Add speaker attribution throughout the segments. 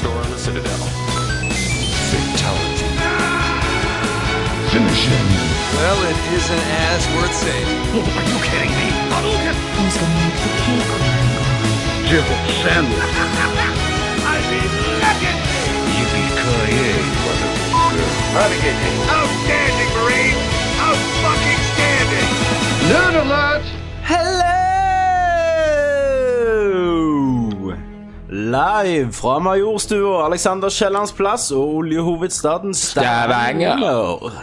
Speaker 1: store on the Citadel. Fatality.
Speaker 2: Finish him.
Speaker 3: Well, it isn't as worth saying.
Speaker 2: Are you kidding me?
Speaker 4: Who's gonna make the cake work?
Speaker 2: Jibble sandwich. Yippee-ki-yay, motherfucker.
Speaker 5: Outstanding, Marine! Out fucking standing!
Speaker 2: Noon alert!
Speaker 6: Hello! Live fra Majorstua, Alexander Kiellands plass og oljehovedstaden Stavanger.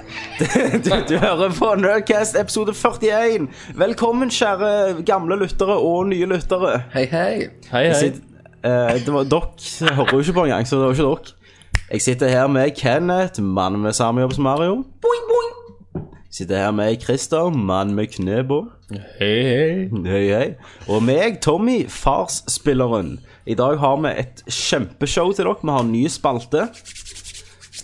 Speaker 6: Du, du hører på Nerdcast episode 41. Velkommen, kjære gamle lyttere og nye lyttere.
Speaker 7: Hei, hei.
Speaker 8: Hei,
Speaker 6: Jeg
Speaker 8: hei.
Speaker 6: sitter- eh, det var, dere hører jo ikke på engang, så det var ikke dere. Jeg sitter her med Kenneth, mann med samme jobb som Mario. Boing, boing. Sitter her med Christer, mann med kne på.
Speaker 8: Hei, hei.
Speaker 6: Hei, hei. Og meg, Tommy, farsspilleren. I dag har vi et kjempeshow til dere. Vi har en ny spalte.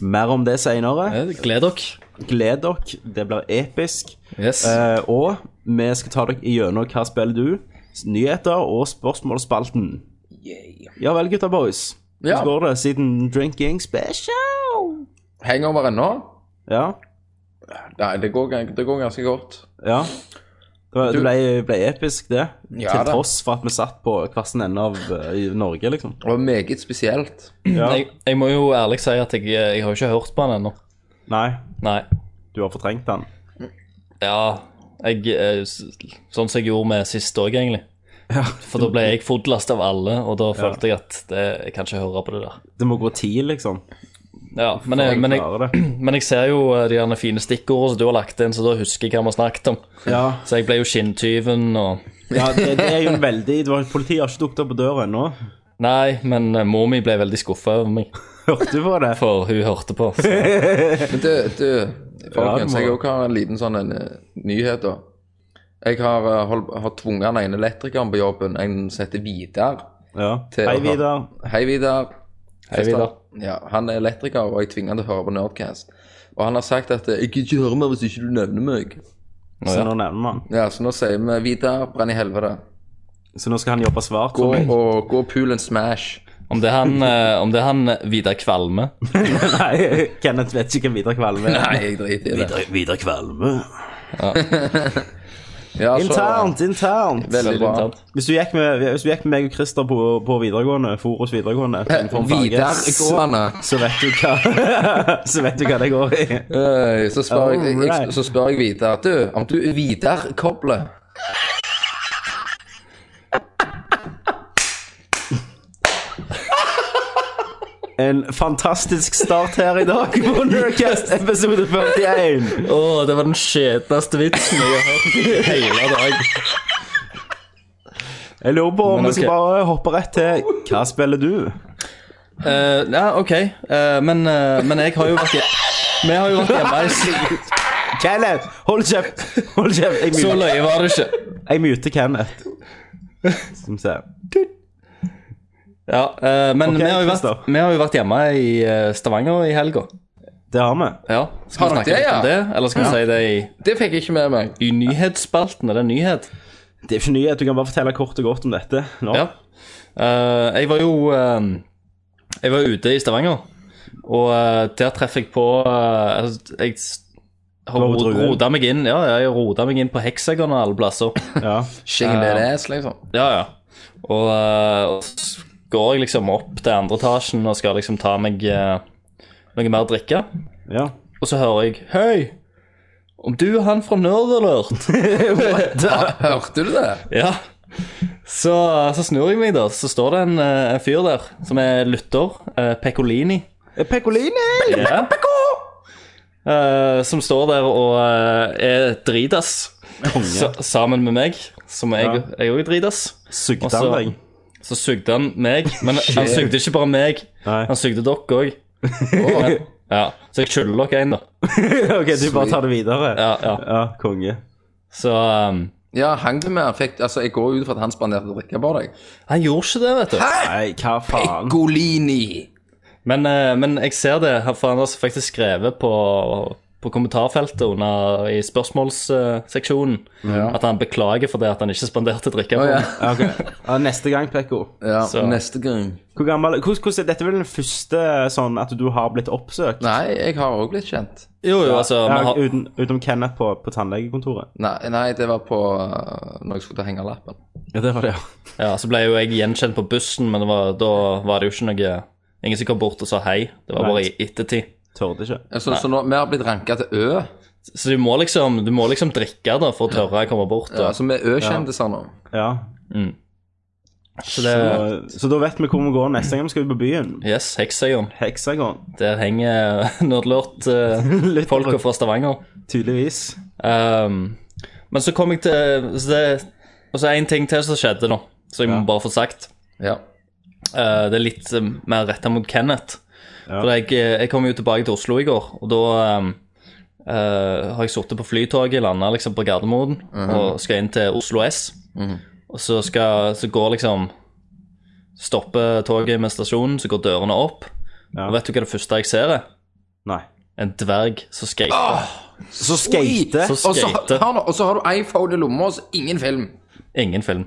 Speaker 6: Mer om det seinere.
Speaker 8: Eh, Gled dere.
Speaker 6: Gled dere. Det blir episk.
Speaker 8: Yes.
Speaker 6: Eh, og vi skal ta dere igjennom hva spiller du, nyheter og spørsmålsspalten. Ja vel, gutta boys.
Speaker 7: Ja.
Speaker 6: Hvordan går det siden Drinking Special?
Speaker 7: Hangover ennå?
Speaker 6: Ja.
Speaker 7: Nei, det går, gan- det går ganske godt.
Speaker 6: ja. Det var- det
Speaker 7: Du-
Speaker 6: ble, ble episk, det.
Speaker 7: Ja,
Speaker 6: til
Speaker 7: da.
Speaker 6: tross for at vi satt på hver sin ende av eh, i Norge, liksom.
Speaker 7: Det var meget spesielt.
Speaker 6: Ja.
Speaker 8: Jeg, jeg må jo ærlig si at jeg, eh, jeg har jo ikke hørt på han ennå.
Speaker 6: Nei,
Speaker 8: Nei.
Speaker 6: du har fortrengt den.
Speaker 8: Ja, jeg, eh, s- sånn som jeg gjorde med sist òg, egentlig. For da ble jeg fodlast av alle, og da følte jeg at det, jeg kan ikke høre på det der.
Speaker 6: Det må gå tid, liksom.
Speaker 8: Ja, men,
Speaker 7: Eh,
Speaker 8: jeg, men, jeg,
Speaker 6: klarer det.
Speaker 8: men jeg ser jo eh, de gjerne fine stikkordene som du har lagt inn, så da husker jeg hva vi har snakket om.
Speaker 6: Ja,
Speaker 8: Så jeg ble jo skinntyven og
Speaker 6: ja det, det er jo en veldig det var, Politiet har ikke dukket opp på døra ennå.
Speaker 8: Nei, men eh, mor mi ble veldig skuffa over meg,
Speaker 6: Hørte du på det?
Speaker 8: for hun hørte på. Så.
Speaker 7: Men du, du folkens,
Speaker 6: må-
Speaker 7: jeg også har en liten sånn en, eh, nyhet, da. Jeg har, eh, hold, har tvunget den ene elektrikeren på jobben, en som heter Vidar.
Speaker 6: Ja.
Speaker 7: til å
Speaker 6: Hei,
Speaker 7: ha-
Speaker 6: Vidar.
Speaker 7: Hei, Vidar.
Speaker 8: Hei, Vidar.
Speaker 7: Ja, han er elektriker, og jeg tvinger han til å høre på Nerdcast. Og han har sagt at eh, 'jeg gidder ikke høre mer hvis ikke du nevner meg'.
Speaker 8: Å,
Speaker 6: Så
Speaker 8: ja.
Speaker 6: nå nevner man.
Speaker 7: Ja, Så nå sier vi 'Vidar, brenn i helvete'.
Speaker 6: Så nå skal han jobbe svart
Speaker 7: Gå
Speaker 6: for meg.
Speaker 7: og gå og pul en smash.
Speaker 8: Om det er han, eh, om det er han Vidar Kvalme
Speaker 6: Nei, Kenneth vet ikke hvem Vidar Kvalme er.
Speaker 7: Nei, jeg driter i det.
Speaker 6: Vidar Kvalme.
Speaker 7: Ja, så-
Speaker 6: Internt, internt.
Speaker 7: Altså- Veldig
Speaker 8: Veldig
Speaker 7: bra.
Speaker 8: internt.
Speaker 6: Hvis du gikk med, hvis du gikk med meg og Christer på, på videregående, Foros videregående på
Speaker 7: Eh,
Speaker 6: en form for farge,
Speaker 7: Videregående.
Speaker 6: så, så vet du hva Så vet du hva det går i.
Speaker 7: Øy, Eh, Så spør jeg, jeg,
Speaker 6: Alright.
Speaker 7: jeg, så spør jeg Vidar Du, om du er Vidar Koble
Speaker 6: En fantastisk start her i dag på Nerdcast episode 41.
Speaker 8: Å, det var den skjetneste vitsen jeg har hørt i hele dag.
Speaker 6: Jeg lurer på om
Speaker 8: Men
Speaker 6: vi skal
Speaker 8: ok.
Speaker 6: bare hoppe rett til Hva spiller du?
Speaker 8: Eh, ja, OK. Eh, men, eh, men jeg har jo vært hje- Vi har jo vært hjemme i s-
Speaker 6: Kenneth! Hold kjeft! Hold kjeft! Jeg
Speaker 8: Så
Speaker 6: muter,
Speaker 8: løye var det ikke.
Speaker 6: jeg muter Kenneth. Skal vi se.
Speaker 8: Ja, eh, men
Speaker 6: Ok,
Speaker 8: vi, har jo
Speaker 6: Christer.
Speaker 8: vært, vi har jo vært hjemme i eh, Stavanger i helga.
Speaker 6: Det har vi.
Speaker 8: Ja, skal vi
Speaker 7: Har
Speaker 8: snakke
Speaker 7: dere det,
Speaker 8: litt om
Speaker 7: ja?
Speaker 8: det? Eller skal vi si det i,
Speaker 7: Det fikk jeg ikke med meg
Speaker 8: i nyhetsspalten? Er det en nyhet?
Speaker 6: Det er ikke nyhet. Du kan bare fortelle kort og godt om dette nå.
Speaker 8: Ja. Eh, jeg var jo eh, Jeg var ute i Stavanger, og eh, der treffer jeg på eh, altså, Jeg s- har
Speaker 6: Blå druer.
Speaker 8: rota meg inn Ja, jeg har rotet meg inn på Hexagon og alle plasser.
Speaker 6: Ja.
Speaker 7: Shingen det ass, liksom
Speaker 8: Ja, ja. Og, eh, og så går jeg liksom opp til andre etasjen og skal liksom ta meg eh, noe mer drikke.
Speaker 6: ja.
Speaker 8: Og så hører jeg Hei! Om du er han fra Nerdalert?
Speaker 7: Hørte du det?
Speaker 8: ja. Så, så snur jeg meg, da. Så står det en, eh, en fyr der som er lytter. eh, Pecolini.
Speaker 6: Pekolini!
Speaker 8: Ja. Eh, som står der og eh, er dritas sa sammen med meg, som jeg òg er dritas.
Speaker 6: Sugde
Speaker 8: Også-
Speaker 6: han deg?
Speaker 8: Så sugde han meg, men han sugde ikke bare meg.
Speaker 6: Nei.
Speaker 8: Han sugde dere òg. Ja, så jeg skylder dere en, da.
Speaker 6: ok, du bare tar det videre.
Speaker 8: Ja, ja.
Speaker 6: Ja, konge.
Speaker 8: Så ehm,
Speaker 7: Ja, hang du med? Fikk, altså, jeg går ut for at han spanderte drikke på deg
Speaker 8: han gjorde ikke det, vet du.
Speaker 6: Nei, hva faen?
Speaker 7: Golini
Speaker 8: Men, eh, men jeg ser det, her, for han har faktisk skrevet på, på kommentarfeltet under, i spørsmålsseksjonen
Speaker 7: Ja.
Speaker 8: at han beklager for det at han ikke spanderte drikke på
Speaker 7: Å, ja.
Speaker 8: meg.
Speaker 6: Ok. Ja, neste gang, Pekko.
Speaker 7: Ja,
Speaker 8: Så-
Speaker 7: neste gang.
Speaker 6: Hvor gammel hvordan, hvordan, er- Dette er vel den første sånn at du har blitt oppsøkt?
Speaker 7: Nei, jeg har òg blitt kjent.
Speaker 8: Jo, jo, altså, vi
Speaker 6: Ja,
Speaker 8: har,
Speaker 6: uten, utenom Kenneth på, på tannlegekontoret.
Speaker 7: Nei, nei det var på uh, når jeg skulle ta hengelappen.
Speaker 6: Ja, det var det, ja.
Speaker 8: ja, så ble jo jeg gjenkjent på bussen, men det var, da var det jo ikke noe Ingen som kom bort og sa hei. Det var bare i ettertid.
Speaker 6: Tørde ikke.
Speaker 7: Så, så nå, vi har blitt ranka til Ø.
Speaker 8: Så du må liksom, du må liksom drikke da for å tørre å komme bort. Da.
Speaker 7: Ja, så vi er Ø-kjendiser nå.
Speaker 6: Ja.
Speaker 8: Så det
Speaker 6: Så, så da vet vi hvor vi går neste gang vi skal ut på byen.
Speaker 8: Yes, Hexagon.
Speaker 6: Hexagon.
Speaker 8: Der henger nerdlort uh, folka fra Stavanger.
Speaker 6: Tydeligvis.
Speaker 8: Ehm, men så kom jeg til så det, Og så en ting til som skjedde, da. Så jeg må bare få sagt.
Speaker 7: Ja.
Speaker 8: Eh, det er litt eh, mer retta mot Kenneth. For jeg, eh, jeg kom jo tilbake til Oslo i går, og da ehm, eh, har jeg sittet på flytoget, landa liksom på Gardermoen,
Speaker 7: Mhm.
Speaker 8: og skal inn til Oslo S. Og så, skal, så går liksom Stopper toget med stasjonen, så går dørene opp.
Speaker 6: Ja.
Speaker 8: Og vet du hva det første jeg ser? er?
Speaker 6: Nei.
Speaker 8: En dverg som skater.
Speaker 6: Så skate.
Speaker 8: Så
Speaker 7: Ah, Og så,
Speaker 8: skate.
Speaker 7: hør nå, og så har du iPhone i lomma, og så ingen film.
Speaker 8: Ingen film.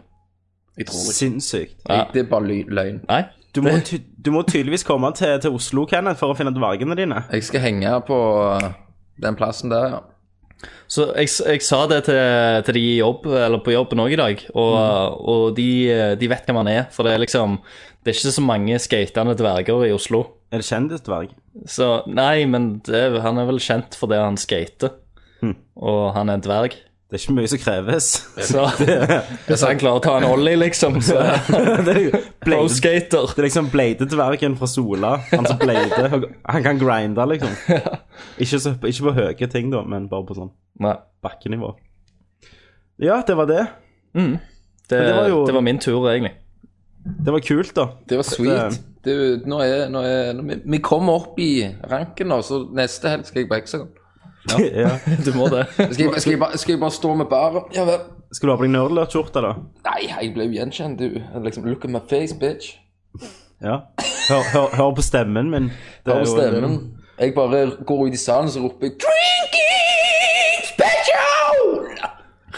Speaker 7: Jeg tror ikke.
Speaker 6: Sinnssykt.
Speaker 8: Ja.
Speaker 7: Det er bare ly- løgn.
Speaker 8: Nei.
Speaker 6: Du må, ty du må tydeligvis komme til, til Oslo, Kenneth, for å finne dvergene dine.
Speaker 7: Jeg skal henge på uh, den plassen der, ja.
Speaker 8: Så jeg, jeg sa det til, til de i jobb, eller på jobben òg i dag, og,
Speaker 6: Mm.
Speaker 8: og de, de vet hvem han er. For det er liksom Det er ikke så mange skatende dverger i Oslo.
Speaker 6: Er det kjendisdverg?
Speaker 8: Så nei, men det, er- han er vel kjent for det han skater.
Speaker 6: Mm.
Speaker 8: Og han er en dverg.
Speaker 6: Det er ikke mye som kreves.
Speaker 8: Så hvis han klarer å ta en ollie, liksom, så
Speaker 6: det er jo
Speaker 8: Pro
Speaker 6: blade-
Speaker 8: skater.
Speaker 6: Det er liksom bleidedvergen fra Sola. Han som bleider. Han kan grinde, liksom. Ikke, så, ikke på høye ting, da, men bare på sånn
Speaker 8: Nei.
Speaker 6: bakkenivå. Ja, det var det.
Speaker 8: Det,
Speaker 6: det
Speaker 8: det,
Speaker 6: var
Speaker 8: var
Speaker 6: jo-
Speaker 8: min tur, egentlig.
Speaker 6: Det var kult, da.
Speaker 7: Det var sweet. Det, er jo- nå er, nå er, nå, vi- vi kommer opp i ranken nå, så neste helg skal jeg på Hexagon.
Speaker 6: Ja.
Speaker 8: Du må det.
Speaker 7: Skal jeg, skal jeg, bare, skal jeg bare stå med bæret? Ja vel.
Speaker 6: Skal du ha på deg nerdlurt-skjorte, da?
Speaker 7: Nei, jeg ble jo gjenkjent, du. Liksom, look at my face, bitch.
Speaker 6: Ja. Hør, hør, hør på stemmen min. Det
Speaker 7: Hør
Speaker 6: er jo-
Speaker 7: stemmen. Jeg bare går ut i salen, så roper jeg Drinking special!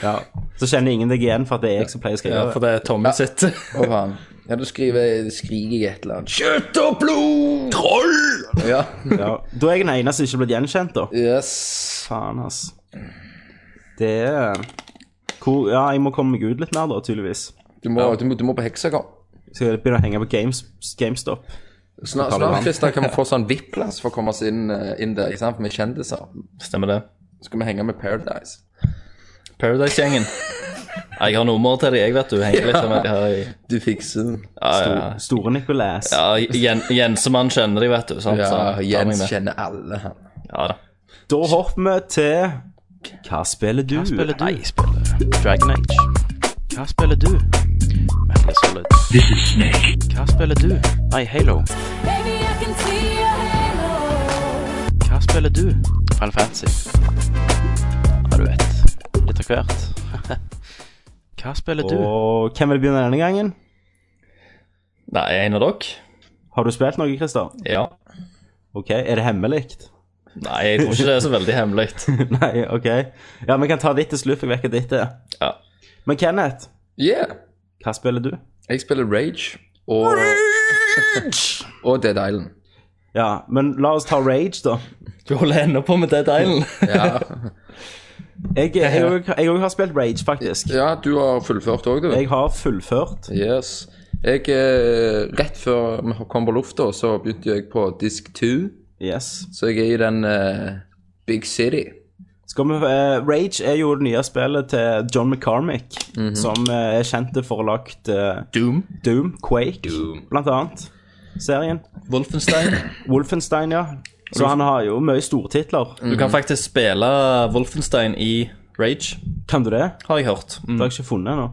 Speaker 6: Ja. Så kjenner ingen deg igjen for at det er jeg som pleier å
Speaker 8: Ja,
Speaker 6: skrive.
Speaker 8: for det er Tommy sitt.
Speaker 7: Å faen. Ja, du skriver skriker jeg et eller annet. Kjøtt og blod! Troll! Ja.
Speaker 6: Ja. Da er jeg den eneste som ikke er blitt gjenkjent, da.
Speaker 7: Yes.
Speaker 6: Faen, ass. Det er Hvor... Ja, jeg må komme meg ut litt mer, da, tydeligvis.
Speaker 7: Du må, du må, du må på Hexagon.
Speaker 6: Skal jeg begynne å henge på Games, GameStop.
Speaker 7: Snart, snart Christian, kan vi få sånn VIP-plass for å komme oss inn, eh, inn der, ikke sant? For vi er kjendiser.
Speaker 8: Stemmer det.
Speaker 7: skal vi henge med Paradise.
Speaker 8: Paradise-gjengen. Jeg har nummer til de, jeg, vet du. Henger litt med de her i
Speaker 7: Du fikser den.
Speaker 8: Ja,
Speaker 6: Store Nicolas.
Speaker 8: ja, ja. Jen, Jensemann kjenner de, vet du. Sant? Så
Speaker 7: Ja,
Speaker 8: tar meg
Speaker 7: Jens
Speaker 8: med.
Speaker 7: kjenner alle, han.
Speaker 8: Ja da.
Speaker 6: Da hopper vi til Hva spiller du?
Speaker 1: Nei, jeg spiller Dragon Age. Hva spiller du? Metal Gear Solid. Hva spiller du? Nei, Halo.
Speaker 9: Baby, I can see your halo.
Speaker 1: Hva spiller du? Final Fantasy. Ja, du vet. Litt av hvert. Hva spiller du?
Speaker 6: Og hvem vil begynne denne gangen?
Speaker 8: Nei, en av dere?
Speaker 6: Har du spilt noe, Christer?
Speaker 8: Ja.
Speaker 6: Ok, er det hemmelig?
Speaker 8: Nei, jeg tror ikke det er så veldig hemmelig.
Speaker 6: Nei, ok. Ja, vi kan ta ditt til slutt, for jeg vet hva ditt er.
Speaker 8: Ja.
Speaker 6: Men Kenneth,
Speaker 7: Yeah.
Speaker 6: hva spiller du?
Speaker 7: Jeg spiller Rage og Og Dead Island.
Speaker 6: Ja, men la oss ta Rage, da.
Speaker 8: Du holder ennå på med Dead Island.
Speaker 7: Ja,
Speaker 6: Jeg, jeg, og- jeg, også har spilt Rage, faktisk.
Speaker 7: ja du har fullført òg, du.
Speaker 6: Jeg har fullført.
Speaker 7: Yes. Jeg eh, Rett før vi kom på lufta, så begynte jeg på disk 2.
Speaker 6: Yes.
Speaker 7: Så jeg er i den eh, Big City.
Speaker 6: Skal vi, eh, Rage er jo det nye spillet til John McCormick,
Speaker 7: Mhm.
Speaker 6: som eh, er kjent for å ha lagt eh,
Speaker 8: Doom.
Speaker 6: Doom, Quake, blant annet. Serien.
Speaker 8: Wolfenstein.
Speaker 6: Wolfenstein, ja. Så han har jo mye stortitler.
Speaker 7: Mm.
Speaker 8: Du kan faktisk spille Wolfenstein i Rage,
Speaker 6: Kan du det?
Speaker 8: har jeg hørt.
Speaker 6: Det
Speaker 8: Mm.
Speaker 6: har jeg ikke funnet ennå.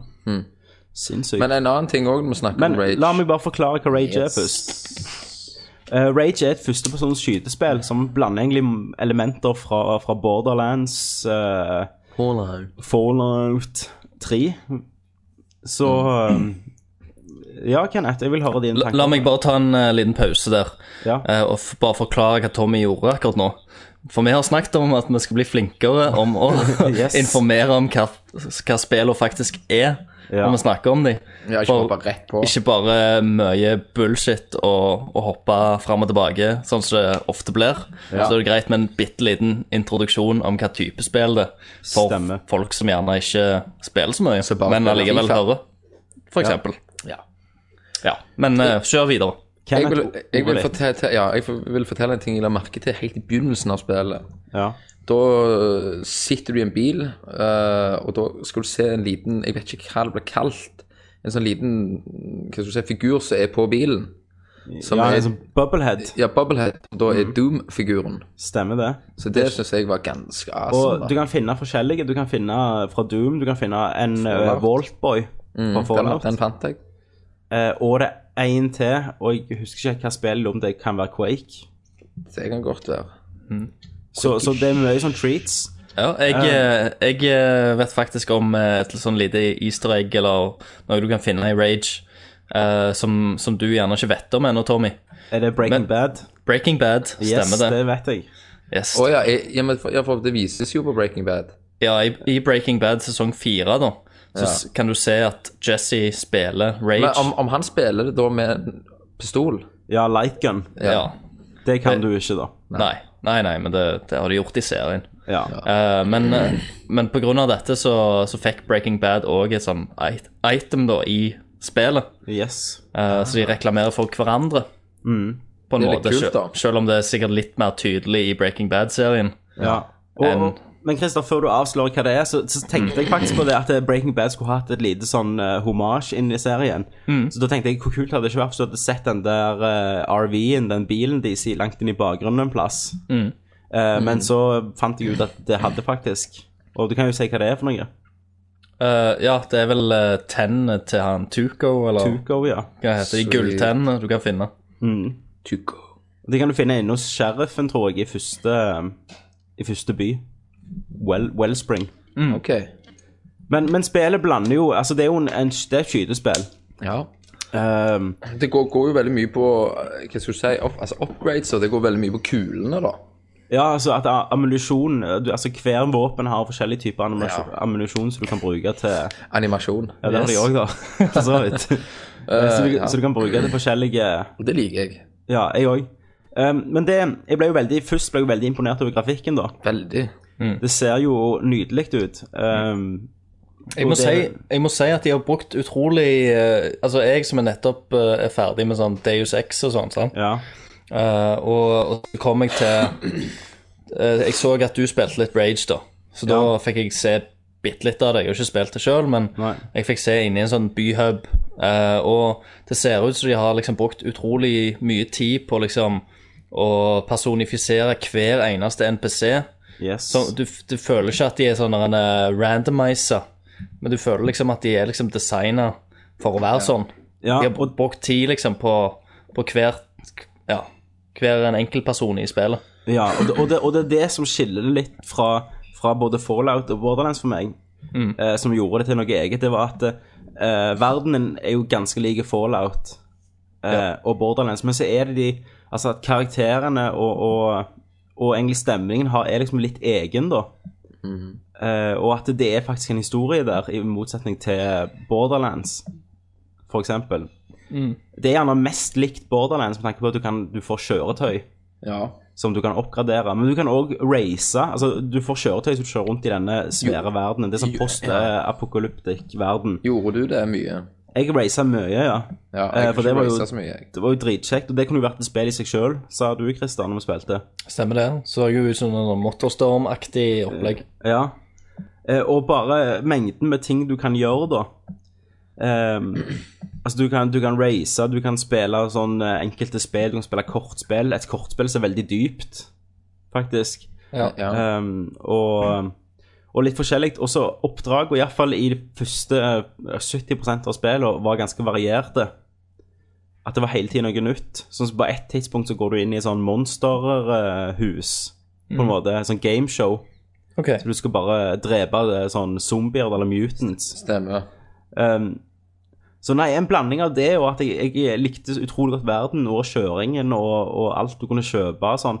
Speaker 6: Sinnssykt.
Speaker 7: Mm. Men
Speaker 6: Men,
Speaker 7: en annen ting òg, vi snakker om Rage.
Speaker 6: la meg bare forklare hva Rage er først. Eh, Rage er et førstepersons skytespill som blander egentlig elementer fra, fra Borderlands, eh, Fallout 3. Så eh, Ja, Kenneth, jeg vil høre dine
Speaker 8: La,
Speaker 6: tanker.
Speaker 8: la meg bare ta en eh, liten pause der,
Speaker 6: Ja.
Speaker 8: eh, og f bare forklare hva Tommy gjorde akkurat nå. For vi har snakket om at vi skal bli flinkere om å
Speaker 6: Yes.
Speaker 8: informere om hva, hva spillene faktisk er,
Speaker 6: Ja.
Speaker 8: når vi snakker om dem.
Speaker 7: Ja, ikke hoppe rett på.
Speaker 8: Ikke bare mye bullshit og, og hoppe fram og tilbake, sånn som det ofte blir. Så er det greit med en bitte liten introduksjon om hva type spill det er, for
Speaker 6: Stemmer.
Speaker 8: folk som gjerne ikke spiller så mye,
Speaker 7: Så bare
Speaker 8: men
Speaker 7: spiller
Speaker 8: allikevel
Speaker 7: FIFA.
Speaker 8: hører, for eksempel. Ja. ja. Men eh, kjør videre.
Speaker 7: Jeg vil,
Speaker 6: Kenneth,
Speaker 7: jeg, vil
Speaker 6: Ole.
Speaker 7: fortelle, ja, jeg vil fortelle en ting jeg la merke til helt i begynnelsen av spillet.
Speaker 6: Ja.
Speaker 7: Da øh, sitter du i en bil, øh, og da skal du se en liten Jeg vet ikke hva det blir kalt. En sånn liten hva skal du si, figur som er på bilen. Som
Speaker 6: ja,
Speaker 7: er,
Speaker 6: en sånn Mhm. bubblehead.
Speaker 7: ja, Bubblehead. Og da er Doom-figuren.
Speaker 6: Stemmer det.
Speaker 7: Så det syns jeg var ganske awesome.
Speaker 6: Og
Speaker 7: da.
Speaker 6: du kan finne forskjellige. Du kan finne eh, fra Doom, du kan finne en uh,
Speaker 7: Fallout.
Speaker 6: Voltboy fra
Speaker 7: Mm, den,
Speaker 6: Fallout.
Speaker 7: den fant jeg.
Speaker 6: Eh, og det er én til, og jeg husker ikke hva spillet om det kan være Quake.
Speaker 7: Det kan godt være.
Speaker 6: Så, så det er mye sånn treats.
Speaker 8: Ja, jeg, eh, jeg eh, vet faktisk om eh, et sånn lite easter egg eller noe du kan finne i Rage, eh, som, som du gjerne ikke vet om ennå, Tommy.
Speaker 6: Er det
Speaker 8: Men-
Speaker 6: Breaking Bad?
Speaker 8: Breaking Bad,
Speaker 6: Yes,
Speaker 8: stemmer det?
Speaker 6: det vet jeg.
Speaker 8: Yes.
Speaker 7: Å ja, jeg, ja, men for, ja, for det vises jo på Breaking Bad.
Speaker 8: Ja, i, i Breaking Bad sesong fire, da, så s- kan du se at Jesse spiller Rage.
Speaker 7: Men om, om han spiller det da med en pistol
Speaker 6: Ja, Lightgun.
Speaker 8: ja.
Speaker 6: Det kan du ikke, da.
Speaker 8: Nei. nei, nei, men det, det har de gjort i serien.
Speaker 6: Ja.
Speaker 8: Eh, men, eh, men på grunn av dette så, så fikk Breaking Bad òg et sånn it item da i spillet.
Speaker 6: Yes.
Speaker 8: Eh, så de reklamerer for hverandre. På en
Speaker 7: Ah. Mm. Det er litt
Speaker 8: måte,
Speaker 7: kult, da.
Speaker 8: sjøl- Selv om det er sikkert litt mer tydelig i Breaking Bad-serien.
Speaker 6: Ja. Og,
Speaker 8: En-
Speaker 6: og, men Christer, før du avslører hva det er, så, så tenkte jeg faktisk på det at eh, Breaking Bad skulle hatt et lite sånn uh, hommage inn i serien. Så da tenkte jeg hvor kult hadde det ikke vært hvis du hadde sett den der eh, RV-en, den bilen de sier langt inn i bakgrunnen en plass. Eh, Men så fant jeg ut at det hadde faktisk. Og du kan jo si hva det er for noe.
Speaker 8: Eh, ja, det er vel uh, tennene til han Tuco, eller
Speaker 6: Tuco, ja.
Speaker 8: hva heter de
Speaker 7: Sweet.
Speaker 8: gulltennene du kan finne.
Speaker 7: Tyko.
Speaker 6: Det kan du finne inne hos sheriffen, tror jeg, i første, eh, i første by. Well, Wellspring.
Speaker 7: Ok.
Speaker 6: Men, men spillet blander jo Altså, det er jo en, en, det er et skytespill.
Speaker 7: Ja.
Speaker 6: Um,
Speaker 7: Det går, går jo veldig mye på eh, hva skal du si, opp, altså upgrades, og det går veldig mye på kulene, da.
Speaker 6: ja, altså at a- ammunisjon du- Altså hver våpen har forskjellige typer ammunisjon, ammunisjon som du kan bruke til Ja,
Speaker 7: Animasjon.
Speaker 6: det har de òg, da. For så vidt. Eh, så, du,
Speaker 7: ja.
Speaker 6: så du kan bruke til forskjellige
Speaker 7: Og det liker jeg.
Speaker 6: Ja, jeg òg. Um, men det Jeg ble jo veldig først ble jeg veldig imponert over grafikken, da.
Speaker 7: Veldig.
Speaker 8: Mm.
Speaker 6: Det ser jo nydelig ut. Um,
Speaker 8: Jeg må,
Speaker 6: Og det-
Speaker 8: si, jeg må si at de har brukt utrolig eh, Altså, jeg som er nettopp eh, er ferdig med sånn Deus Ex og sånn, sant?
Speaker 6: ja.
Speaker 8: Eh, og, og så kom jeg til eh, Jeg så at du spilte litt Rage, da. Så da fikk jeg se bitte litt av det. Jeg har ikke spilt det sjøl, men
Speaker 6: Nei.
Speaker 8: jeg fikk se inni en sånn byhub. eh, og det ser ut som de har liksom brukt utrolig mye tid på liksom å personifisere hver eneste NPC.
Speaker 6: Yes.
Speaker 8: Så du, du føler ikke at de er sånn en randomizer, men du føler liksom at de er liksom designa for å være sånn.
Speaker 6: ja,
Speaker 8: De har
Speaker 6: og,
Speaker 8: brukt tid liksom på, på hver, ja, hver en enkelt person i spillet.
Speaker 6: Ja, og det, og, det, og det er det som skiller det litt fra, fra både Fallout og Borderlands for meg, eh, som gjorde det til noe eget. Det var at eh, verdenen er jo ganske lik Fallout eh, og Borderlands, men så er det de Altså at karakterene og, og, og egentlig stemningen har, er liksom litt egen, da. Eh, og at det er faktisk en historie der, i motsetning til Borderlands, for eksempel. Det er gjerne mest likt Borderlands med tanke på at du, kan, du får kjøretøy
Speaker 7: Ja.
Speaker 6: som du kan oppgradere. Men du kan òg race. Altså, du får kjøretøy som du kjører rundt i denne svære verdenen. Det er sånn post-apokalyptisk verden.
Speaker 7: Gjorde du det mye?
Speaker 6: Jeg racet mye, ja.
Speaker 7: Ja,
Speaker 6: Eh, for
Speaker 7: jeg kunne
Speaker 6: det
Speaker 7: ikke
Speaker 6: var jo-
Speaker 7: reise så mye, jeg.
Speaker 6: Det var jo dritkjekt, og det kunne jo vært et spill i seg sjøl, sa du, Christer, når vi spilte.
Speaker 8: Stemmer det. Så jo ut som en sånn motorstormaktig opplegg.
Speaker 6: Ja. Eh, Og bare mengden med ting du kan gjøre, da. Ehm, altså, du kan, du kan race, du kan spille sånn eh, enkelte spill, du kan spille kortspill. Et kortspill som er veldig dypt, faktisk.
Speaker 8: Ja.
Speaker 7: Ja.
Speaker 6: Um, og, og litt forskjellig. Også oppdrag, og iallfall i de første eh, 70 av spillene, var ganske varierte. At det var hele tiden noe nytt. Sånn som På ett tidspunkt så går du inn i sånn monsterhus. På en måte, sånn gameshow.
Speaker 8: Ok.
Speaker 6: Du skal bare drepe eh, sånn zombier eller mutants.
Speaker 7: Stemmer.
Speaker 6: Um, så nei, en blanding av det, og at jeg, jeg likte utrolig godt verden og kjøringen og, og alt du kunne kjøpe og sånn.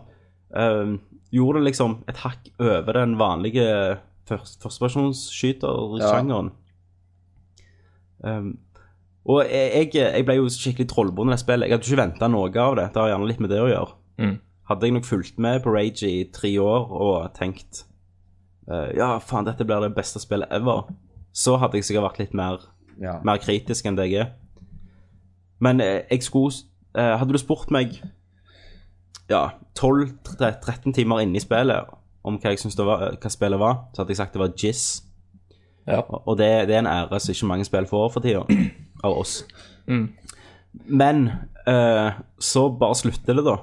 Speaker 6: Um, gjorde det liksom et hakk over den vanlige først- førstepersonsskyter-sjangeren. Um, og jeg, jeg, jeg ble jo skikkelig trollbonde i det spillet. Jeg hadde ikke venta noe av det. Det har gjerne litt med det å gjøre.
Speaker 8: Mm.
Speaker 6: Hadde jeg nok fulgt med på Rage i tre år og tenkt eh, Ja, faen, dette blir det beste spillet ever, så hadde jeg sikkert vært litt mer,
Speaker 7: Ja.
Speaker 6: mer kritisk enn det jeg er. Men eh, jeg skulle eh, Hadde du spurt meg ja, 12-13 timer inne i spillet om hva jeg synes det var, hva spillet var, så hadde jeg sagt det var Jizz.
Speaker 8: Ja.
Speaker 6: Og og det, det er en ære som ikke mange spill får for tida, av oss. Men eh, så bare slutter det, da.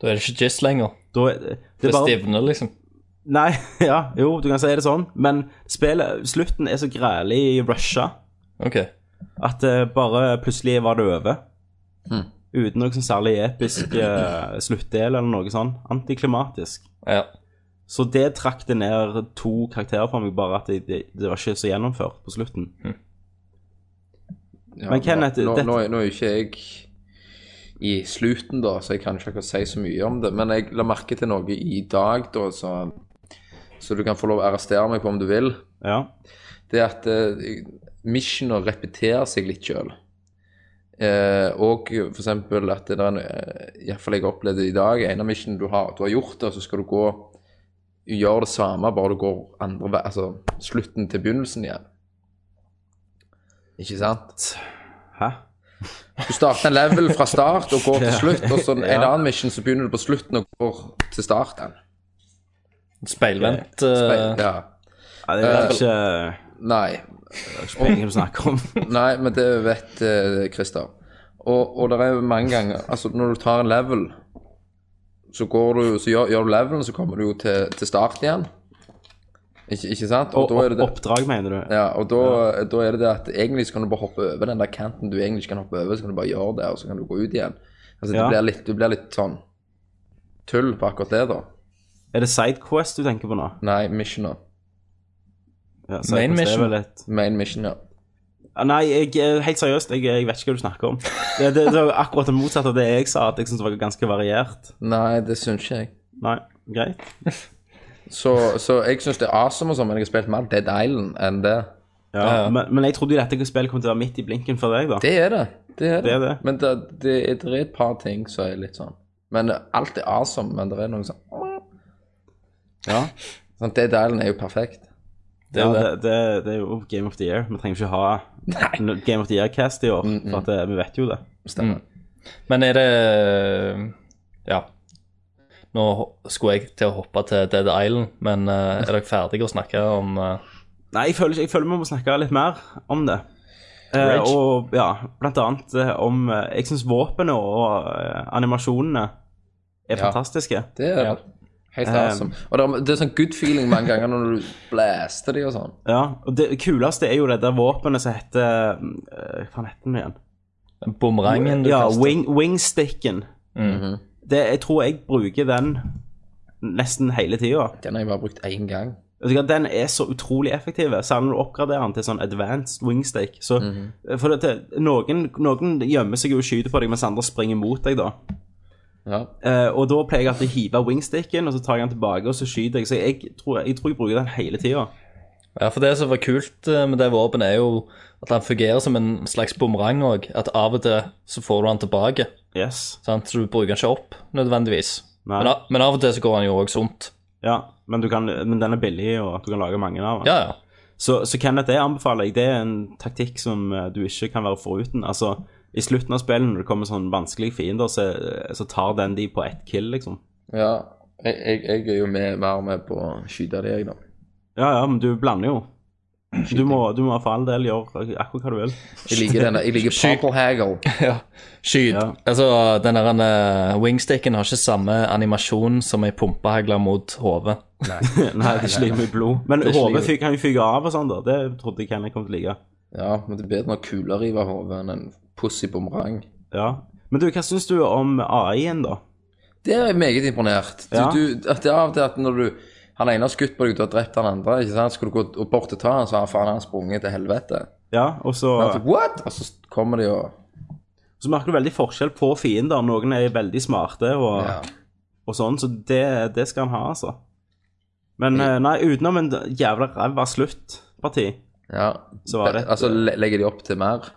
Speaker 8: Da er det ikke Jizz lenger.
Speaker 6: da er det,
Speaker 8: Det
Speaker 6: det er bare,
Speaker 8: stivner, liksom.
Speaker 6: Nei, ja, jo, du kan si det sånn, men spillet, slutten er så grælig rusha
Speaker 8: OK.
Speaker 6: at det bare plutselig var det over.
Speaker 7: Hmm.
Speaker 6: Uten noe sånn særlig episk eh, sluttdel eller noe sånn. Antiklimatisk.
Speaker 8: Ja.
Speaker 6: Så det trakk det ned to karakterer for meg, bare at det, det, det var ikke så gjennomført på slutten.
Speaker 7: Ja,
Speaker 6: Men Kenneth,
Speaker 7: nå,
Speaker 6: dette-
Speaker 7: nå, nå er jo ikke jeg i slutten, da, så jeg kan ikke akkurat si så mye om det. Men jeg la merke til noe i dag, da, så, så du kan få lov å arrestere meg på om du vil.
Speaker 6: Ja.
Speaker 7: Det er at eh, missioner repeterer seg litt sjøl. Eh, og f.eks. at det er en Iallfall jeg opplevde i dag. En av missionene du har, du har gjort det, så skal du gå gjøre det samme, bare du går andre vei, altså slutten til begynnelsen igjen. Ikke sant?
Speaker 6: Hæ?
Speaker 7: Du starter en level fra start og går til slutt, og så en annen mission så begynner du på slutten og går til starten.
Speaker 8: Speilvendt eh,
Speaker 7: Ja.
Speaker 6: Ja, det
Speaker 7: Eh,
Speaker 6: er ikke,
Speaker 7: Nei,
Speaker 6: det er ikke penger du snakker om.
Speaker 7: Nei, men det vet eh, Christer. Og, og det er jo mange ganger Altså, når du tar en level, så, går du, så gjør, gjør du levelen, så kommer du jo til, til start igjen. Ikke, ikke sant?
Speaker 6: Og,
Speaker 7: Og, da er det det,
Speaker 6: oppdrag, mener du?
Speaker 7: ja, og da, da er det det at egentlig så kan du bare hoppe over den der kanten du egentlig ikke kan hoppe over, så kan du bare gjøre det, og så kan du gå ut igjen. Altså, det
Speaker 6: Ja.
Speaker 7: blir litt, du blir litt sånn tull på akkurat det, da.
Speaker 6: Er det Sidequest du tenker på nå?
Speaker 7: Nei, missioner.
Speaker 6: Ja, Sidequest
Speaker 8: Main
Speaker 6: er
Speaker 8: mission.
Speaker 6: vel et-
Speaker 7: Main mission, ja.
Speaker 6: Ja, Nei, jeg, eh, helt seriøst, jeg, jeg vet ikke hva du snakker om. Det, det, det var akkurat det motsatte av det jeg sa, at jeg syns det var ganske variert.
Speaker 7: Nei, det syns ikke jeg.
Speaker 6: Nei, greit.
Speaker 7: Så, så jeg syns det er awesome og sånn, men jeg har spilt mer Dead Island enn det.
Speaker 6: Ja, Men, men jeg trodde jo dette spillet kom til å være midt i blinken for deg, da.
Speaker 7: Det er det. Det er det.
Speaker 6: Det er det.
Speaker 7: Men det, det, er, det er et par ting som er litt sånn Men alt er awesome, men det er noe sånn
Speaker 6: Ja,
Speaker 7: sånn, Dead Island er jo perfekt.
Speaker 8: Det er
Speaker 6: Ja,
Speaker 8: jo det.
Speaker 6: det, det, det er jo Game of the Year. Vi trenger ikke ha no- Game of the Year-cast i år,
Speaker 8: Mm,
Speaker 6: for at eh, vi vet jo det.
Speaker 7: Stemmer.
Speaker 8: Men er det Ja. Nå ho- skulle jeg til å hoppe til Dead Island, men eh, er dere ferdige å snakke om eh,
Speaker 6: Nei, jeg føler, ikke- jeg føler vi må snakke litt mer om det. Eh,
Speaker 8: Rage.
Speaker 6: og ja, blant annet eh, om eh, Jeg syns våpenet og eh, animasjonene er
Speaker 7: Ja.
Speaker 6: fantastiske.
Speaker 7: Det er
Speaker 8: Ja.
Speaker 7: helt
Speaker 6: Um,
Speaker 7: awesome. Og det er, det er sånn good feeling mange ganger når du blaster de og sånn.
Speaker 6: Ja, og Det kuleste er jo det der våpenet som heter eh, Hva faen heter den igjen?
Speaker 8: bumerangen du
Speaker 6: ja,
Speaker 8: kaster?
Speaker 6: wing, wingsticken. det, jeg tror jeg bruker den nesten hele tida.
Speaker 7: Den har jeg bare brukt én gang.
Speaker 6: Vet du hva, Den er så utrolig effektiv, særlig når du oppgraderer den til sånn advanced wingstake. Så,
Speaker 8: Mhm.
Speaker 6: for det, det- noen, noen gjemmer seg jo og skyter på deg, mens andre springer mot deg. da.
Speaker 7: Ja.
Speaker 6: Eh, og da pleier jeg alltid å hive wingsticken, og så tar jeg den tilbake og så skyter. jeg. Så jeg tror jeg, tror jeg bruker den hele tida.
Speaker 8: Ja, for det som var kult eh, med det våpenet, er jo at han fungerer som en slags bumerang òg. At av og til så får du han tilbake,
Speaker 6: Yes.
Speaker 8: sant? så du bruker han ikke opp nødvendigvis.
Speaker 6: Nei.
Speaker 8: Men, a- men av og til så går han jo òg sunt.
Speaker 6: Ja, men, du kan, men den er billig, og du kan lage mange av den.
Speaker 8: Ja, ja.
Speaker 6: Så, så Kenneth, det anbefaler jeg. Det er en taktikk som eh, du ikke kan være foruten. Altså, I slutten av spillet, når det kommer sånne vanskelige fiender, så, så tar den de på ett kill, liksom.
Speaker 7: ja. Jeg, jeg, jeg er jo med, mer med på å skyte de, jeg, da.
Speaker 6: Ja, ja, men du blander jo. Du må, du må for all del gjøre akkurat hva du vil.
Speaker 7: Jeg liker denne. Jeg liker Purple Haggle.
Speaker 8: Skyt.
Speaker 6: Ja.
Speaker 8: Altså, den der eh, wingsticken har ikke samme animasjon som ei pumpehagle mot hodet.
Speaker 6: Nei, det er ikke like mye blod. Men
Speaker 7: Det er ikke like
Speaker 6: hodet fyker- kan jo fyke av og sånn, da. Det trodde jeg Kenneth kom til å like.
Speaker 7: Ja, men det er bedre når kula river hodet enn en pussig bumerang.
Speaker 6: Ja. Men du, hva syns du om AI-en, da?
Speaker 7: Det er jeg meget imponert. Du,
Speaker 6: Ja.
Speaker 7: du, at det er av og til at når du Han ene har skutt på deg, du har drept han andre. ikke sant? Skal du gå og bort og ta han, så har faen han sprunget til helvete.
Speaker 6: Ja, altså- og så,
Speaker 7: Og så, What? Og så kommer de og
Speaker 6: så merker du veldig forskjell på fiender. Noen er veldig smarte og,
Speaker 7: ja.
Speaker 6: og sånn, så det, det skal han ha, altså. Men eh, nei, utenom en jævla ræva sluttparti,
Speaker 7: Ja.
Speaker 6: så var det et-
Speaker 7: Altså, le- legger de opp til mer?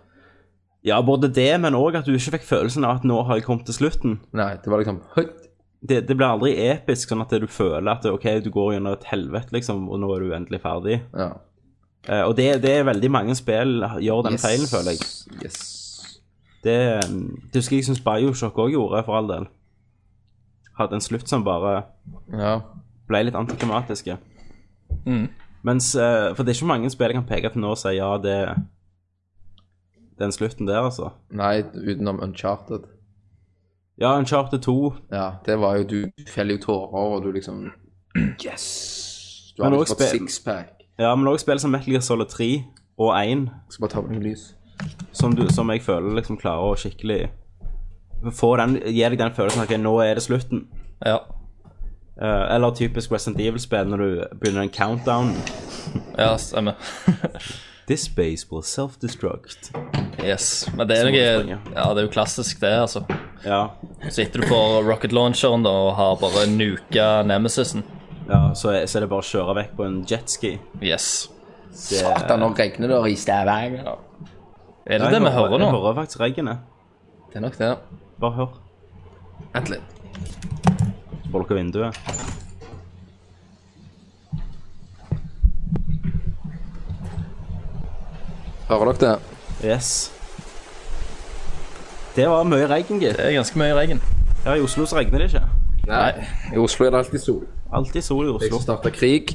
Speaker 6: Ja, både det, men òg at du ikke fikk følelsen av at nå har jeg kommet til slutten.
Speaker 7: Nei, det var liksom høyt.
Speaker 6: Det, det blir aldri episk, sånn at du føler at OK, du går gjennom et helvete, liksom, og nå er du endelig ferdig.
Speaker 7: Ja.
Speaker 6: Eh, og det, det er veldig mange spill gjør den feilen, føler jeg.
Speaker 7: Yes.
Speaker 6: Det, mm, det husker jeg syns Bioshock òg gjorde, for all del. Hadde en slutt som bare
Speaker 7: Ja.
Speaker 6: ble litt antiklimatiske. Mens, eh, for det er ikke mange spill jeg kan peke på nå og si ja, det den slutten der, altså.
Speaker 7: Nei, utenom Uncharted.
Speaker 6: Ja, Uncharted 2,
Speaker 7: Ja, det var jo Du feller jo tårer, og du liksom Yes! Du har
Speaker 6: Men
Speaker 7: liksom
Speaker 6: også
Speaker 7: fått
Speaker 6: spill-
Speaker 7: sixpack.
Speaker 6: ja, men også spill som Metal Gear Solid 3 og 1,
Speaker 7: Skal bare ta på meg lys.
Speaker 6: som, du, som jeg føler liksom klarer å skikkelig få den, Gi deg den følelsen at ok, nå er det slutten.
Speaker 8: Ja.
Speaker 6: Eh, eller typisk Resident Evil-spill når du begynner en countdown.
Speaker 8: ja, stemmer.
Speaker 6: This space will self-destruct.
Speaker 8: Yes. Men det er noe
Speaker 6: Småspringer.
Speaker 8: Ja, det er jo klassisk, det, altså.
Speaker 6: Ja,
Speaker 8: Så etter du får rocket launcheren da, og har bare nuka nemesisen
Speaker 6: ja så, er, så er det bare å kjøre vekk på en jetski.
Speaker 8: Yes.
Speaker 6: Det-
Speaker 7: Satan, nå regner det i
Speaker 8: Er
Speaker 7: Stavanger.
Speaker 8: det
Speaker 6: Ja, jeg
Speaker 8: det vi hører nå?
Speaker 6: Jeg hører faktisk regnet.
Speaker 7: Det er nok det.
Speaker 6: Bare hør.
Speaker 7: Vent litt.
Speaker 6: Så lukker vinduet.
Speaker 7: Hører dere det?
Speaker 6: Yes. Det var mye regn, gitt.
Speaker 8: Det er ganske mye regn.
Speaker 6: Her i Oslo så regner det ikke.
Speaker 7: Nei. I Oslo er det alltid sol.
Speaker 6: Alltid sol i
Speaker 7: Jeg
Speaker 6: Oslo.
Speaker 7: som starta krig.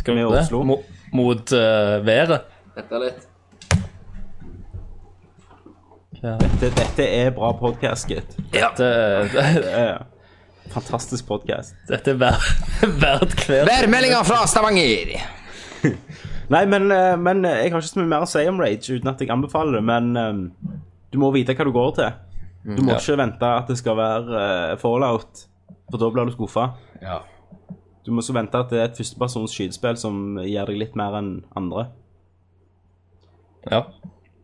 Speaker 8: Skal vi
Speaker 6: Med
Speaker 8: gjøre
Speaker 6: Oslo.
Speaker 8: det? Mo- Mot eh, været?
Speaker 7: Vent litt.
Speaker 6: Dette, dette er bra podkast, gitt.
Speaker 8: Det, det,
Speaker 6: Fantastisk podkast.
Speaker 8: dette er verd verd hver
Speaker 7: Værmeldinger fra Stavanger!
Speaker 6: Nei, men, eh, men eh, jeg har ikke så mye mer å si om Rage uten at jeg anbefaler det, men eh, du må vite hva du går til. Du må
Speaker 8: Mm, ja.
Speaker 6: ikke vente at det skal være eh, fallout, for da blir du skuffa.
Speaker 7: Ja.
Speaker 6: Du må også vente at det er et førstepersons skytespill som gir deg litt mer enn andre.
Speaker 8: Ja.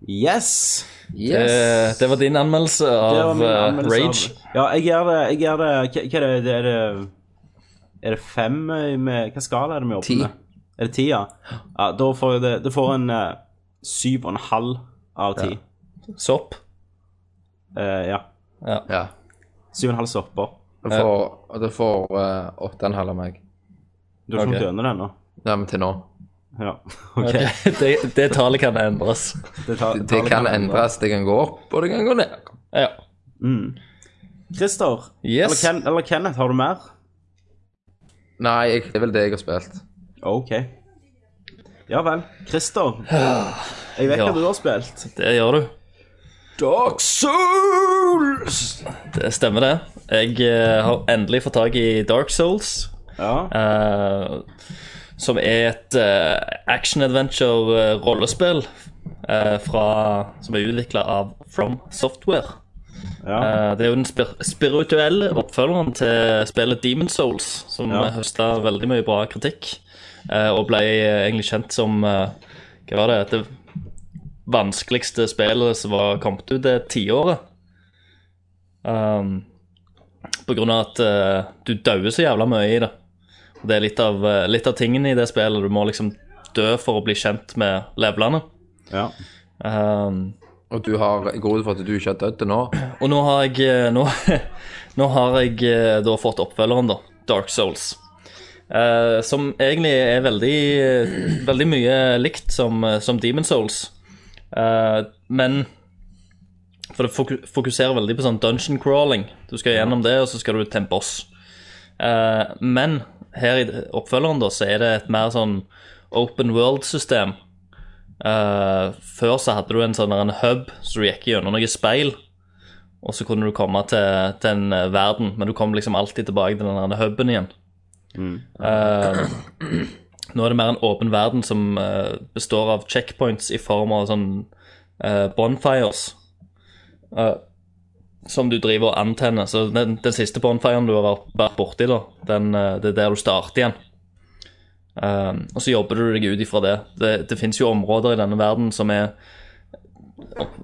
Speaker 6: Yes!
Speaker 8: Eh,
Speaker 7: Yes.
Speaker 8: det var din anmeldelse av
Speaker 6: Det var min
Speaker 8: eh,
Speaker 6: anmeldelse av-
Speaker 8: Rage.
Speaker 6: Ja, jeg gjør det, jeg gjør det hva- Hva er det, det er det Er det fem eh, med Hva skala er det vi
Speaker 7: Ti.
Speaker 6: åpner med? Er det ti, ja? ja da får jeg det, det får en eh, syv og en halv av ti. Ja.
Speaker 8: Sopp.
Speaker 6: Eh, ja.
Speaker 7: Ja.
Speaker 6: Syv og en halv sopper.
Speaker 7: Du
Speaker 8: Eh,
Speaker 7: får, du får eh, åtte og en halv av meg.
Speaker 6: Du har
Speaker 8: Ok.
Speaker 6: ikke kommet gjennom det ennå?
Speaker 7: Nei, men til nå.
Speaker 6: Ja, OK.
Speaker 8: det, det tallet kan endres.
Speaker 6: Det, tar,
Speaker 7: Det kan endres. Det kan gå opp, og det kan gå ned.
Speaker 8: Ja.
Speaker 6: Mm. Christer,
Speaker 8: Yes.
Speaker 6: eller, Ken, eller Kenneth, har du mer?
Speaker 7: Nei, jeg, det er vel det jeg har spilt.
Speaker 6: OK. Ja vel. Christer, jeg vet
Speaker 8: Ja.
Speaker 6: hva du har spilt.
Speaker 8: Det gjør du.
Speaker 6: Dark Souls!
Speaker 8: Det stemmer, det. Jeg eh, har endelig fått tak i Dark Souls.
Speaker 6: Ja.
Speaker 8: eh, som er et eh, action-adventure-rollespill eh, fra- som er utvikla av From Software.
Speaker 6: ja.
Speaker 8: Eh, det er jo den spir spirituelle oppfølgeren til spillet Demon Souls, som
Speaker 6: Ja.
Speaker 8: ja. høsta veldig mye bra kritikk, eh, og ble eh, egentlig kjent som eh, Hva var det? Det vanskeligste spillet som var kommet ut det tiåret. Um, på grunn av at eh, du dauer så jævla mye i det. Og det er litt av, eh, litt av tingene i det spillet. Du må liksom dø for å bli kjent med levelene.
Speaker 6: ja.
Speaker 8: Um,
Speaker 7: Og du har jeg går ut for at du ikke har dødd til nå.
Speaker 8: Og nå har jeg, eh, nå, nå har jeg eh, da fått oppfølgeren, da. Dark Souls. Eh, som egentlig er veldig, eh, veldig mye likt som, eh, som Demon Souls. Eh, men For det foku- fokuserer veldig på sånn dungeon crawling. Du skal gjennom det, og så skal du til en boss. Eh, men her i oppfølgeren, da, så er det et mer sånn open world-system. Eh, før så hadde du en sånn en hub, så du gikk gjennom noen speil. Og så kunne du komme til, til en eh, verden, men du kom liksom alltid tilbake til den der huben igjen. Eh, nå er det mer en åpen verden som eh, består av checkpoints i form av sånn eh, bonfires. eh, som du driver og antenner. Så den, den siste bonfiren du har vært- vært borti, da, den, eh, det er der du starter igjen. Eh, og så jobber du deg ut ifra det. Det, det fins jo områder i denne verden som er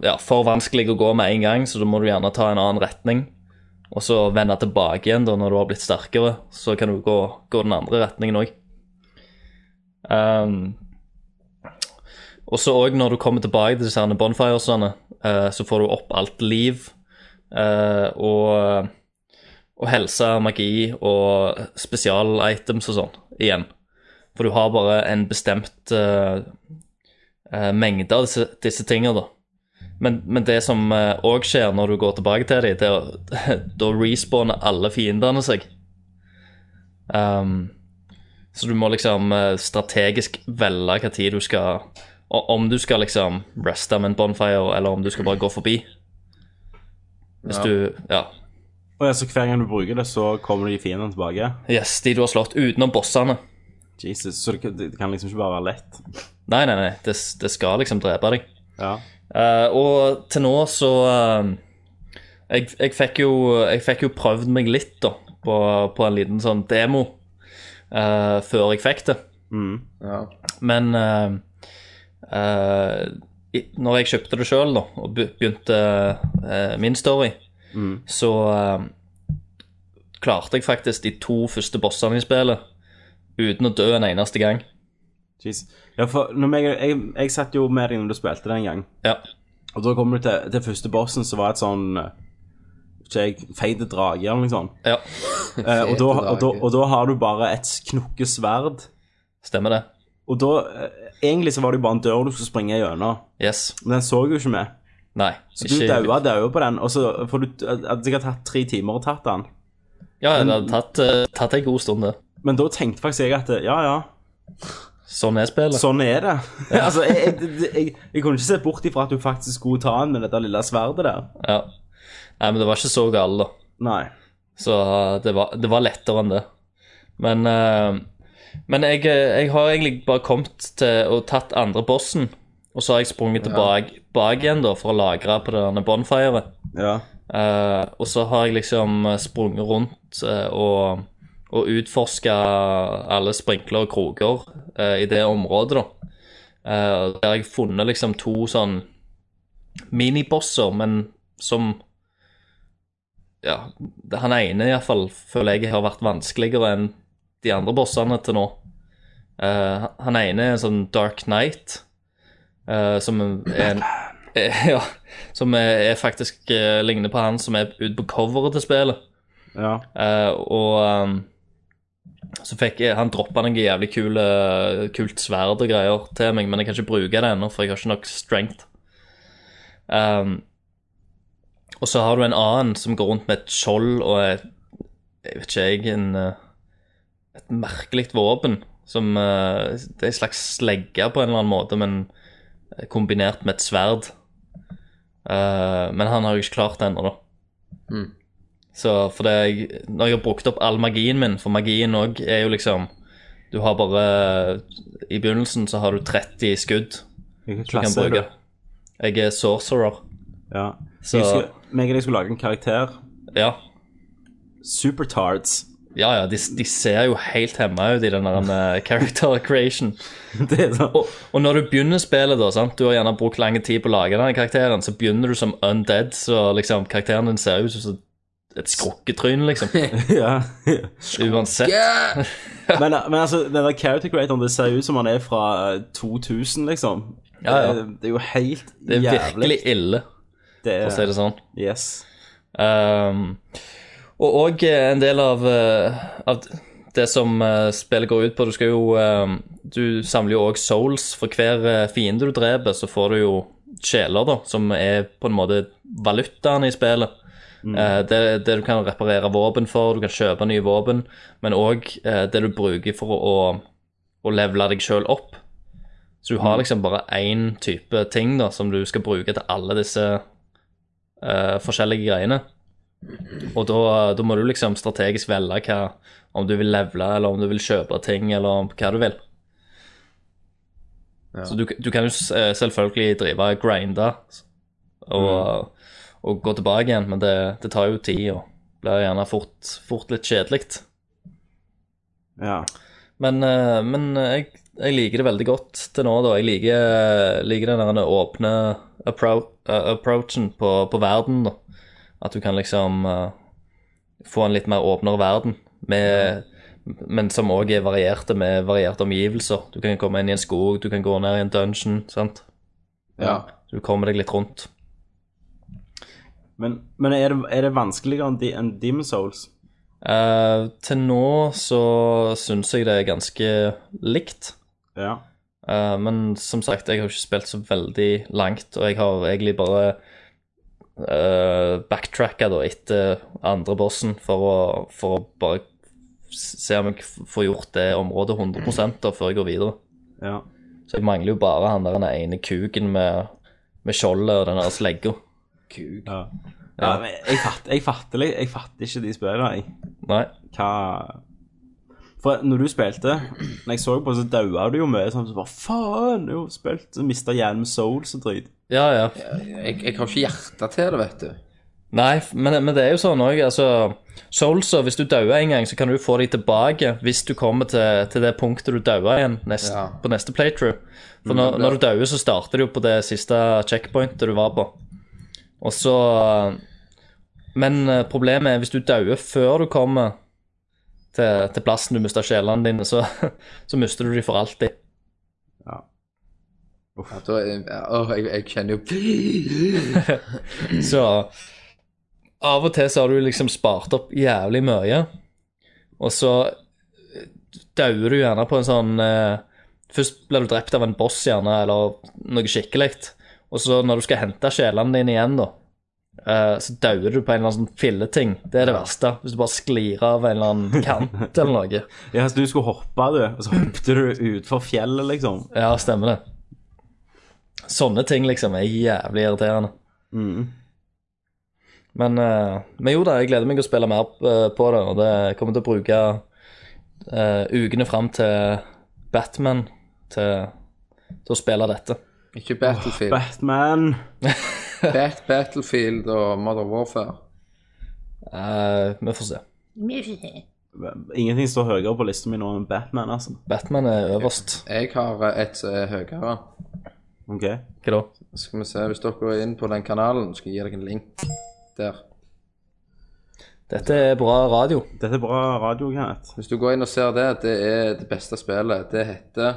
Speaker 8: ja, for vanskelig å gå med en gang, så da må du gjerne ta en annen retning. og så vende tilbake igjen da når du har blitt sterkere. Så kan du gå, gå den andre retningen òg. og så òg når du kommer tilbake til disse herne bonfiresene, eh, så får du opp alt liv eh, og, og helse, magi og spesialitems og sånn igjen. For du har bare en bestemt eh, eh, mengde av disse, disse tingene, da. Men, men det som òg skjer når du går tilbake til dem, det er å- da respawner alle fiendene seg. Ehm, så du må liksom eh, strategisk velge hva tid du skal og Om du skal liksom reste med en bonfire, eller om du skal bare gå forbi. Hvis du Ja.
Speaker 6: Og ja, så hver gang du bruker det, så kommer de fiendene tilbake?
Speaker 8: Yes, de du har slått utenom bossene.
Speaker 6: Jesus, så det, det kan liksom ikke bare være lett?
Speaker 8: Nei, nei, nei, det, det skal liksom drepe deg.
Speaker 6: Ja.
Speaker 8: Eh, og til nå så eh, jeg, jeg, fikk jo, jeg fikk jo prøvd meg litt da, på, på en liten sånn demo eh, før jeg fikk det.
Speaker 7: Ja.
Speaker 8: Men eh, eh, i- når jeg kjøpte det sjøl og be- begynte eh, min story,
Speaker 6: Mm.
Speaker 8: så eh, klarte jeg faktisk de to første bossene i spillet uten å dø en eneste gang.
Speaker 6: Jeez. Ja, for når jeg, jeg, jeg satt jo med deg når du spilte det en gang,
Speaker 8: Ja,
Speaker 6: og da kom du til, til første bossen, som var et sånn eh, ikke jeg, feite drage eller noe sånt.
Speaker 8: ja
Speaker 6: Eh, og, da, og, da,
Speaker 7: drage.
Speaker 6: og da har du bare et knokkesverd.
Speaker 8: stemmer det.
Speaker 6: Og da eh, Egentlig så var det jo bare en dør du skulle springe gjennom,
Speaker 8: Yes.
Speaker 6: men den så jo ikke vi.
Speaker 8: Nei.
Speaker 6: Så du daua daua på den, og så får du eh, At det sikkert tatt tre timer å tatt den.
Speaker 8: Ja, det hadde tatt, eh, tatt en god stund, det.
Speaker 6: Men da tenkte faktisk jeg at ja, ja,
Speaker 8: Sånn er spillet.
Speaker 6: sånn er det. altså, jeg, jeg, jeg, jeg kunne ikke se bort ifra at du faktisk skulle ta den med dette lille sverdet der.
Speaker 8: Ja. Nei, men det var ikke så galt, da.
Speaker 6: Nei.
Speaker 8: Så eh, det var, det var lettere enn det. Men, eh, men jeg, eh, jeg har egentlig bare kommet til og tatt andre bossen, og så har jeg sprunget tilbake bak igjen da, for å lagre på det derne bonfiret.
Speaker 6: Ja.
Speaker 8: Eh, og så har jeg liksom eh, sprunget rundt eh, og, og utforska alle sprinkler og kroker eh, i det området, da. Eh, og der har jeg funnet liksom to sånn minibosser, men som Ja, det- han ene iallfall føler jeg har vært vanskeligere enn de andre bossene til nå. Eh, han ene er en sånn Dark Knight, eh, som er en Ja. Som er, er faktisk eh, ligner på han som er ute på coveret til spillet.
Speaker 6: Ja.
Speaker 8: Eh, og ehm, så fikk jeg Han droppa noe jævlig kule, kult sverd og greier til meg, men jeg kan ikke bruke det ennå, for jeg har ikke nok strength. Ehm, og så har du en annen som går rundt med et skjold og et Jeg vet ikke, jeg en, eh, Et merkelig våpen. Som eh, Det er en slags slegge på en eller annen måte, men eh, kombinert med et sverd. Eh, men han har jeg ikke klart ennå, da. Så for det jeg, Når jeg har brukt opp all magien min, for magien òg er jo liksom Du har bare I begynnelsen så har du 30 skudd
Speaker 6: Hvilken
Speaker 8: du kan
Speaker 6: klasse er du?
Speaker 8: bruke. Jeg er sorcerer.
Speaker 6: Ja.
Speaker 8: Så-
Speaker 6: Jeg husker meg og deg skulle lage en karakter.
Speaker 8: Ja,
Speaker 6: Supertards.
Speaker 8: ja, ja de, de ser jo helt hemma ut i den der eh, character creation.
Speaker 6: Det er sånn
Speaker 8: Og, og når du begynner spillet, da, sant? du har gjerne brukt lang tid på å lage denne karakteren, så begynner du som undead, så liksom karakteren din ser ut som et skrukketryn, liksom.
Speaker 6: Ja.
Speaker 8: Uansett.
Speaker 6: Men, men altså, den der character creatoren, det ser ut som han er fra eh, 2000, liksom.
Speaker 8: Ja, ja.
Speaker 6: Det, det er jo helt
Speaker 8: Det er
Speaker 6: jævlig.
Speaker 8: virkelig ille,
Speaker 6: Det er
Speaker 8: for å si det sånn.
Speaker 6: Yes.
Speaker 8: Um, og òg en del av, eh, av det som eh, spillet går ut på. Du skal jo eh, Du samler jo òg souls. For hver eh, fiende du dreper, så får du jo sjeler, da, som er på en måte valutaen i spillet. Eh, det, det du kan reparere våpen for, du kan kjøpe nye våpen, men òg eh, det du bruker for å, å levele deg sjøl opp. Så du har liksom bare én type ting da, som du skal bruke til alle disse eh, forskjellige greiene. Og da, da må du liksom strategisk velge hva, om du vil levele, eller om du vil kjøpe ting, eller om hva du vil. Så du, du kan jo s- eh, selvfølgelig drive og grinde og, og gå tilbake igjen, men det, det tar jo tid og blir gjerne fort, fort litt kjedelig.
Speaker 6: Ja.
Speaker 8: Men, eh, men jeg, jeg liker det veldig godt til nå, da. Jeg liker, eh, liker den der åpne appro eh, approachen på, på verden, da. At du kan liksom eh, få en litt mer åpnere verden. Med, Men som òg er varierte med varierte omgivelser. Du kan komme inn i en skog, du kan gå ned i en dungeon. sant?
Speaker 7: Ja.
Speaker 8: Du kommer deg litt rundt.
Speaker 6: Men, men er, det, er det vanskeligere enn Di- enn Demon Souls?
Speaker 8: Eh, til nå så syns jeg det er ganske likt.
Speaker 6: Ja.
Speaker 8: Eh, men som sagt, jeg har jo ikke spilt så veldig langt, og jeg har egentlig bare uh, backtracka da etter andre bossen for å, for å bare se om jeg f- får gjort det området 100 da, før jeg går videre.
Speaker 6: ja.
Speaker 8: Så jeg mangler jo bare han der den ene kuken med, med skjoldet og den der slegga.
Speaker 6: Ja. Ja, men jeg fatter, jeg fatter, li- jeg fatter ikke de spillene, jeg.
Speaker 8: Nei.
Speaker 6: Hva For når du spilte, når jeg så på, så daua du jo mye sånn så bare Faen! Jeg har spilt, så mista hjernen med souls og drit.
Speaker 8: Ja, ja.
Speaker 7: Jeg, jeg har ikke hjerte til det, vet du.
Speaker 8: Nei, f- men, men det er jo sånn òg, altså Soulser, hvis du dauer en gang, så kan du få de tilbake hvis du kommer til, til det punktet du dauer igjen nest,
Speaker 7: Ja.
Speaker 8: på neste playthrough. For når, når du dauer, så starter du jo på det siste checkpointet du var på. Og så Men eh, problemet er hvis du dauer før du kommer til, til plassen du mista sjelene dine, så, så mister du de for alltid.
Speaker 7: Ja, da, er- åh, jeg, jeg kjenner jo
Speaker 8: Så av og til så har du liksom spart opp jævlig mye, og så eh, dauer du gjerne på en sånn eh, Først blir du drept av en boss, gjerne, eller noe skikkelig. Og så når du skal hente sjelene dine igjen, da, eh, så dauer du på en eller annen sånn filleting. Det er det verste. Hvis du bare sklir av en eller annen kant eller noe.
Speaker 6: Ja, så du skulle hoppe, du, og så hoppet du utfor fjellet, liksom.
Speaker 8: Ja, stemmer det. Sånne ting liksom er jævlig irriterende. Men, eh, men jo da, jeg gleder meg å spille mer eh, på det, og det jeg kommer til å bruke eh, ukene fram til Batman til, til å spille dette.
Speaker 7: Ikke Battlefield.
Speaker 6: Batman.
Speaker 7: Bat Battlefield og Mother Warfare.
Speaker 8: Eh, vi får se.
Speaker 6: Ingenting står høyere på lista mi nå enn Batman, altså.
Speaker 8: Batman er øverst.
Speaker 7: Jeg har eh, et som er høyere.
Speaker 6: OK.
Speaker 8: Hva da?
Speaker 7: Skal vi se, Hvis dere går inn på den kanalen, skal jeg gi dere en link der.
Speaker 8: Dette er bra radio.
Speaker 6: Dette er bra radio, Kenneth.
Speaker 7: Hvis du går inn og ser det, det er det beste spillet. Det heter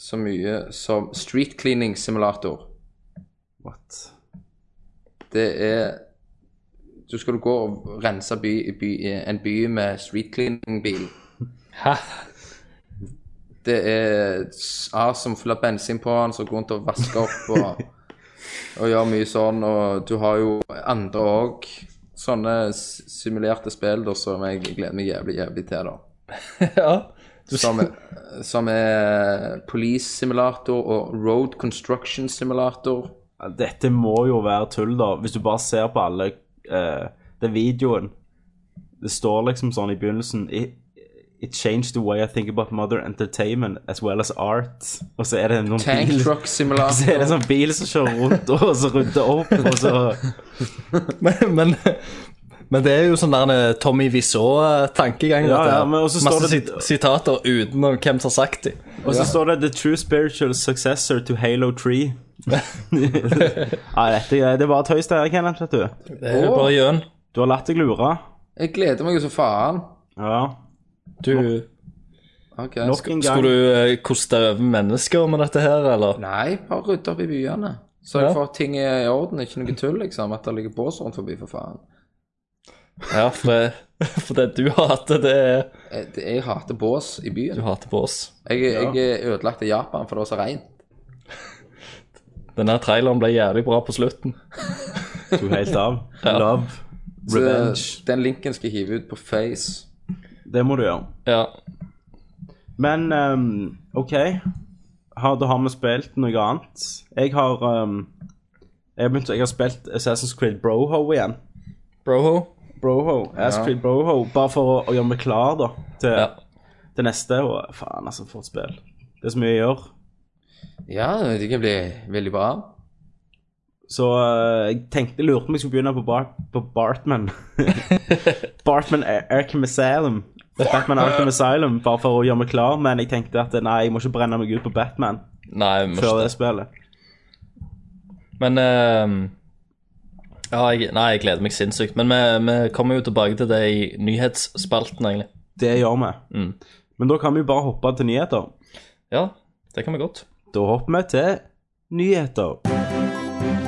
Speaker 7: så mye som Street Cleaning Simulator.
Speaker 6: What?
Speaker 7: Det er Du skal du gå og rense by, by, eh, en by med street cleaning-bil.
Speaker 8: Hæ?
Speaker 7: Det er s- A som fyller bensin på den, som går rundt og vasker opp og, og gjør mye sånn. Og du har jo andre òg. Sånne s- simulerte spill da, som jeg gleder meg jævlig, jævlig til. da.
Speaker 8: ja.
Speaker 7: Som, som er police simulator og road construction simulator.
Speaker 6: Ja, Dette må jo være tull, da. Hvis du bare ser på alle eh, den videoen Det står liksom sånn i begynnelsen it, it changed the way I think about mother entertainment as well as art. Og så er det noen
Speaker 7: Tank
Speaker 6: bil
Speaker 7: truck
Speaker 6: så er
Speaker 7: simulator.
Speaker 6: det en sånn bil som kjører rundt, og så rydder opp, og så
Speaker 8: Men, men, men det er jo sånn der eh, Tommy Wiseau-tankegang.
Speaker 6: Ja,
Speaker 8: dette her.
Speaker 6: ja, men også står
Speaker 8: Masse
Speaker 6: det-
Speaker 8: sit sitater utenom hvem som har sagt dem.
Speaker 6: Og så står det 'The true spiritual successor to Halo 3'. ja, dette er Det er bare tøys, det her, Kenneth, vet du.
Speaker 8: Det er jo bare gjøn.
Speaker 6: Du har latt deg lure.
Speaker 7: Jeg gleder meg jo så faen.
Speaker 6: Ja.
Speaker 8: Du,
Speaker 7: Ok.
Speaker 6: Nok en gang.
Speaker 8: skulle du eh, koste over mennesker med dette her, eller?
Speaker 7: Nei, bare rydde opp i byene. Sørg
Speaker 8: Ja.
Speaker 7: for at ting er i orden, ikke noe tull, liksom. At det ligger bås rundt forbi, for faen.
Speaker 8: Ja, for det, for det du hater, det er
Speaker 7: Jeg, det- jeg hater bås i
Speaker 8: Du
Speaker 7: byen.
Speaker 8: hater på oss.
Speaker 7: Jeg, jeg er ødelagt av Japan, for det var så rent.
Speaker 8: Denne traileren ble jævlig bra på slutten.
Speaker 6: Du er helt av. Love.
Speaker 7: Så
Speaker 6: Revenge.
Speaker 7: Den linken skal jeg hive ut på Face.
Speaker 6: Det må du gjøre.
Speaker 8: Ja.
Speaker 6: Men ehm, OK. Har, da har vi spilt noe annet. Jeg har ehm, jeg, har begynt, jeg har spilt Assassin's Creed Broho igjen.
Speaker 8: Broho?
Speaker 6: Broho, Assassin's Creed Broho Bare for å, å gjøre meg klar da til,
Speaker 8: Ja.
Speaker 6: til neste. Og faen, altså, for et spill. Det er så mye å gjøre.
Speaker 7: Ja, det kan bli veldig bra.
Speaker 6: Så eh, jeg tenkte, lurte om jeg skulle begynne på, Bar på Bartman. Bartman Ar- Arkham Asylum. Batman Arkham Asylum, bare for å gjøre meg klar. Men jeg tenkte at nei, jeg må ikke brenne meg ut på Batman
Speaker 8: Nei, vi må
Speaker 6: før
Speaker 8: ikke
Speaker 6: det spillet.
Speaker 8: Men eh, ehm, Ja, jeg, nei, jeg gleder meg sinnssykt. Men vi, vi kommer jo tilbake til det i nyhetsspalten, egentlig.
Speaker 6: Det gjør vi.
Speaker 8: Mm.
Speaker 6: Men da kan vi jo bare hoppe til nyheter.
Speaker 8: Ja, det kan vi godt.
Speaker 6: Da hopper vi til nyheter.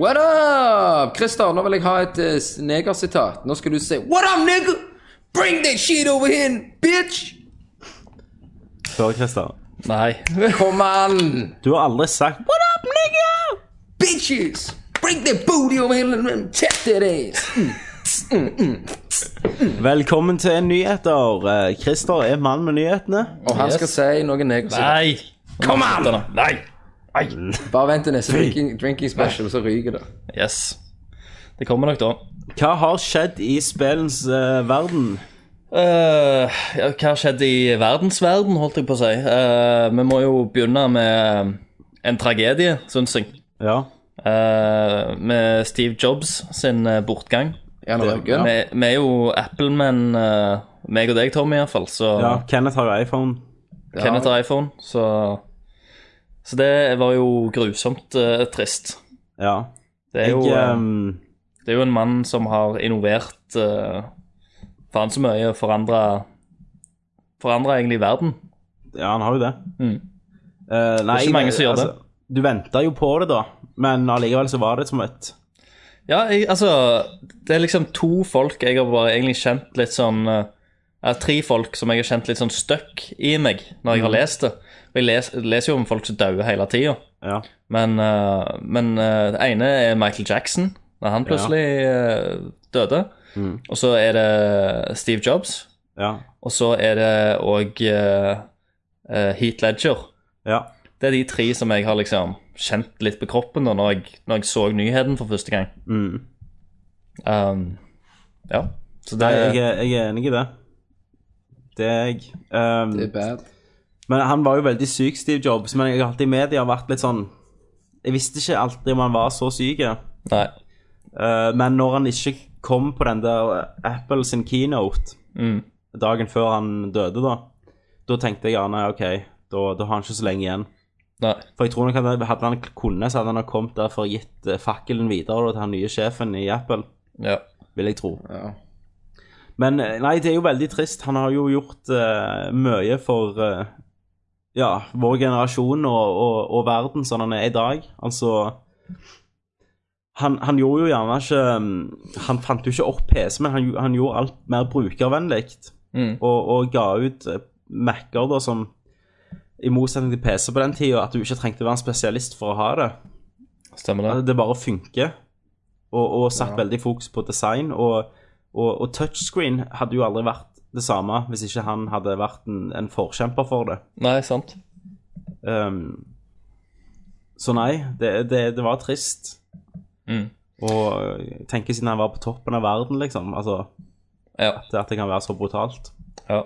Speaker 7: What up? Christer, nå vil jeg ha et eh, s- negersitat. Nå skal du si What up, nigger? Bring that shit over here, bitch!
Speaker 6: Før, Christer.
Speaker 8: Nei.
Speaker 7: Kom an,
Speaker 6: Du har aldri sagt What up, nigga?
Speaker 7: bitches! Bring that booty over here and tap that ass!
Speaker 6: Velkommen til nyheter. Eh, Christer er mann med nyhetene.
Speaker 7: Og han
Speaker 8: Yes.
Speaker 7: skal si noe negersitat.
Speaker 8: Nei! Kom an! Nei!
Speaker 7: Bare vent til neste drinking, drinking special, så ryker det.
Speaker 8: Yes. Det kommer nok, da.
Speaker 6: Hva har skjedd i spillens eh, verden?
Speaker 8: Eh, ja, hva har skjedd i verdensverden, holdt jeg på å si. Eh, vi må jo begynne med en tragedie, syns jeg.
Speaker 6: Ja.
Speaker 8: Eh, med Steve Jobs sin eh, bortgang.
Speaker 7: Ja, nå
Speaker 6: ja.
Speaker 7: ryker det.
Speaker 8: Vi, vi er jo Apple-menn, eh, meg og deg, Tommy, iallfall. Så
Speaker 6: ja. Kenneth har jo iPhone.
Speaker 8: Kenneth har iPhone, så Så det var jo grusomt eh, trist.
Speaker 6: Ja.
Speaker 8: Det er,
Speaker 6: Jeg
Speaker 8: jo, eh,
Speaker 6: ehm,
Speaker 8: det er jo en mann som har innovert eh, faen så mye, forandra Forandra egentlig verden.
Speaker 6: Ja, han har jo det.
Speaker 8: Mm.
Speaker 6: Eh, nei,
Speaker 8: ikke mange som gjør det.
Speaker 6: Du venta jo på det, da. Men allikevel så var det som et
Speaker 8: Ja, jeg, altså Det er liksom to folk jeg har bare egentlig kjent litt sånn eh, ja, Tre folk som jeg har kjent litt sånn støkk i meg når jeg har lest det. Og jeg les, leser jo om folk som dauer hele tida.
Speaker 6: Ja.
Speaker 8: Men, eh, men eh, det ene er Michael Jackson, da han plutselig eh, døde. Og så er det Steve Jobs.
Speaker 6: Ja.
Speaker 8: Og så er det òg Heat Ledger.
Speaker 6: ja.
Speaker 8: Det er de tre som jeg har liksom kjent litt på kroppen da når jeg, når jeg så nyheten for første gang.
Speaker 6: Mm.
Speaker 8: Um, ja. Så det
Speaker 6: Nei,
Speaker 7: Eh.
Speaker 6: jeg, er- jeg er enig i det. Det er jeg. Ehm,
Speaker 7: Det er bad.
Speaker 6: men han var jo veldig syk, Steve Jobs. Men jeg har alltid i media vært litt sånn Jeg visste ikke alltid om han var så syk.
Speaker 8: Nei.
Speaker 6: Eh, men når han ikke kom på den der Apple sin keynote
Speaker 8: Mm.
Speaker 6: dagen før han døde, da, da tenkte jeg ja, nei, OK, da, da har han ikke så lenge igjen.
Speaker 8: Nei.
Speaker 6: For jeg tror nok at hadde han kunne, så hadde han nok kommet der for å gitt eh, fakkelen videre da, til han nye sjefen i Apple,
Speaker 8: Ja.
Speaker 6: vil jeg tro.
Speaker 7: Ja.
Speaker 6: Men eh, nei, det er jo veldig trist. Han har jo gjort eh, mye for eh, ja, vår generasjon og, og, og verden sånn han er i dag. Altså han, han gjorde jo gjerne ikke mm, Han fant jo ikke opp PC, men han, gjo- han gjorde alt mer brukervennlig.
Speaker 8: Mm.
Speaker 6: Og, og ga ut eh, Mac-er da som I motsetning til PC på den tida, at du ikke trengte å være en spesialist for å ha det.
Speaker 8: Stemmer det.
Speaker 6: At det bare funker. Og, og satt veldig fokus på design. Og, og, og touchscreen hadde jo aldri vært det samme hvis ikke han hadde vært en, en forkjemper for det.
Speaker 8: Nei, sant.
Speaker 6: Ehm, så nei, det, det, det var trist.
Speaker 8: Mm.
Speaker 6: Og jeg tenker siden han var på toppen av verden, liksom. Altså,
Speaker 8: Ja.
Speaker 6: det at det kan være så brutalt.
Speaker 8: ja.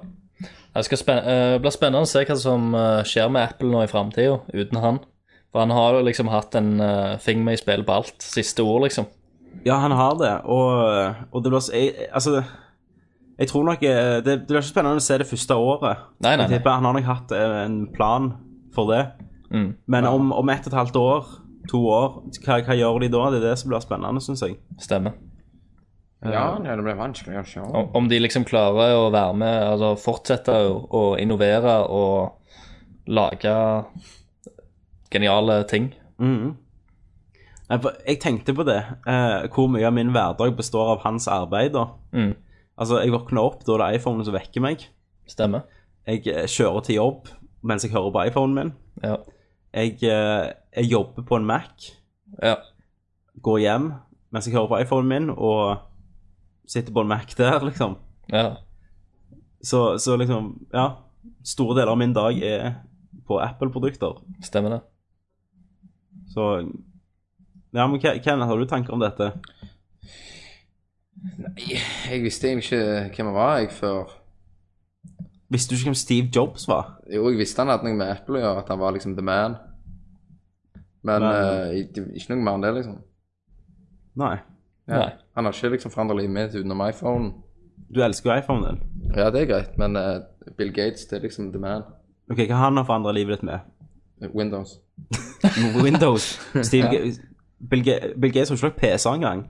Speaker 8: Det skal spen eh, blir spennende å se hva som eh, skjer med Apple nå i framtida uten han. For han har jo liksom hatt en eh, finger med i spillet på alt. Siste ord, liksom.
Speaker 6: Ja, han har det, og, og det blir så jeg, Altså, jeg tror nok eh, det, det blir ikke spennende å se det første året.
Speaker 8: Nei, nei,
Speaker 6: Jeg
Speaker 8: nei.
Speaker 6: tipper han har nok hatt eh, en plan for det.
Speaker 8: Mm.
Speaker 6: Men om, om ett og et halvt år, to år, hva, hva gjør de da? Det er det som blir spennende, syns jeg.
Speaker 8: Stemmer.
Speaker 7: Ja, nei, det ble vanskelig å se.
Speaker 8: Om, om de liksom klarer å være med, altså fortsette å, å innovere og lage geniale ting.
Speaker 6: Mhm. Nei, for Jeg tenkte på det, eh, hvor mye av min hverdag består av hans arbeid. da.
Speaker 8: Mm.
Speaker 6: Altså, Jeg våkner opp, da er det iPhonen som vekker meg.
Speaker 8: Stemmer.
Speaker 6: Jeg eh, kjører til jobb mens jeg hører på iPhonen min.
Speaker 8: Ja.
Speaker 6: Jeg, eh, jeg jobber på en Mac,
Speaker 8: ja.
Speaker 6: går hjem mens jeg hører på iPhonen min, og sitter på en Mac der, liksom.
Speaker 8: ja.
Speaker 6: Så, så liksom, ja. Store deler av min dag er på Apple-produkter.
Speaker 8: Stemmer det.
Speaker 6: Så Ja, men Ke- Ken, har du tanker om dette?
Speaker 7: Jeg visste egentlig ikke hvem han var jeg før.
Speaker 6: Visste du ikke hvem Steve Jobs var?
Speaker 7: Jo, jeg visste han hadde noe med Apple å gjøre, at han var liksom the man. Men
Speaker 6: Men-
Speaker 7: eh, ikke ikke noe mer enn det, liksom.
Speaker 6: Nei.
Speaker 7: Ja.
Speaker 8: Nei.
Speaker 7: Han har ikke liksom forandra livet mitt utenom iPhone.
Speaker 6: Du elsker jo iPhonen din.
Speaker 7: Ja, det er greit, men eh, Bill Gates det er liksom the man.
Speaker 6: Ok, Hva han har forandra livet ditt med?
Speaker 7: Windows.
Speaker 6: Windows. Steve Ga- Bill, Ga Bill Gates har ikke lagt PC engang.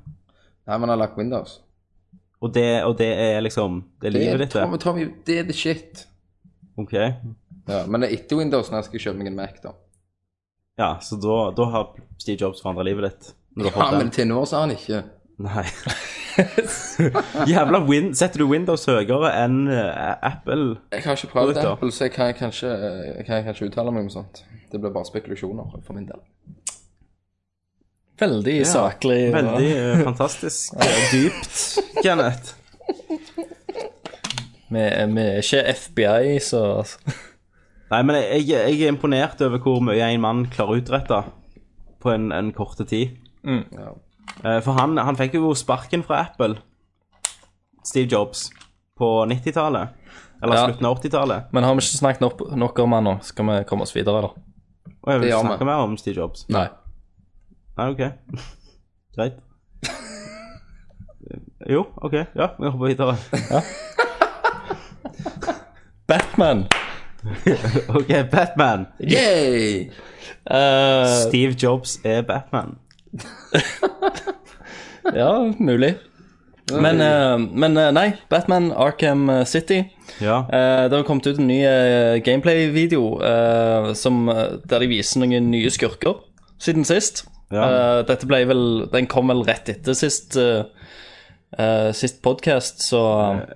Speaker 7: Nei, man har lagt Windows.
Speaker 6: Og det, og det er liksom Det er
Speaker 7: Det
Speaker 6: livet
Speaker 7: er,
Speaker 6: ditt, det.
Speaker 7: Tommy, Tommy, det er the shit.
Speaker 6: Ok.
Speaker 7: Ja, men det er etter Windows når jeg skal kjøpe meg en Mac, da.
Speaker 6: Ja, så da, da har Steve Jobs forandra livet ditt. Når du har
Speaker 7: Ja,
Speaker 6: fått
Speaker 7: men
Speaker 6: den.
Speaker 7: til nå så har han ikke.
Speaker 6: Nei. Jævla win Setter du Windows høyere enn eh, Apple?
Speaker 7: Jeg har ikke prøvd
Speaker 6: Produkter.
Speaker 7: Apple, så jeg kan kanskje, eh, kan jeg kanskje uttale meg om sånt. Det blir bare spekulasjoner for min del.
Speaker 8: Veldig saklig. og-
Speaker 6: Veldig eh, fantastisk. eh, Dypt, Kenneth.
Speaker 8: Vi, vi er ikke FBI, så
Speaker 6: Nei, men jeg, jeg er imponert over hvor mye en mann klarer å utrette på en, en korte tid.
Speaker 8: Mm.
Speaker 7: Ja.
Speaker 6: Eh, For han, han fikk jo sparken fra Apple, Steve Jobs, på 90-tallet. Eller
Speaker 8: Ja.
Speaker 6: slutten av 80-tallet.
Speaker 8: Men har vi ikke snakket nok, nok om han nå? Skal vi komme oss videre, da?
Speaker 6: Og jeg vil
Speaker 7: Det
Speaker 6: ikke
Speaker 7: gjør vi.
Speaker 6: snakke mer om Steve Jobs.
Speaker 8: Nei.
Speaker 6: Nei, ok. Greit. Jo, ok. Ja, vi hopper videre.
Speaker 8: Batman!
Speaker 6: Ok, Batman.
Speaker 7: Yay!
Speaker 8: Eh,
Speaker 6: Steve Jobs er Batman.
Speaker 8: ja, mulig. Men, eh, men eh, nei, Batman Arkham City.
Speaker 6: Ja.
Speaker 8: Eh, det har kommet ut en ny eh, gameplay-video eh, som, eh, der de viser noen nye skurker siden sist.
Speaker 6: Ja.
Speaker 8: Eh, dette ble vel Den kom vel rett etter sist, eh, eh, sist podkast, så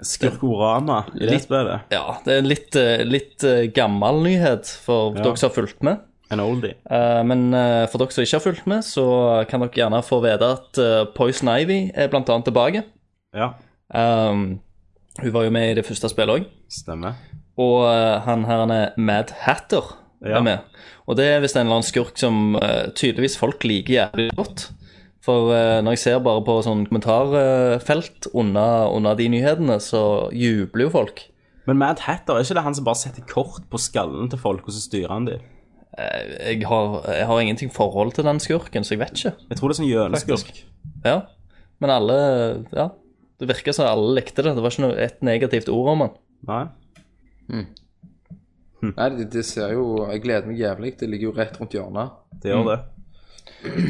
Speaker 6: Skurkorama i det
Speaker 8: Litt-
Speaker 6: spillet.
Speaker 8: Ja, det er litt, eh, litt eh, gammel nyhet for dere som har fulgt med.
Speaker 6: En oldie.
Speaker 8: Eh, Men eh, for dere som ikke har fulgt med, så kan dere gjerne få vite at eh, Poison Ivy er blant annet tilbake.
Speaker 6: Ja,
Speaker 8: Um, hun var jo med i det første spillet òg.
Speaker 6: stemmer.
Speaker 8: Og eh, han her han er Mad Hatter
Speaker 6: Ja.
Speaker 8: er med. Og det er visst en eller annen skurk som eh, tydeligvis folk liker jævlig godt. For eh, når jeg ser bare på sånn kommentarfelt under, under de nyhetene, så jubler jo folk.
Speaker 6: Men Mad Hatter, er ikke det han som bare setter kort på skallen til folk, og så styrer han dem?
Speaker 8: Eh, Jeg har, jeg har ingenting forhold til den skurken, så jeg vet ikke.
Speaker 6: Jeg tror det er sånn gjøneskurk.
Speaker 8: Faktisk. Ja. Men alle Ja. Det virka som alle likte det. Det var ikke noe, et negativt ord om han.
Speaker 6: Nei?
Speaker 7: Nei, det, det ser jo Jeg gleder meg jævlig. Det ligger jo rett rundt hjørnet.
Speaker 6: Det
Speaker 8: Mm.
Speaker 6: gjør det.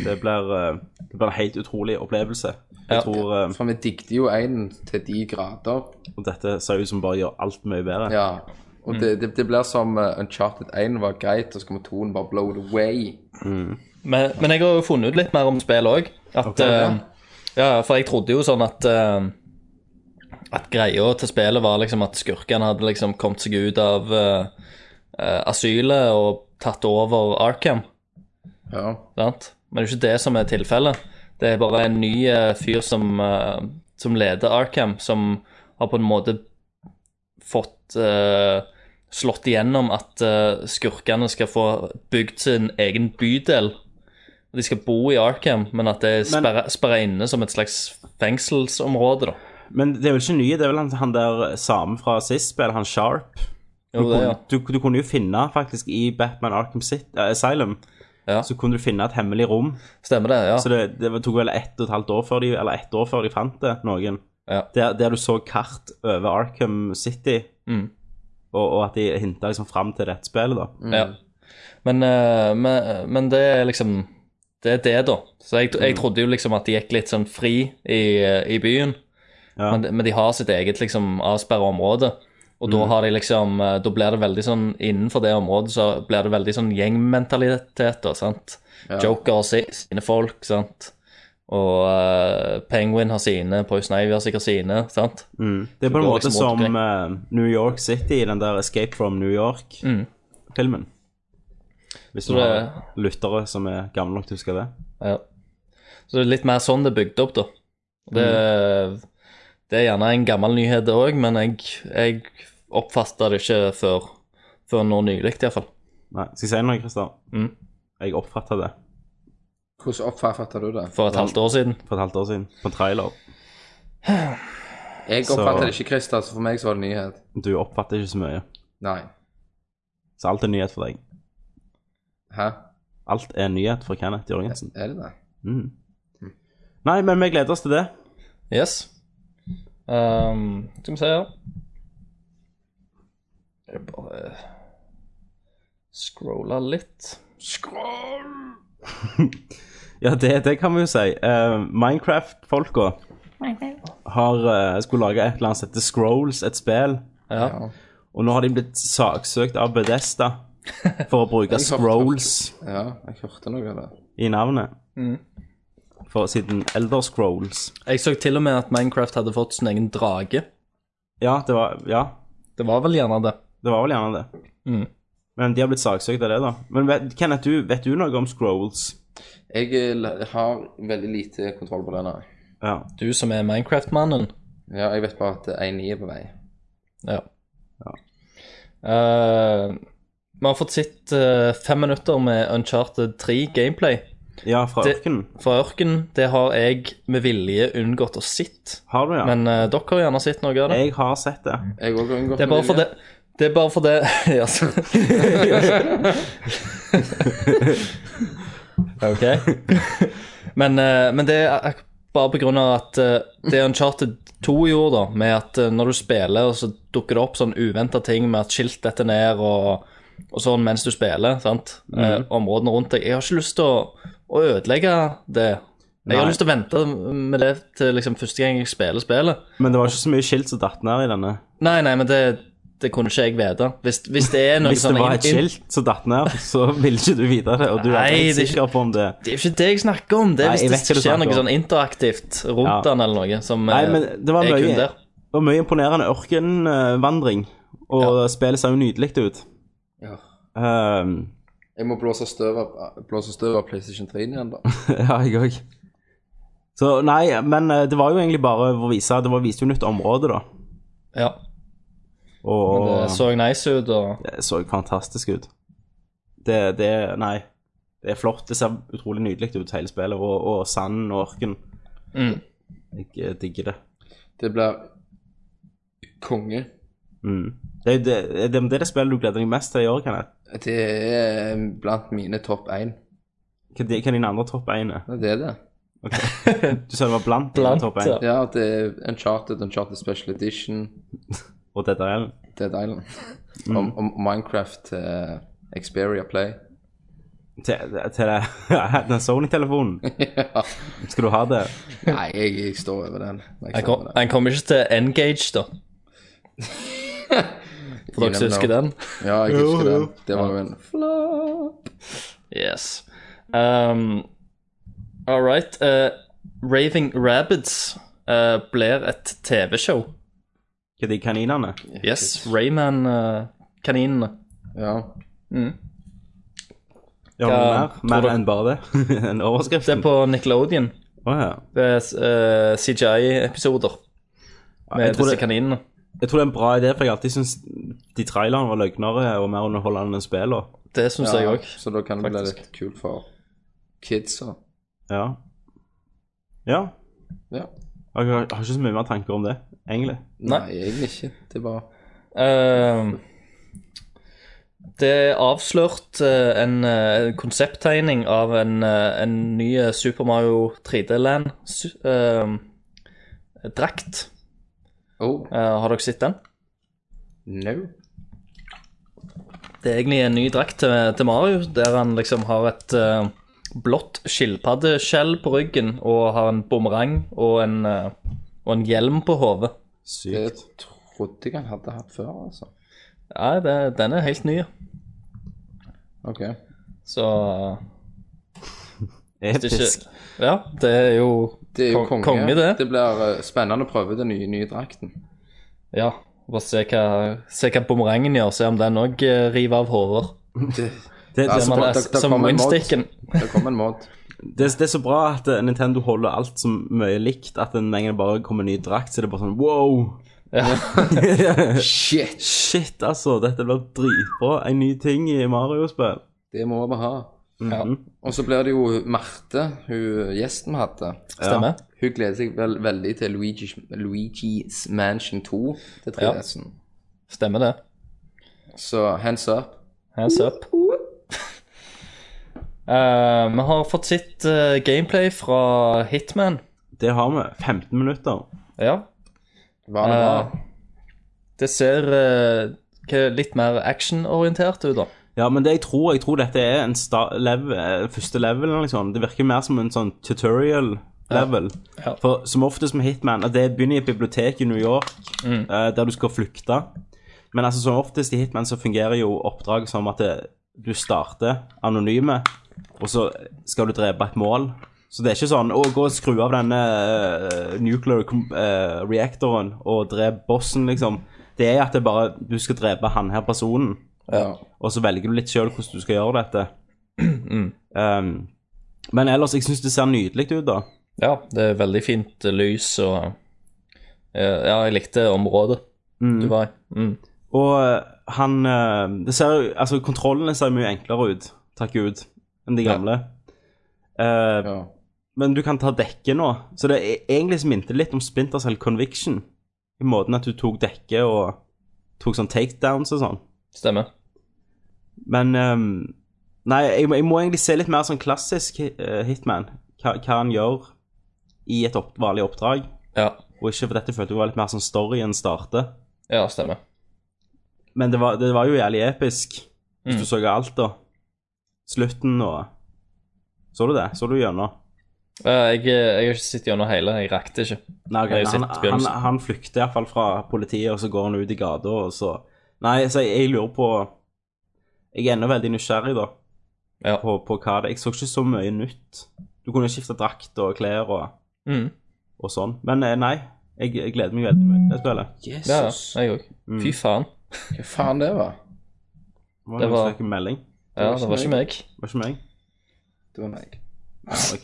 Speaker 6: Det blir, eh, det blir en helt utrolig opplevelse. Jeg
Speaker 8: Ja.
Speaker 6: tror eh,
Speaker 7: For vi digget jo én til de grader.
Speaker 6: og dette ser ut som bare gjør alt mye bedre.
Speaker 7: Ja. Og det, det, det blir som eh, Uncharted 1 var greit, og så kommer 2-en bare blow it away.
Speaker 8: Men, men jeg har jo funnet ut litt mer om spill òg. At
Speaker 6: Ok, ja.
Speaker 8: eh, Ja, for jeg trodde jo sånn at eh, At greia til spillet var liksom at skurkene hadde liksom kommet seg ut av eh, eh, asylet og tatt over Arkham.
Speaker 7: Ja.
Speaker 8: Sant? Men det er jo ikke det som er tilfellet. Det er bare en ny eh, fyr som, eh, som leder Arkham, som har på en måte fått eh, slått igjennom at eh, skurkene skal få bygd sin egen bydel. Og De skal bo i Arkham, men at det er
Speaker 6: Men-
Speaker 8: sperra sperra inne som et slags fengselsområde, da.
Speaker 6: Men det er vel ikke nye, det er vel han, han der samme fra sist spill, han Sharp. Du,
Speaker 8: Jo, det, ja.
Speaker 6: kunne- du, du kunne jo finne, faktisk, i Batman Arkham City, eh, Asylum,
Speaker 8: Ja.
Speaker 6: så kunne du finne et hemmelig rom.
Speaker 8: Stemmer det, ja.
Speaker 6: Så det, det tok vel ett og et halvt år før de, eller ett år før de fant det, noen.
Speaker 8: Ja.
Speaker 6: Der, der du så kart over Arkham City,
Speaker 8: Mm.
Speaker 6: og, og at de hinta liksom fram til dette spillet, da.
Speaker 8: Ja. Men, eh, men, men det er liksom Det er det, da. Så jeg, jeg trodde jo liksom at de gikk litt sånn fri i, eh, i byen.
Speaker 6: Ja.
Speaker 8: Men, men de har sitt eget liksom avsperra område. Og da har de liksom eh, Da blir det veldig sånn Innenfor det området så blir det veldig sånn gjengmentalitet, da, sant. Joker har si, sine folk, sant. Og eh, Penguin har sine, Poison Ivy har sikkert sine, sant.
Speaker 6: Mm. Det er på en
Speaker 8: går
Speaker 6: måte
Speaker 8: liksom
Speaker 6: som
Speaker 8: rundt
Speaker 6: eh, New York City i den der Escape from New York-filmen.
Speaker 8: Mm.
Speaker 6: Hvis
Speaker 8: Så
Speaker 6: du har
Speaker 8: det-
Speaker 6: lyttere som er gamle nok til å huske det.
Speaker 8: Ja. Så det er litt mer sånn det er bygd opp, da. Og Det, det er gjerne en gammel nyhet, det òg, men jeg, jeg oppfatta det ikke før, før nå nylig, iallfall.
Speaker 6: Nei, skal jeg si noe, Christer?
Speaker 8: Mm.
Speaker 6: Jeg oppfatta det
Speaker 7: Hvordan oppfatter du det?
Speaker 8: For et halvt år siden.
Speaker 6: for et halvt år siden, på en trailer.
Speaker 7: Jeg
Speaker 6: Så-
Speaker 7: oppfatter det ikke, Christer, så for meg så var det nyhet.
Speaker 6: Du oppfatter ikke så mye,
Speaker 7: Nei.
Speaker 6: så alt er nyhet for deg.
Speaker 7: Hæ?
Speaker 6: Alt er nyhet for Kenneth Jørgensen.
Speaker 7: Er det det?
Speaker 6: Mm. Nei, men vi gleder oss til det.
Speaker 8: Yes. Um, Ehm, skal vi se her Jeg bare Scrolla litt.
Speaker 6: Ja, det, det kan vi jo si. Eh, Minecraft-folka har eh, skulle lage et eller annet som heter Scrolls, et spill.
Speaker 8: Ja.
Speaker 6: Og nå har de blitt saksøkt av Bedesta for å bruke Scrolls
Speaker 7: Ja, jeg hørte noe av det.
Speaker 6: i navnet.
Speaker 8: Mm.
Speaker 6: For siden Elder Scrolls.
Speaker 8: Jeg så til og med at Minecraft hadde fått sin egen drage.
Speaker 6: Ja, det var, ja,
Speaker 8: Det var vel gjerne det.
Speaker 6: det var vel gjerne det.
Speaker 8: Mm.
Speaker 6: Men de har blitt saksøkt av det, da. Men vet, Kenneth, du, vet du noe om Scrolls?
Speaker 7: Jeg eh, l- har veldig lite kontroll på det, nei.
Speaker 6: Ja.
Speaker 8: Du som er Minecraft-mannen.
Speaker 7: Ja, jeg vet bare at eh, 1.9 er på vei.
Speaker 8: Ja. Eh, vi har fått sett eh, fem minutter med Uncharted 3 gameplay.
Speaker 6: ja, fra
Speaker 8: Det-
Speaker 6: ørkenen.
Speaker 8: Fra ørken, det har jeg med vilje unngått å sitte.
Speaker 6: Har du, ja?
Speaker 8: Men eh, dere har gjerne sett noe av det.
Speaker 6: Jeg har sett det.
Speaker 7: Jeg også har unngått
Speaker 8: Det er bare for det Det er bare for det Ja, så- OK. Men, eh, men det er ak- bare på grunn av at eh, det Uncharted 2 gjorde, da, med at eh, når du spiller, og så dukker det opp sånn uventa ting med at skilt detter ned og, og sånn mens du spiller, sant, Eh, områdene rundt deg Jeg har ikke lyst til å, å ødelegge det. Jeg har
Speaker 6: Nei.
Speaker 8: lyst til å vente med det til liksom, første gang jeg spiller spillet.
Speaker 6: Men det var ikke så mye skilt som datt ned i denne.
Speaker 8: Nei, nei, men det, det kunne ikke jeg vite. Hvis, hvis det er noe
Speaker 6: Hvis det
Speaker 8: sånn
Speaker 6: var et
Speaker 8: inn- inn-
Speaker 6: skilt som datt ned, så ville ikke du vite det. Og du er
Speaker 8: Nei,
Speaker 6: helt
Speaker 8: det er
Speaker 6: sikker på om det
Speaker 8: Det er jo ikke det jeg snakker om. Det er
Speaker 6: Nei,
Speaker 8: hvis
Speaker 6: jeg vet hva
Speaker 8: det
Speaker 6: du
Speaker 8: skjer
Speaker 6: snakker
Speaker 8: noe
Speaker 6: om.
Speaker 8: sånn interaktivt rundt
Speaker 6: Ja.
Speaker 8: den eller noe som
Speaker 6: Nei,
Speaker 8: eh,
Speaker 6: men det var
Speaker 8: er kun
Speaker 6: mye,
Speaker 8: der.
Speaker 6: det var mye imponerende ørkenvandring. Og spillet ser jo nydelig ut.
Speaker 7: Ja.
Speaker 6: Ehm,
Speaker 7: Jeg må blåse støv av, blåse støv av PlayStation 3 igjen, da.
Speaker 6: ja, jeg òg. Så nei, men eh, det var jo egentlig bare å vise Det var viste jo nytt område, da.
Speaker 8: Ja,
Speaker 6: Og
Speaker 8: det
Speaker 6: det så,
Speaker 8: så nice ut, og
Speaker 6: fantastisk ut. Det, det Nei. Det er flott. Det ser utrolig nydelig ut, hele spillet. Og, og sanden og ørken.
Speaker 8: Mm.
Speaker 6: Jeg eh, digger det.
Speaker 7: Det blir konge.
Speaker 6: Mm. Det, er jo det, det, det er det spillet du gleder deg mest til i år, Kenneth.
Speaker 7: Det er blant mine topp én.
Speaker 6: Hva de- hva er dine andre topp 1 er?
Speaker 7: Ja, Det er det.
Speaker 6: Du sa det var blant, dine
Speaker 8: Blant,
Speaker 6: topp
Speaker 8: ja.
Speaker 6: 1
Speaker 7: Ja, det er Uncharted, Uncharted Special Edition,
Speaker 6: og dette er den.
Speaker 7: Dead Island.
Speaker 8: Mm.
Speaker 7: Om, om Minecraft eh, Xperia Play.
Speaker 6: Til, til det. den Sony-telefonen. Skal du ha det?
Speaker 7: Nei, jeg, jeg står over den.
Speaker 8: Han
Speaker 7: Jeg står
Speaker 8: kom-
Speaker 7: over den.
Speaker 8: han kommer ikke til Engage, da. For dere som husker den?
Speaker 7: Ja, jeg husker den. Det var jo en
Speaker 8: Yes. Um, All right. eh, Raving Rabbids eh, blir et TV-show.
Speaker 6: Hva de kaninene?
Speaker 8: Yes. uh, Rayman-kaninene.
Speaker 7: Ja.
Speaker 6: Ja, men
Speaker 8: Ja,
Speaker 6: mer, mer
Speaker 8: tror du-
Speaker 6: enn bare det. en overskrift.
Speaker 8: det er på Nickelodeon.
Speaker 6: ja.
Speaker 8: Det er eh, CGI-episoder med
Speaker 6: jeg, tror
Speaker 8: disse
Speaker 6: det,
Speaker 8: kaninene.
Speaker 6: jeg tror det er en bra idé, for jeg har alltid syntes de trailerne var løgnere og mer underholdende enn spillene.
Speaker 8: Det syns jeg
Speaker 7: ja.
Speaker 8: òg.
Speaker 7: Så da kan det bli
Speaker 8: faktisk.
Speaker 7: litt kult for kidsa.
Speaker 6: Ja. ja.
Speaker 7: Ja.
Speaker 6: Jeg har, jeg har ikke så mye mer tanker om det, egentlig.
Speaker 7: Nei,
Speaker 8: Nei.
Speaker 7: egentlig ikke. Det var
Speaker 8: Eh, det er avslørt eh, en eh, konsepttegning av en, eh, en ny eh, Super Mario ehm, 3D-land-drakt.
Speaker 7: Oh,
Speaker 8: Eh, har dere sett den?
Speaker 7: no.
Speaker 8: Det er egentlig en ny drakt til, til Mario, der han liksom har et eh, blått skilpaddeskjell på ryggen og har en bumerang og, en, eh, og en hjelm på hodet.
Speaker 7: Det
Speaker 6: Sykt.
Speaker 7: trodde jeg han hadde hatt før, altså.
Speaker 8: Nei, det, den er helt ny.
Speaker 7: OK.
Speaker 8: Så eh, det er
Speaker 6: Episk.
Speaker 8: ikke Ja, det er jo
Speaker 7: Det er jo
Speaker 8: Kong-
Speaker 7: konge.
Speaker 8: konge, det.
Speaker 7: blir eh, spennende å prøve den nye, nye drakten.
Speaker 8: Ja, bare se hva, se hva bumerangen gjør, se om den òg river av hoder.
Speaker 6: Det, det,
Speaker 7: Ja,
Speaker 6: er så
Speaker 7: men-
Speaker 6: bra,
Speaker 7: altså, da- da
Speaker 8: Som
Speaker 7: kommer en mod.
Speaker 8: windsticken.
Speaker 7: Det kom en mod.
Speaker 6: det, det er så bra at eh, Nintendo holder alt så mye likt, at en gang det bare kommer en ny drakt, så er det bare sånn wow.
Speaker 7: Shit!
Speaker 6: Shit, altså. Dette blir dritbra. En ny ting i Mario-spill.
Speaker 7: Det må vi ha.
Speaker 8: Ja,
Speaker 7: Og så blir det jo Marte, hun gjesten vi hadde.
Speaker 8: stemmer.
Speaker 7: Hun gleder seg vel, veldig til Luigi, Luigi's Mansion 2 til 3DS-en.
Speaker 8: Stemmer det.
Speaker 7: Så hands up.
Speaker 8: Hands up. Eh, vi har fått sett eh, gameplay fra Hitman.
Speaker 6: Det har vi. 15 minutter.
Speaker 8: Ja.
Speaker 7: Var det
Speaker 8: Eh,
Speaker 7: bra?
Speaker 8: Det ser eh, hva- litt mer actionorientert ut, da.
Speaker 6: Ja, men det jeg tror, jeg tror dette er en sta lev- eh, første level, liksom. Det virker mer som en sånn tutorial level.
Speaker 8: Ja.
Speaker 6: For som oftest med Hitman, at det begynner i et bibliotek i New York,
Speaker 8: Mm.
Speaker 6: eh, der du skal flykte. Men altså, som oftest i Hitman så fungerer jo oppdraget som at det, du starter anonyme, og så skal du drepe et mål. Så det er ikke sånn å gå og skru av denne eh, nuclear com- eh, reactoren og drepe bossen, liksom. Det er at det bare, du skal drepe han her personen
Speaker 7: Ja.
Speaker 6: og så velger du litt sjøl hvordan du skal gjøre dette. um, men ellers, jeg syns det ser nydelig ut, da.
Speaker 8: Ja, det er veldig fint eh, lys og eh, Ja, jeg likte området du var i. Mm.
Speaker 6: Og eh, han eh, Det ser jo Altså, kontrollene ser mye enklere ut, takk Gud, enn de gamle. Eh,
Speaker 7: ja.
Speaker 6: Men du kan ta dekke nå, så det er egentlig som minte litt om Splinter Cell Conviction. I måten at du tok dekke og tok sånn takedowns og sånn.
Speaker 8: Stemmer.
Speaker 6: Men ehm, Nei, jeg, må- jeg må egentlig se litt mer sånn klassisk eh, Hitman. Hva, hva han gjør i et opp, vanlig oppdrag.
Speaker 8: Ja,
Speaker 6: Og ikke for dette følte jeg var litt mer sånn story enn starte.
Speaker 8: ja stemmer.
Speaker 6: Men det var, det var jo jævlig episk. Hvis du så alt, da. Slutten og Så du det? Så du gjennom?
Speaker 8: Eh, Jeg, jeg har ikke sett gjennom hele, jeg rakk det ikke.
Speaker 6: Nei, ok,
Speaker 8: Jeg har
Speaker 6: han,
Speaker 8: sett
Speaker 6: han,
Speaker 8: begynnelsen.
Speaker 6: han flykter iallfall fra politiet, og så går han ut i gata, og så Nei, så jeg, jeg lurer på Jeg er ennå veldig nysgjerrig, da.
Speaker 8: Ja.
Speaker 6: På, på hva det Jeg så ikke så mye nytt. Du kunne skifte drakt og klær og,
Speaker 8: Mm.
Speaker 6: og sånn. Men eh, nei, jeg, jeg gleder meg veldig mye til det spillet. Mm.
Speaker 8: Ja, ja,
Speaker 7: Jesus.
Speaker 8: jeg òg. Fy faen.
Speaker 7: Hva faen det var?
Speaker 6: Det var
Speaker 8: Det
Speaker 6: noen
Speaker 8: var-
Speaker 6: som fikk en melding.
Speaker 8: Ja, det var ikke meg.
Speaker 6: Det var ikke meg.
Speaker 7: Det var meg.
Speaker 6: Det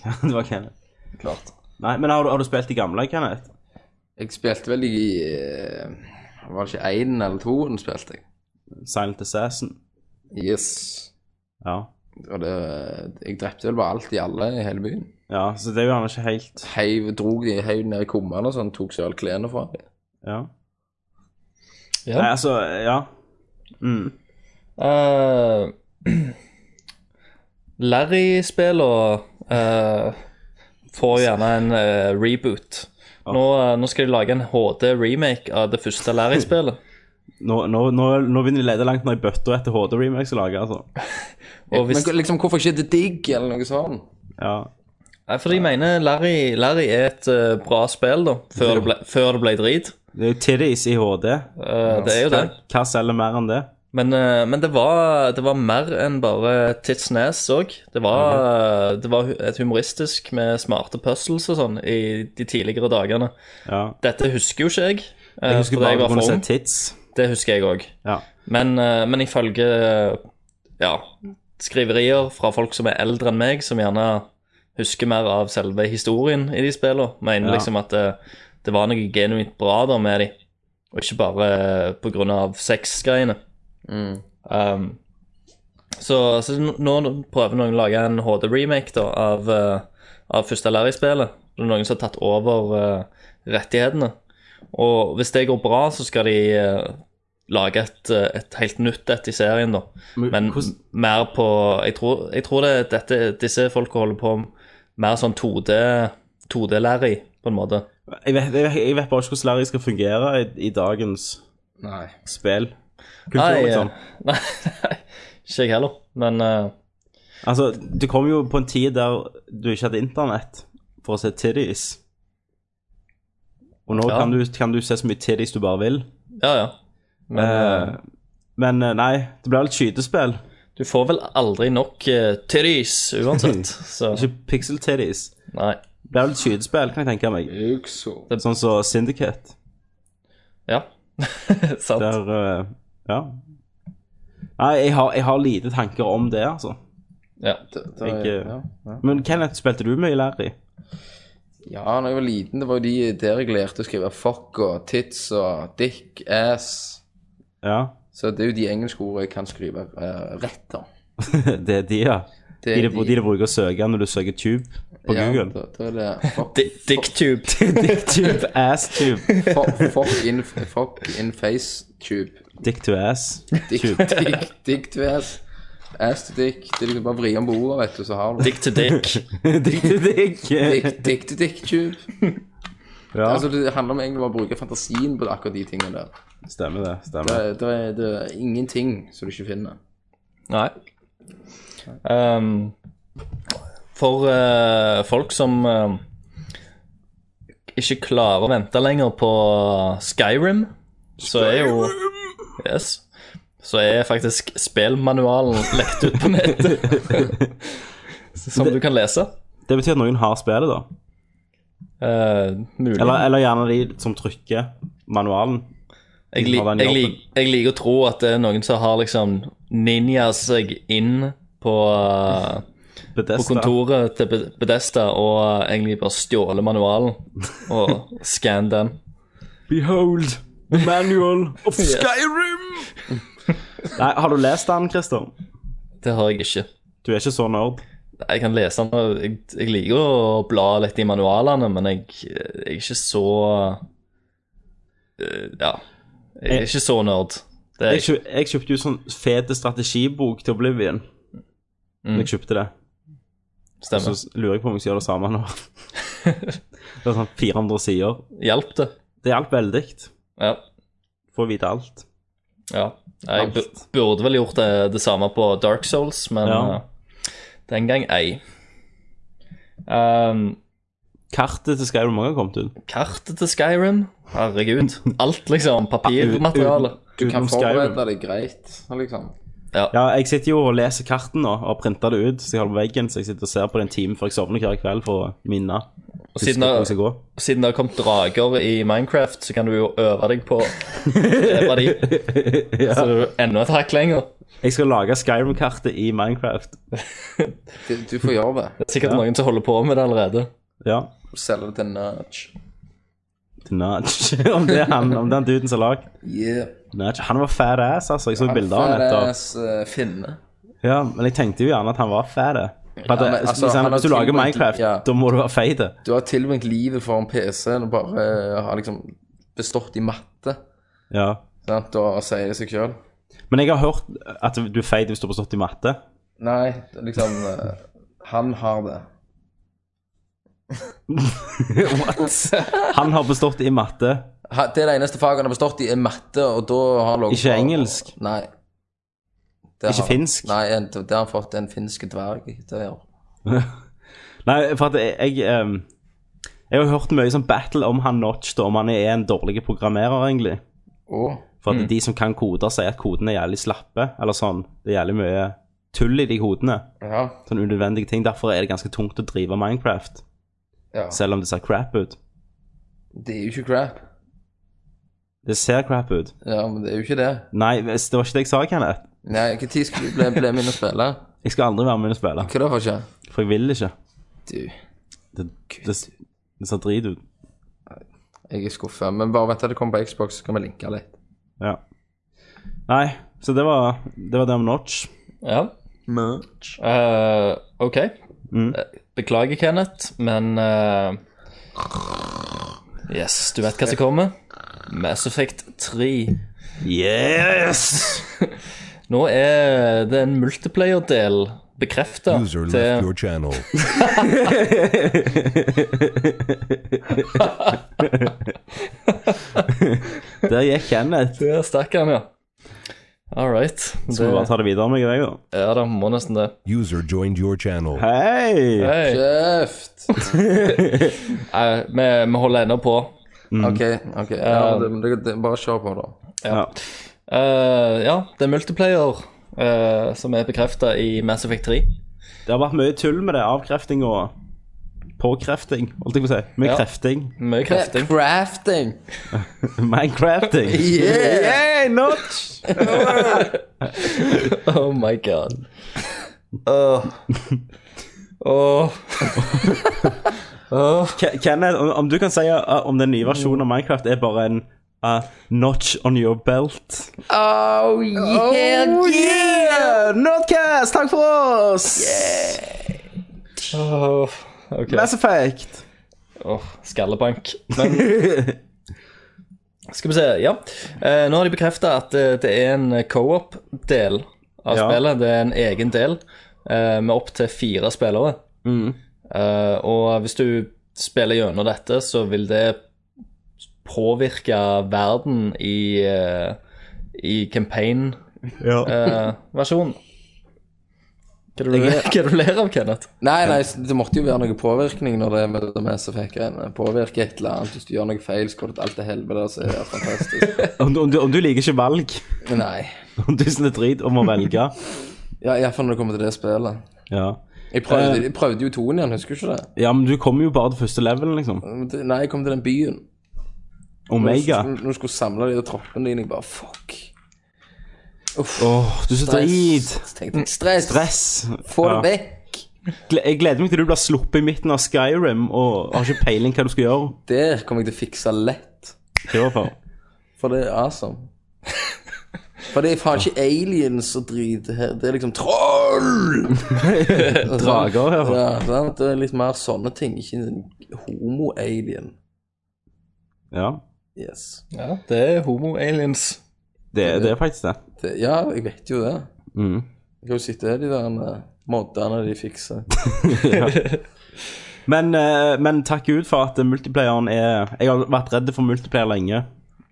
Speaker 6: var- Det var Kenneth.
Speaker 7: Klart.
Speaker 6: Nei, men har du, har du spilt de gamle, Kenneth?
Speaker 7: Jeg spilte vel i eh, Var det ikke én eller to den spilte jeg?
Speaker 6: Silent Assassin.
Speaker 7: Yes.
Speaker 6: Ja.
Speaker 7: Og det, jeg drepte vel bare alt i alle i hele byen.
Speaker 6: ja, så det er jo gjerne ikke helt
Speaker 7: Heiv, drog de heiv ned i kummene og sånn, tok selv klærne fra dem.
Speaker 6: Ja.
Speaker 8: Ja.
Speaker 6: Nei, altså, ja. Mm.
Speaker 8: Eh, Larry-spillene eh, får gjerne en eh, reboot. Nå, eh, nå skal de lage en HD-remake av det første Larry-spillet.
Speaker 6: Nå, nå, nå, nå begynner de å lete langt ned i bøtta etter HD-remakes å lage, altså.
Speaker 8: Og hvis,
Speaker 7: Men liksom, hvorfor ikke The Digg eller noe sånt?
Speaker 6: Ja.
Speaker 8: nei, for jeg mener Larry, Larry er et eh, bra spill, da, før det ble, før det ble drit.
Speaker 6: Det er jo titties i HD.
Speaker 8: Eh, det er jo det.
Speaker 6: Hva selger mer enn det?
Speaker 8: Men, eh, men det, var, det var mer enn bare tits nes òg. Det, var-
Speaker 6: Mhm.
Speaker 8: det var hu- et humoristisk med smarte puzzles og sånn i de tidligere dagene.
Speaker 6: Ja.
Speaker 8: Dette husker jo ikke jeg. eh,
Speaker 6: Jeg husker
Speaker 8: fordi
Speaker 6: bare at
Speaker 8: jeg
Speaker 6: du
Speaker 8: var
Speaker 6: kunne
Speaker 8: for
Speaker 6: se
Speaker 8: ung.
Speaker 6: tits.
Speaker 8: Det husker jeg òg.
Speaker 6: Ja.
Speaker 8: Men, eh, men ifølge eh, ja, skriverier fra folk som er eldre enn meg, som gjerne husker mer av selve historien i de spillene, mener
Speaker 6: Ja.
Speaker 8: liksom at det, det var noe genuint bra der med de, og ikke bare på grunn av sexgreiene. Um, så, så n- nå prøver noen å lage en HD-remake da, av, eh, av første Larry-spillet. Det er noen som har tatt over eh, rettighetene. Og hvis det går bra, så skal de eh, lage et, eh, et helt nytt et i serien, da.
Speaker 6: Men
Speaker 8: Men
Speaker 6: hvordan-
Speaker 8: mer på Jeg tror, jeg tror det, er dette, disse folka holder på med mer sånn 2D 2D-Larry, på en måte.
Speaker 6: Jeg vet, jeg, vet- jeg vet bare ikke hvordan Larry skal fungere i, i dagens
Speaker 7: Nei.
Speaker 6: spill.
Speaker 8: Nei,
Speaker 6: Kultur, liksom.
Speaker 8: eh, nei, ikke jeg heller. Men eh,
Speaker 6: Altså, det kom jo på en tid der du ikke hadde internett for å se titties. Og nå
Speaker 8: Ja.
Speaker 6: kan, du, kan du se så mye titties du bare vil.
Speaker 8: ja, ja. Men eh,
Speaker 6: Eh, men eh, nei, det blir litt skytespill.
Speaker 8: du får vel aldri nok uh, titties uansett. Så
Speaker 6: Ikke pixel titties.
Speaker 8: nei.
Speaker 6: Det blir litt skytespill, kan jeg tenke meg.
Speaker 7: Ukso.
Speaker 6: Sånn som Syndicate.
Speaker 8: Ja. Sant.
Speaker 6: Der eh, Ja. Nei, jeg har, jeg har lite tanker om det, altså.
Speaker 8: Ja.
Speaker 6: Jeg,
Speaker 7: ja, ja.
Speaker 6: Men Kenneth, spilte du mye Larry?
Speaker 7: Ja, da jeg var liten, det var jo de der jeg lærte å skrive fuck og tits og dick, ass.
Speaker 6: Ja.
Speaker 7: Så det er jo de engelske ordene jeg kan skrive eh, rett, da.
Speaker 6: Det er de, ja.
Speaker 7: Det
Speaker 6: De, de, de du bruker å søke når du søker tube på
Speaker 7: ja,
Speaker 6: Google.
Speaker 7: Da, da er det fuck,
Speaker 8: Di- Dicktube.
Speaker 6: Dicktube, ass-tube,
Speaker 7: fuck, fuck, in, fuck in face tube.
Speaker 6: dick to ass.
Speaker 7: Dick, dick, dick to ass. Ass to dick. Det er liksom bare å vri om på ordet, vet du, så har du det.
Speaker 8: Dick to dick.
Speaker 6: dick to dick.
Speaker 7: Dick, dick to dick tube.
Speaker 6: Ja,
Speaker 7: Altså, det handler om egentlig bare å bruke fantasien på akkurat de tingene der.
Speaker 6: stemmer det.
Speaker 7: Det,
Speaker 6: stemmer.
Speaker 7: det, er, det er ingenting som du ikke finner.
Speaker 8: Nei. Ehm, for eh, folk som eh, ikke klarer å vente lenger på Skyrim, så er jo Yes. Så er faktisk spillmanualen lekt ut på nettet. som du kan lese.
Speaker 6: Det betyr at noen har spillet, da.
Speaker 8: Eh, mulig.
Speaker 6: Eller, eller gjerne de som trykker manualen.
Speaker 8: Jeg, lik-
Speaker 6: Har den
Speaker 8: jeg,
Speaker 6: jobben.
Speaker 8: lik- jeg liker å tro at det er noen som har liksom ninja seg inn på, eh, på
Speaker 6: Bedesta.
Speaker 8: kontoret til Be- Bedesta og eh, egentlig bare stjålet manualen og scan den.
Speaker 6: Behold the manual of Skyrim! Nei, har du lest den, Christer?
Speaker 8: Det har jeg ikke.
Speaker 6: Du er ikke så nerd.
Speaker 8: Jeg kan lese den, og jeg, jeg liker å bla litt i manualene, men jeg, jeg er ikke så eh, Ja. Jeg er ikke så nerd. Det er
Speaker 6: Jeg, kjøp, jeg kjøpte jo sånn fet strategibok til Oblivion. Når Jeg kjøpte det. Så
Speaker 8: Mm. stemmer.
Speaker 6: s- lurer jeg på om jeg skal gjøre det samme nå. det er sånn 400 sider.
Speaker 8: Hjalp det?
Speaker 6: Det hjalp veldig.
Speaker 8: Ja.
Speaker 6: Får vite alt.
Speaker 8: Ja. Jeg
Speaker 6: Alt.
Speaker 8: bu- burde vel gjort det, det samme på Dark Souls, men
Speaker 6: Ja.
Speaker 8: eh, den gang ei. Ehm,
Speaker 6: Kartet til Skyrim også har kommet ut.
Speaker 8: kartet til Skyrim? Herregud. Alt, liksom. Papirmateriale.
Speaker 7: Du kan
Speaker 6: Utenom Skyrim.
Speaker 7: forberede deg greit, liksom.
Speaker 6: Ja, jeg sitter jo og leser karten nå, og har printet det ut. Så jeg har det på veggen, så jeg sitter og ser på det en time før jeg sovner hver kveld for å minne.
Speaker 8: Og
Speaker 6: Huske
Speaker 8: siden
Speaker 6: hvor jeg
Speaker 8: det,
Speaker 6: skal gå.
Speaker 8: siden det har kommet drager i Minecraft, så kan du jo øve deg på å drepe de. Så du er enda et hakk lenger.
Speaker 6: Jeg skal lage Skyrim-kartet i Minecraft.
Speaker 7: Du, du får gjøre det.
Speaker 8: Det er sikkert noen som holder på med det allerede.
Speaker 6: Ja.
Speaker 7: Selge det til Nudge.
Speaker 6: Til Nudge. om det er han, om den duden som har lagd
Speaker 7: Yeah.
Speaker 6: Nudge. Han var fat ass, altså. Jeg så bilder av han
Speaker 7: Fat
Speaker 6: etter.
Speaker 7: ass, eh, finne.
Speaker 6: Ja, men jeg tenkte jo gjerne at han var fat. eh. For at,
Speaker 7: Ja, men,
Speaker 6: hvis-
Speaker 7: altså,
Speaker 6: hvis, han,
Speaker 7: han har
Speaker 6: hvis du lager
Speaker 7: tilbringt-
Speaker 6: Minecraft,
Speaker 7: ja.
Speaker 6: da må du være feit. eh.
Speaker 7: Du har tilbringt livet foran PC-en og bare eh, har liksom bestått i matte.
Speaker 6: Ja.
Speaker 7: Sant? Da sier det seg sjøl.
Speaker 6: Men jeg har hørt at du er feit hvis du har bestått i matte.
Speaker 7: Nei, det er liksom eh, Han har det.
Speaker 6: Han har bestått i matte.
Speaker 7: Ha- Det er det eneste faget han har bestått i, er matte, og da har han ligget
Speaker 6: Ikke
Speaker 7: på-
Speaker 6: engelsk?
Speaker 7: Nei. Det
Speaker 6: Ikke
Speaker 7: har-
Speaker 6: finsk?
Speaker 7: Nei, en- det har han fått en finsk dverg til å gjøre.
Speaker 6: Nei, for at jeg Jeg, ehm, jeg har hørt mye sånn battle om han Notch, da, om han er en dårlig programmerer, egentlig.
Speaker 7: Å.
Speaker 6: For at de som kan koder, sier at kodene er jævlig slappe, eller sånn. Det er jævlig mye tull i de kodene.
Speaker 7: Ja.
Speaker 6: Sånn unødvendige ting. Derfor er det ganske tungt å drive Minecraft,
Speaker 7: ja.
Speaker 6: selv om det ser crap ut.
Speaker 7: Det er jo ikke crap.
Speaker 6: Det ser crap ut.
Speaker 7: Ja, men det er jo ikke det.
Speaker 6: Nei, hvis- det var ikke det jeg sa, Kenneth.
Speaker 7: Nei, hva tid skal du bli, bli med inn og spille?
Speaker 6: Jeg skal aldri være med og spille,
Speaker 7: Hva da, for ikke?
Speaker 6: for jeg vil ikke.
Speaker 7: Du,
Speaker 6: Det, det, det ser drit ut.
Speaker 7: jeg er skuffa. Men bare vent til det kommer på Xbox, så kan vi linke litt.
Speaker 6: Ja. Nei, så det var det, var det om Notch.
Speaker 8: Ja. Eh, OK. Eh, Beklager, Kenneth, men eh, Yes, du vet hva som kommer. Mass Effect 3.
Speaker 6: Yes!
Speaker 8: Nå er det en multiplayer-del bekrefta til
Speaker 10: channel.
Speaker 6: Der gikk Kenneth.
Speaker 8: Der stakk han, ja. All right.
Speaker 6: Skal vi bare
Speaker 8: Det,
Speaker 6: ta det videre med deg, da?
Speaker 8: ja, da må nesten det.
Speaker 10: User joined your channel.
Speaker 6: Hei!
Speaker 8: Hei.
Speaker 7: Kjeft!
Speaker 8: Eh, vi, vi holder ennå på.
Speaker 6: Mm.
Speaker 7: OK, ok. Ja, men det,
Speaker 6: Um,
Speaker 7: men det, det, bare kjør på, da.
Speaker 6: Ja.
Speaker 8: Eh, ja, det er multiplayer eh, som er bekrefta i Mass Effect 3.
Speaker 6: Det har vært mye tull med det. Avkrefting og påkrefting, holdt jeg på å si. Med
Speaker 8: Ja.
Speaker 6: krefting.
Speaker 8: Mye krefting.
Speaker 7: Crafting!
Speaker 6: Minecrafting.
Speaker 7: Yeah!
Speaker 6: Hey, Notch!
Speaker 8: Oh my god. Åh. Åh. Åh.
Speaker 6: Ke- Kenneth, om- om du kan si uh, om den nye versjonen av Minecraft er bare en uh, notch on your belt.
Speaker 7: Oh, yeah!
Speaker 6: Oh, yeah! Notcast, takk for oss!
Speaker 8: Åh. Ok.
Speaker 6: Mass Effect.
Speaker 8: Åh, skallebank. Men Skal vi se, ja. Eh, nå har de bekrefta at eh, det er en co-op-del av
Speaker 6: Ja.
Speaker 8: spillet. Det er en egen del eh, med opptil fire spillere. Eh, og hvis du spiller gjennom dette, så vil det påvirke verden i, eh, i campaign-versjonen.
Speaker 6: Ja.
Speaker 8: Hva er det du- hva er det du ler av, Kenneth?
Speaker 7: Nei, nei, s- det måtte jo være noe påvirkning når det er med det med SFK-greiene. eh, Påvirke et eller annet. Hvis du gjør noe feil, så går det til alt til helvete. Så er det fantastisk.
Speaker 6: Om, du- om, du, om du liker ikke valg,
Speaker 7: Men nei.
Speaker 6: om du syns det er drit om å velge.
Speaker 7: Ja, Iallfall når det kommer til det spillet.
Speaker 6: Ja.
Speaker 7: Jeg
Speaker 6: Eh.
Speaker 7: prøvde, jeg prøvde jo toen igjen, husker du ikke det?
Speaker 6: ja, men du kommer jo bare til første level, liksom.
Speaker 7: Men det- Nei, jeg kom til den byen.
Speaker 6: Omega.
Speaker 7: Når du- Når du skulle samle de der troppene dine, jeg bare fuck. Uff.
Speaker 6: Åh, du er så drit.
Speaker 7: Så tenkte jeg, Stress.
Speaker 6: Stress.
Speaker 7: Få
Speaker 6: Ja.
Speaker 7: det vekk.
Speaker 6: Gle- Jeg gleder meg til du blir sluppet i midten av Skyrim og har ikke peiling hva du skal gjøre.
Speaker 7: Det kommer jeg til å fikse lett.
Speaker 6: Kjør for.
Speaker 7: For det er awesome. For det er faen ikke aliens og drit her. Det er liksom troll!
Speaker 6: Drager her.
Speaker 7: Ja, sant? Det er litt mer sånne ting. Ikke en homo-alien.
Speaker 6: Ja,
Speaker 7: Yes.
Speaker 8: Ja, det er homo-aliens.
Speaker 6: det, det er faktisk det.
Speaker 7: Det, ja, jeg vet jo det.
Speaker 6: Mhm.
Speaker 7: Jeg kan jo sitte her de der eh, moddene de fikser.
Speaker 6: Men, eh, men takk Gud for at multiplayeren er Jeg har vært redd for multiplayer lenge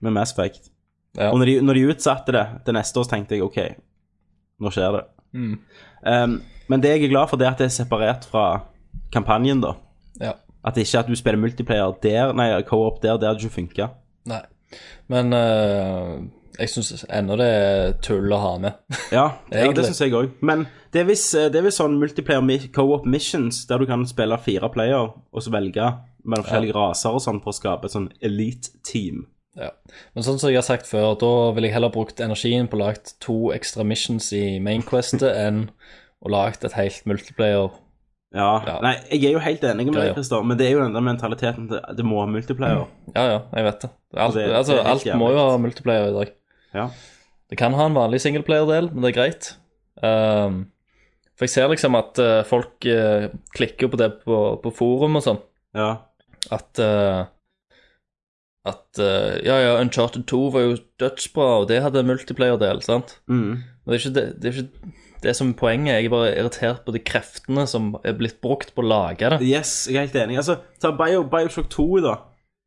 Speaker 6: med Mass Effect.
Speaker 8: Ja.
Speaker 6: Og når de, når de utsatte det til neste år, så tenkte jeg OK, nå skjer det.
Speaker 7: Mm.
Speaker 6: Um, men det jeg er glad for, det er at det er separert fra kampanjen, da.
Speaker 8: Ja.
Speaker 6: At det ikke er at du spiller multiplayer der, nei, co-op der, det hadde ikke funka.
Speaker 8: Nei. Men eh, jeg syns ennå det er tull å ha med.
Speaker 6: Ja, ja
Speaker 8: Egentlig.
Speaker 6: det syns jeg òg. Men det er visst det er visst sånn multiplayer mi- co-op missions der du kan spille fire player og så velge mellom forskjellige raser og sånn for å skape et sånn elite team.
Speaker 8: Ja. Men sånn som jeg har sagt før, da ville jeg heller brukt energien på å lage to ekstra missions i Mainquestet enn å lage et helt multiplayer.
Speaker 6: Ja.
Speaker 8: Ja.
Speaker 6: Nei, jeg er jo helt enig med
Speaker 8: Greier.
Speaker 6: deg, Christer, men det er jo den der mentaliteten til det må ha multiplayer.
Speaker 8: Ja, ja, jeg vet det. Alt,
Speaker 6: Det- det er
Speaker 8: altså,
Speaker 6: helt
Speaker 8: alt må jo
Speaker 6: jævlig.
Speaker 8: ha multiplayer i dag.
Speaker 6: Ja.
Speaker 8: Det kan ha en vanlig singleplayer-del, men det er greit. Ehm, for jeg ser liksom at eh, folk eh, klikker på det på, på forum og sånn.
Speaker 6: ja.
Speaker 8: at eh, At eh, Ja, ja, Uncharted 2 var jo dødsbra, og det hadde multiplayer-del, sant?
Speaker 6: Mm.
Speaker 8: Men det er ikke det, det, er ikke det som er poenget. Jeg er bare irritert på de kreftene som er blitt brukt på å lage det.
Speaker 6: Yes, jeg er helt enig. Altså, ta Bio, Bioshock 2, da.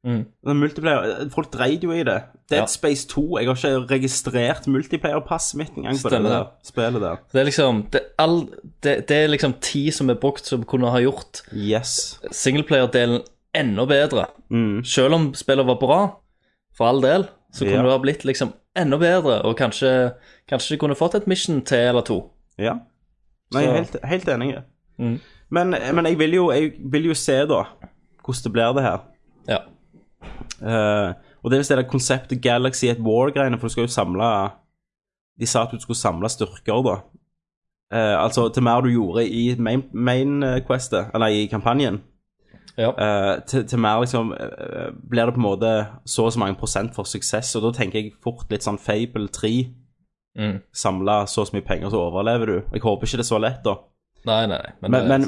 Speaker 8: Mm.
Speaker 6: Den Multiplayer, eh, Folk dreit jo i det. Dead
Speaker 8: Ja.
Speaker 6: Space 2 Jeg har ikke registrert multiplayer-passet mitt engang på det
Speaker 8: Stemmer
Speaker 6: der
Speaker 8: det.
Speaker 6: spillet der.
Speaker 8: Det er liksom det, er all, det, det er liksom ti som er brukt, som kunne ha gjort
Speaker 6: Yes.
Speaker 8: singleplayer-delen enda bedre.
Speaker 6: Mm.
Speaker 8: Selv om spillet var bra, for all del, så kunne
Speaker 6: Ja.
Speaker 8: det ha blitt liksom enda bedre, og kanskje, kanskje de kunne fått et mission til eller to.
Speaker 6: Ja. Nei, jeg er helt, helt enig. Men, men jeg, vil jo, jeg vil jo se, da, hvordan det blir, det her.
Speaker 8: Ja.
Speaker 6: Eh, og det er visst det der konseptet Galaxy at War-greiene, for du skal jo samle De sa at du skulle samle styrker, da. Eh, altså, til mer du gjorde i main, main eh, questet, eller i kampanjen,
Speaker 8: Ja.
Speaker 6: eh, til, til mer liksom eh, blir det på en måte så og så mange prosent for suksess, og da tenker jeg fort litt sånn Fable 3.
Speaker 8: Mm.
Speaker 6: Samle så og så mye penger, så overlever du. Jeg håper ikke det er så lett, da.
Speaker 8: Nei, nei, nei.
Speaker 6: Men,
Speaker 8: det-
Speaker 6: men,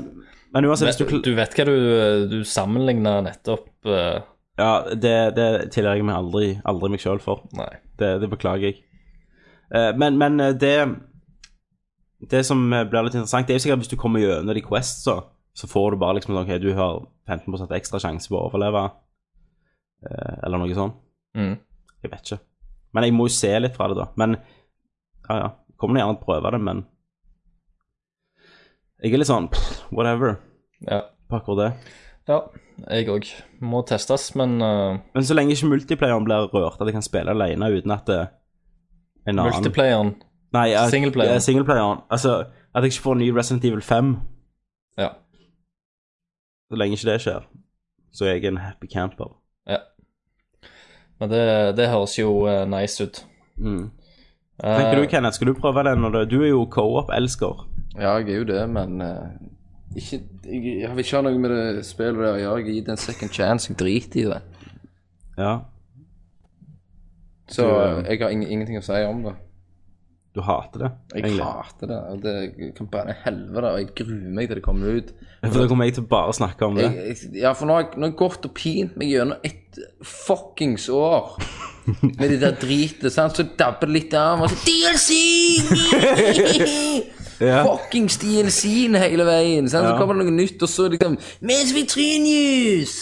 Speaker 6: men uansett, hvis du,
Speaker 8: Men,
Speaker 6: kl-
Speaker 8: du vet hva du, du sammenligner nettopp eh,
Speaker 6: Ja, det, det tilgir jeg meg aldri, aldri meg sjøl for.
Speaker 8: Nei.
Speaker 6: Det, det beklager jeg. Eh, men men eh, det Det som eh, blir litt interessant, det er jo sikkert at hvis du kommer gjennom de quests, så, så får du bare liksom sånn, OK, du har 15 ekstra sjanse på å overleve, eh, eller noe sånt.
Speaker 8: Mm.
Speaker 6: Jeg vet ikke. Men jeg må jo se litt fra det, da. Men ja, ja. Kommer nå gjerne til å prøve det, men Jeg er litt sånn pff, whatever
Speaker 8: Ja.
Speaker 6: på akkurat det.
Speaker 8: ja. Jeg òg. Må testes, men eh,
Speaker 6: Men så lenge ikke multiplayeren blir rørt, at jeg kan spille alene uten at det en annen
Speaker 8: multiplayeren
Speaker 6: Nei, at-
Speaker 8: singleplayeren.
Speaker 6: ja, singleplayeren. Altså, at jeg ikke får en ny Resident Evil 5.
Speaker 8: Ja.
Speaker 6: Så lenge ikke det skjer, så er jeg en happy camper.
Speaker 8: Men det, det høres jo eh, nice ut.
Speaker 6: Mm.
Speaker 8: Eh,
Speaker 6: Tenker du, Kenneth, skal du prøve den? Når du, du er jo co-op-elsker.
Speaker 7: Ja, jeg er jo det, men eh, ikke, jeg, jeg vil ikke ha noe med det spillet der å gjøre. Jeg gir det en second chance. Jeg driter i det.
Speaker 6: Ja.
Speaker 7: Så eh, jeg har ing ingenting å si om det.
Speaker 6: Du hater det,
Speaker 7: Jeg hater det. og Det kan brenne helvete, og jeg gruer meg til det kommer ut.
Speaker 6: For da kommer jeg til å bare snakke om det.
Speaker 7: Jeg, jeg, ja, for nå har jeg, nå har jeg gått og pint meg gjennom et fuckings år med det der dritet, sant. Så dabber det litt av, og så DLC!
Speaker 6: Ja.
Speaker 7: Fuckings DLC-en hele veien. Sant? Så kommer det noe nytt, og så liksom Mens vi trynews!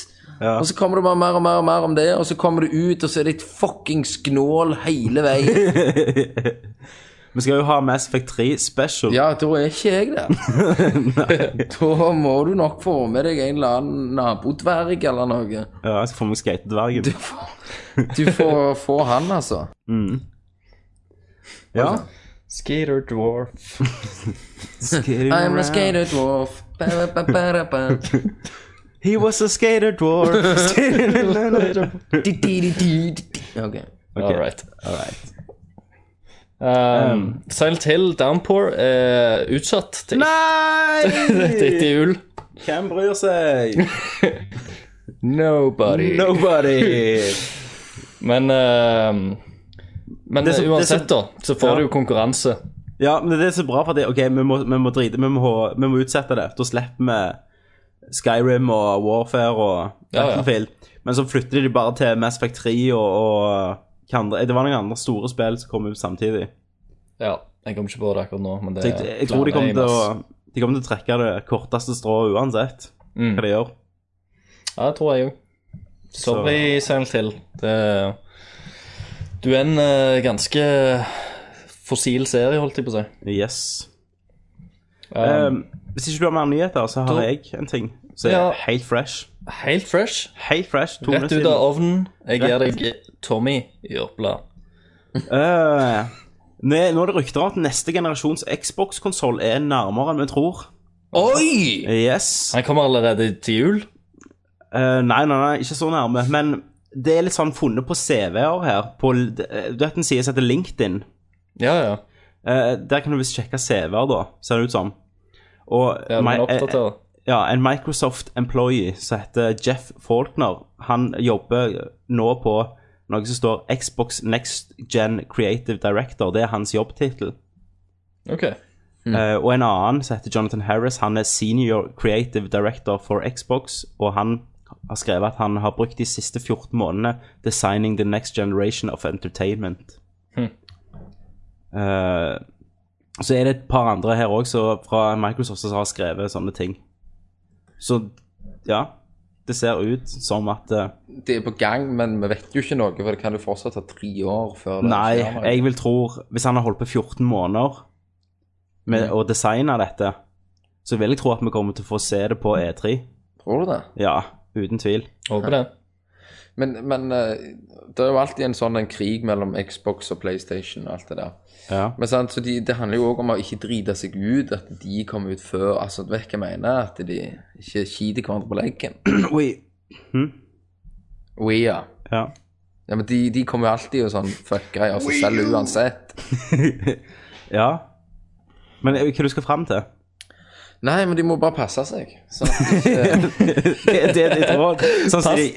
Speaker 6: Ja.
Speaker 7: Og så kommer det bare mer og mer og mer om det, og så kommer det ut, og så er det et fuckings gnål hele veien.
Speaker 6: Vi skal jo ha Mass Effect 3 Special.
Speaker 7: Ja, da er ikke jeg der. da må du nok få med deg en eller annen nabodverg eller noe.
Speaker 6: Ja, jeg skal få meg skatedvergen.
Speaker 7: Du får, får han, altså.
Speaker 6: Ja.
Speaker 8: Skater dwarf.
Speaker 7: I'm a skater dwarf. Ba, ba, ba, ba, ba.
Speaker 6: He was a skater dwarf.
Speaker 7: Di, di, di, di, di. Ok.
Speaker 8: All right. Um, Silent Hill Downpour er utsatt til til
Speaker 6: Nei!
Speaker 8: etter jul.
Speaker 6: Hvem bryr seg?
Speaker 8: Nobody.
Speaker 6: Nobody.
Speaker 8: Men, eh, men eh,
Speaker 6: Det er så- det er
Speaker 8: uansett,
Speaker 6: så-
Speaker 8: da, så får
Speaker 6: Ja.
Speaker 8: du jo konkurranse.
Speaker 6: Ja, men det er så bra for det. Ok, vi må, vi må drite, vi må, vi må utsette det. Da slipper vi Skyrim og Warfare og
Speaker 8: Ja, ja.
Speaker 6: Battlefield. Men så flytter de det bare til Mass Effect 3 og, og hva andre, Det var noen andre store spill som kom ut samtidig.
Speaker 8: Ja, jeg kommer ikke på det akkurat nå, men det
Speaker 6: Så jeg, jeg tror de kommer til, å, de kommer til å trekke det korteste strået uansett
Speaker 8: Mm.
Speaker 6: hva de gjør.
Speaker 8: Ja, det tror jeg òg. Sorry, Silent Hill. Det, du er en eh, ganske fossil serie, holdt jeg på å si.
Speaker 6: Yes.
Speaker 8: Um,
Speaker 6: Ehm, hvis ikke du har mer nyheter, så har
Speaker 8: da-
Speaker 6: jeg en ting som er
Speaker 8: Ja.
Speaker 6: helt fresh.
Speaker 8: helt fresh.
Speaker 6: Helt fresh. To
Speaker 8: Rett
Speaker 6: minutter
Speaker 8: ut av
Speaker 6: siden.
Speaker 8: ovnen. Jeg gir
Speaker 6: Rett-
Speaker 8: deg Tommy i Jørpeland.
Speaker 6: Eh, Nå nå er det rykter om at neste generasjons Xbox-konsoll er nærmere enn vi tror.
Speaker 8: Oi!
Speaker 6: Yes.
Speaker 8: Han kommer allerede til jul.
Speaker 6: Eh, nei, nei, nei, ikke så nærme. Men det er litt sånn funnet på CV-er her. På, l- d- eh, du vet den siden som heter LinkedIn.
Speaker 8: Ja, ja.
Speaker 6: Eh, der kan du visst sjekke CV-er, da, ser det ut som. Og
Speaker 8: ja du
Speaker 6: mi-
Speaker 8: kan
Speaker 6: eh,
Speaker 8: oppdatere.
Speaker 6: ja, en Microsoft-employee som heter Jeff Faulkner, han jobber nå på noe som står Xbox Next Gen Creative Director. Det er hans jobbtittel.
Speaker 8: OK.
Speaker 6: Eh, og en annen som heter Jonathan Harris, han er senior creative director for Xbox, og han har skrevet at han har brukt de siste 14 månedene designing the next generation of entertainment. Eh, så er det et par andre her også fra Microsoft som har skrevet sånne ting. Så ja, det ser ut som at eh,
Speaker 7: Det er på gang, men vi vet jo ikke noe, for det kan jo fortsatt ta tre år før det
Speaker 6: Nei,
Speaker 7: skjer noe.
Speaker 6: jeg vil tro Hvis han har holdt på 14 måneder med
Speaker 7: Mm.
Speaker 6: å designe dette, så vil jeg tro at vi kommer til å få se det på E3.
Speaker 7: Tror du det?
Speaker 6: Ja, uten tvil.
Speaker 8: Håper det.
Speaker 7: Men, men eh, det er jo alltid en sånn en krig mellom Xbox og PlayStation og alt det der.
Speaker 6: Ja.
Speaker 7: Men sant, så de, det handler jo òg om å ikke drite seg ut, at de kommer ut før Altså, du vet hva jeg mener? At de ikke skiter hverandre på leggen.
Speaker 6: Oi.
Speaker 7: We are.
Speaker 6: Ja.
Speaker 7: Ja, men de, de kommer jo alltid og sånn fucker av seg selv uansett.
Speaker 6: ja. Men eh, hva du skal fram til?
Speaker 7: Nei, men de må bare passe seg. Sånn at de ikke
Speaker 6: Det er det ditt råd. Sånn, så de,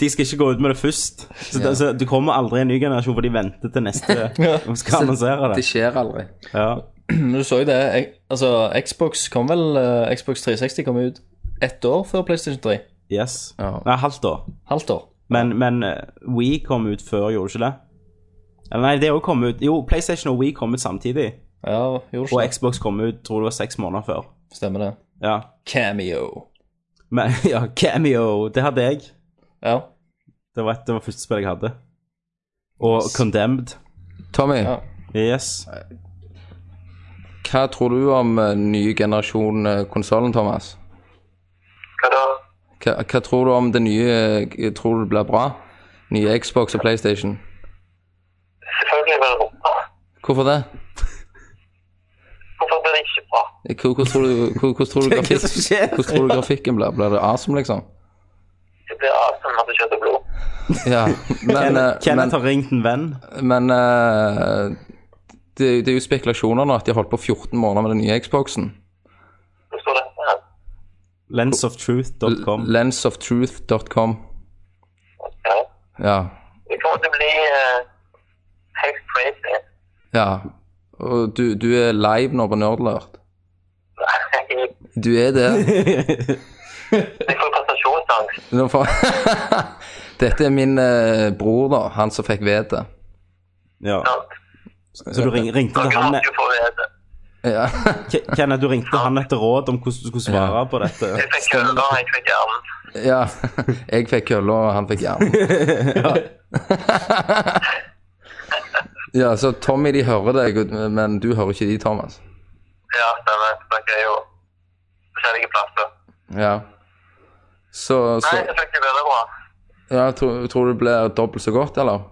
Speaker 6: de skal ikke gå ut med det først. Så, altså, det, så Du kommer aldri i en ny generasjon, for de venter til neste de skal annonsere
Speaker 7: Det
Speaker 6: det.
Speaker 7: skjer aldri.
Speaker 6: Ja.
Speaker 8: Men Du så jo det. Jeg, altså, Xbox kom vel eh, Xbox 360 kom ut ett år før PlayStation 3.
Speaker 6: Yes.
Speaker 7: Ja.
Speaker 6: Nei, halvt år.
Speaker 8: Halvt år.
Speaker 6: Men, men We kom ut før, gjorde det ikke det? Eller nei, det også kom ut Jo, PlayStation og We kom ut samtidig.
Speaker 8: Ja, gjorde
Speaker 6: Og
Speaker 8: ikke det.
Speaker 6: Xbox kom ut, tror det var seks måneder før.
Speaker 8: Stemmer det.
Speaker 6: Ja.
Speaker 8: Cameo.
Speaker 6: Men ja, Cameo, det hadde jeg.
Speaker 8: Ja.
Speaker 6: Det var, et, det var første spill jeg hadde. Og Condemned.
Speaker 7: Tommy,
Speaker 8: Ja.
Speaker 6: Yes.
Speaker 7: hva tror du om eh, ny generasjon eh, konsollen, Thomas?
Speaker 5: Hva da?
Speaker 7: Hva, hva tror du om det nye eh, Tror du det blir bra? Nye Xbox og PlayStation?
Speaker 5: Selvfølgelig blir det bra.
Speaker 7: Hvorfor det?
Speaker 5: Hvorfor blir det ikke bra?
Speaker 7: Hvor- Hvordan tror du, hvor- hvordan tror du,
Speaker 6: Hva er det
Speaker 7: grafikk,
Speaker 6: som skjer?
Speaker 7: hvordan tror du grafikken blir? Blir det awesome, liksom?
Speaker 5: Det blir awesome med kjøtt og blod.
Speaker 7: Ja, men, eh, men,
Speaker 6: Kenneth har ringt en venn.
Speaker 7: men eh, det, det er jo spekulasjoner nå at de har holdt på 14 måneder med den nye Xboxen.
Speaker 5: Hvor står dette her?
Speaker 6: Lensoftruth.com.
Speaker 7: Lensoftruth.com.
Speaker 5: Ja.
Speaker 7: Ja.
Speaker 5: Det kommer til å bli eh, helt crazy.
Speaker 7: ja. Og du, du er live nå på Nerdlert.
Speaker 5: Nei,
Speaker 7: Du er det.
Speaker 5: Jeg får prestasjonsangst.
Speaker 7: Nå får- Dette er min eh, bror, da. Han som fikk vete.
Speaker 6: Ja.
Speaker 5: sant?
Speaker 6: Så du ring, ringte til
Speaker 5: Dere
Speaker 6: han
Speaker 5: måtte jo få vite.
Speaker 7: Ja.
Speaker 6: Ke- Kenneth, du ringte han etter råd om hvordan du skulle svare på dette.
Speaker 5: Jeg fikk køller, jeg fikk hjernen.
Speaker 7: ja. Jeg fikk kølla, og han fikk jern. Ja, så Tommy, de hører deg, men du hører ikke de, Thomas.
Speaker 5: Ja, stemmer. Snakker jeg jo forskjellige plasser.
Speaker 7: Ja. Så,
Speaker 5: Nei,
Speaker 7: så
Speaker 5: jeg snakker veldig bra.
Speaker 7: ja, tror, tror du det blir dobbelt så godt, eller?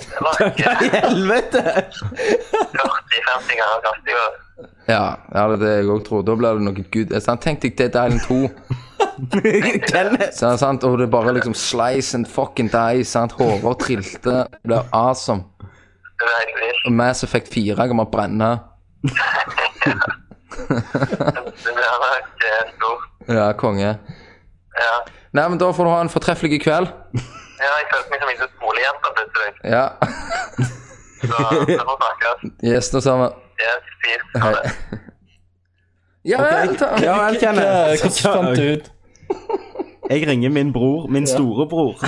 Speaker 5: Det var ikke
Speaker 6: I helvete!
Speaker 5: 40-50 ganger kasting. og-
Speaker 7: Ja, ja, det er det jeg òg tror. Da blir det noe gud... Sant? Tenk deg Dead Island 2.
Speaker 6: Kenneth!
Speaker 7: Så, sant? Og det er bare liksom slice and fucking die. sant? Hoder trilte. Det blir awesome.
Speaker 5: Det er helt vilt.
Speaker 7: Og Mass Effect 4 kommer å brenne.
Speaker 5: Det blir nok eh, stort.
Speaker 7: Ja, konge.
Speaker 5: Ja.
Speaker 7: Nei, men da får du ha en fortreffelig kveld.
Speaker 5: ja, jeg følte meg som en liten skolejente plutselig.
Speaker 7: Ja.
Speaker 5: Så vi får snakkes.
Speaker 7: Yes, nå sammen.
Speaker 5: Yes, fint. Ha
Speaker 7: Hei.
Speaker 5: det.
Speaker 7: Ja vel, Tom.
Speaker 6: Ja vel,
Speaker 8: Eh,
Speaker 6: Kenneth.
Speaker 8: Hvordan fant du ut?
Speaker 6: Jeg ringer min bror, min storebror,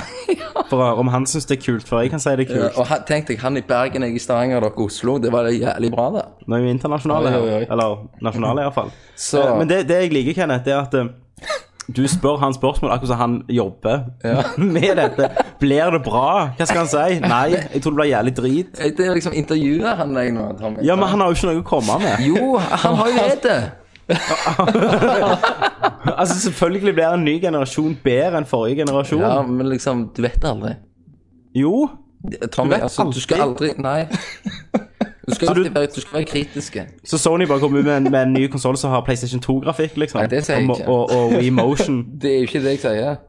Speaker 6: for å høre om han syns det er kult, for jeg kan si det er
Speaker 7: Ja,
Speaker 6: kult.
Speaker 7: og han- tenk deg, han i Bergen, jeg i Stavanger, dere i Oslo. Det var det jævlig bra, det.
Speaker 6: Nå er vi internasjonale,
Speaker 8: Oi, oi, oi.
Speaker 6: her. eller nasjonale iallfall.
Speaker 7: Så
Speaker 6: Eh, Men det, det jeg liker, Kenneth, det er at eh, du spør han spørsmål akkurat som han jobber med dette. Blir det bra? Hva skal han si? Nei, jeg tror det blir jævlig drit.
Speaker 7: Jeg- det er liksom intervjuer han deg nå, Tommy.
Speaker 6: Ja, men han har jo ikke noe å komme med.
Speaker 7: Jo, han har jo redd det.
Speaker 6: Altså, Selvfølgelig blir en ny generasjon bedre enn forrige generasjon.
Speaker 7: Ja, men liksom, du vet aldri.
Speaker 6: Jo,
Speaker 7: Tommy,
Speaker 6: Du vet
Speaker 7: altså, du skal aldri Nei. Du skal,
Speaker 6: du-
Speaker 7: alltid være, du skal være kritisk.
Speaker 6: så Sony bare kom ut med en, med en ny konsoll som har PlayStation 2-grafikk, liksom.
Speaker 7: Nei, det sier jeg
Speaker 6: og,
Speaker 7: ikke.
Speaker 6: og, og Wii Motion.
Speaker 7: Det er jo ikke det jeg sier.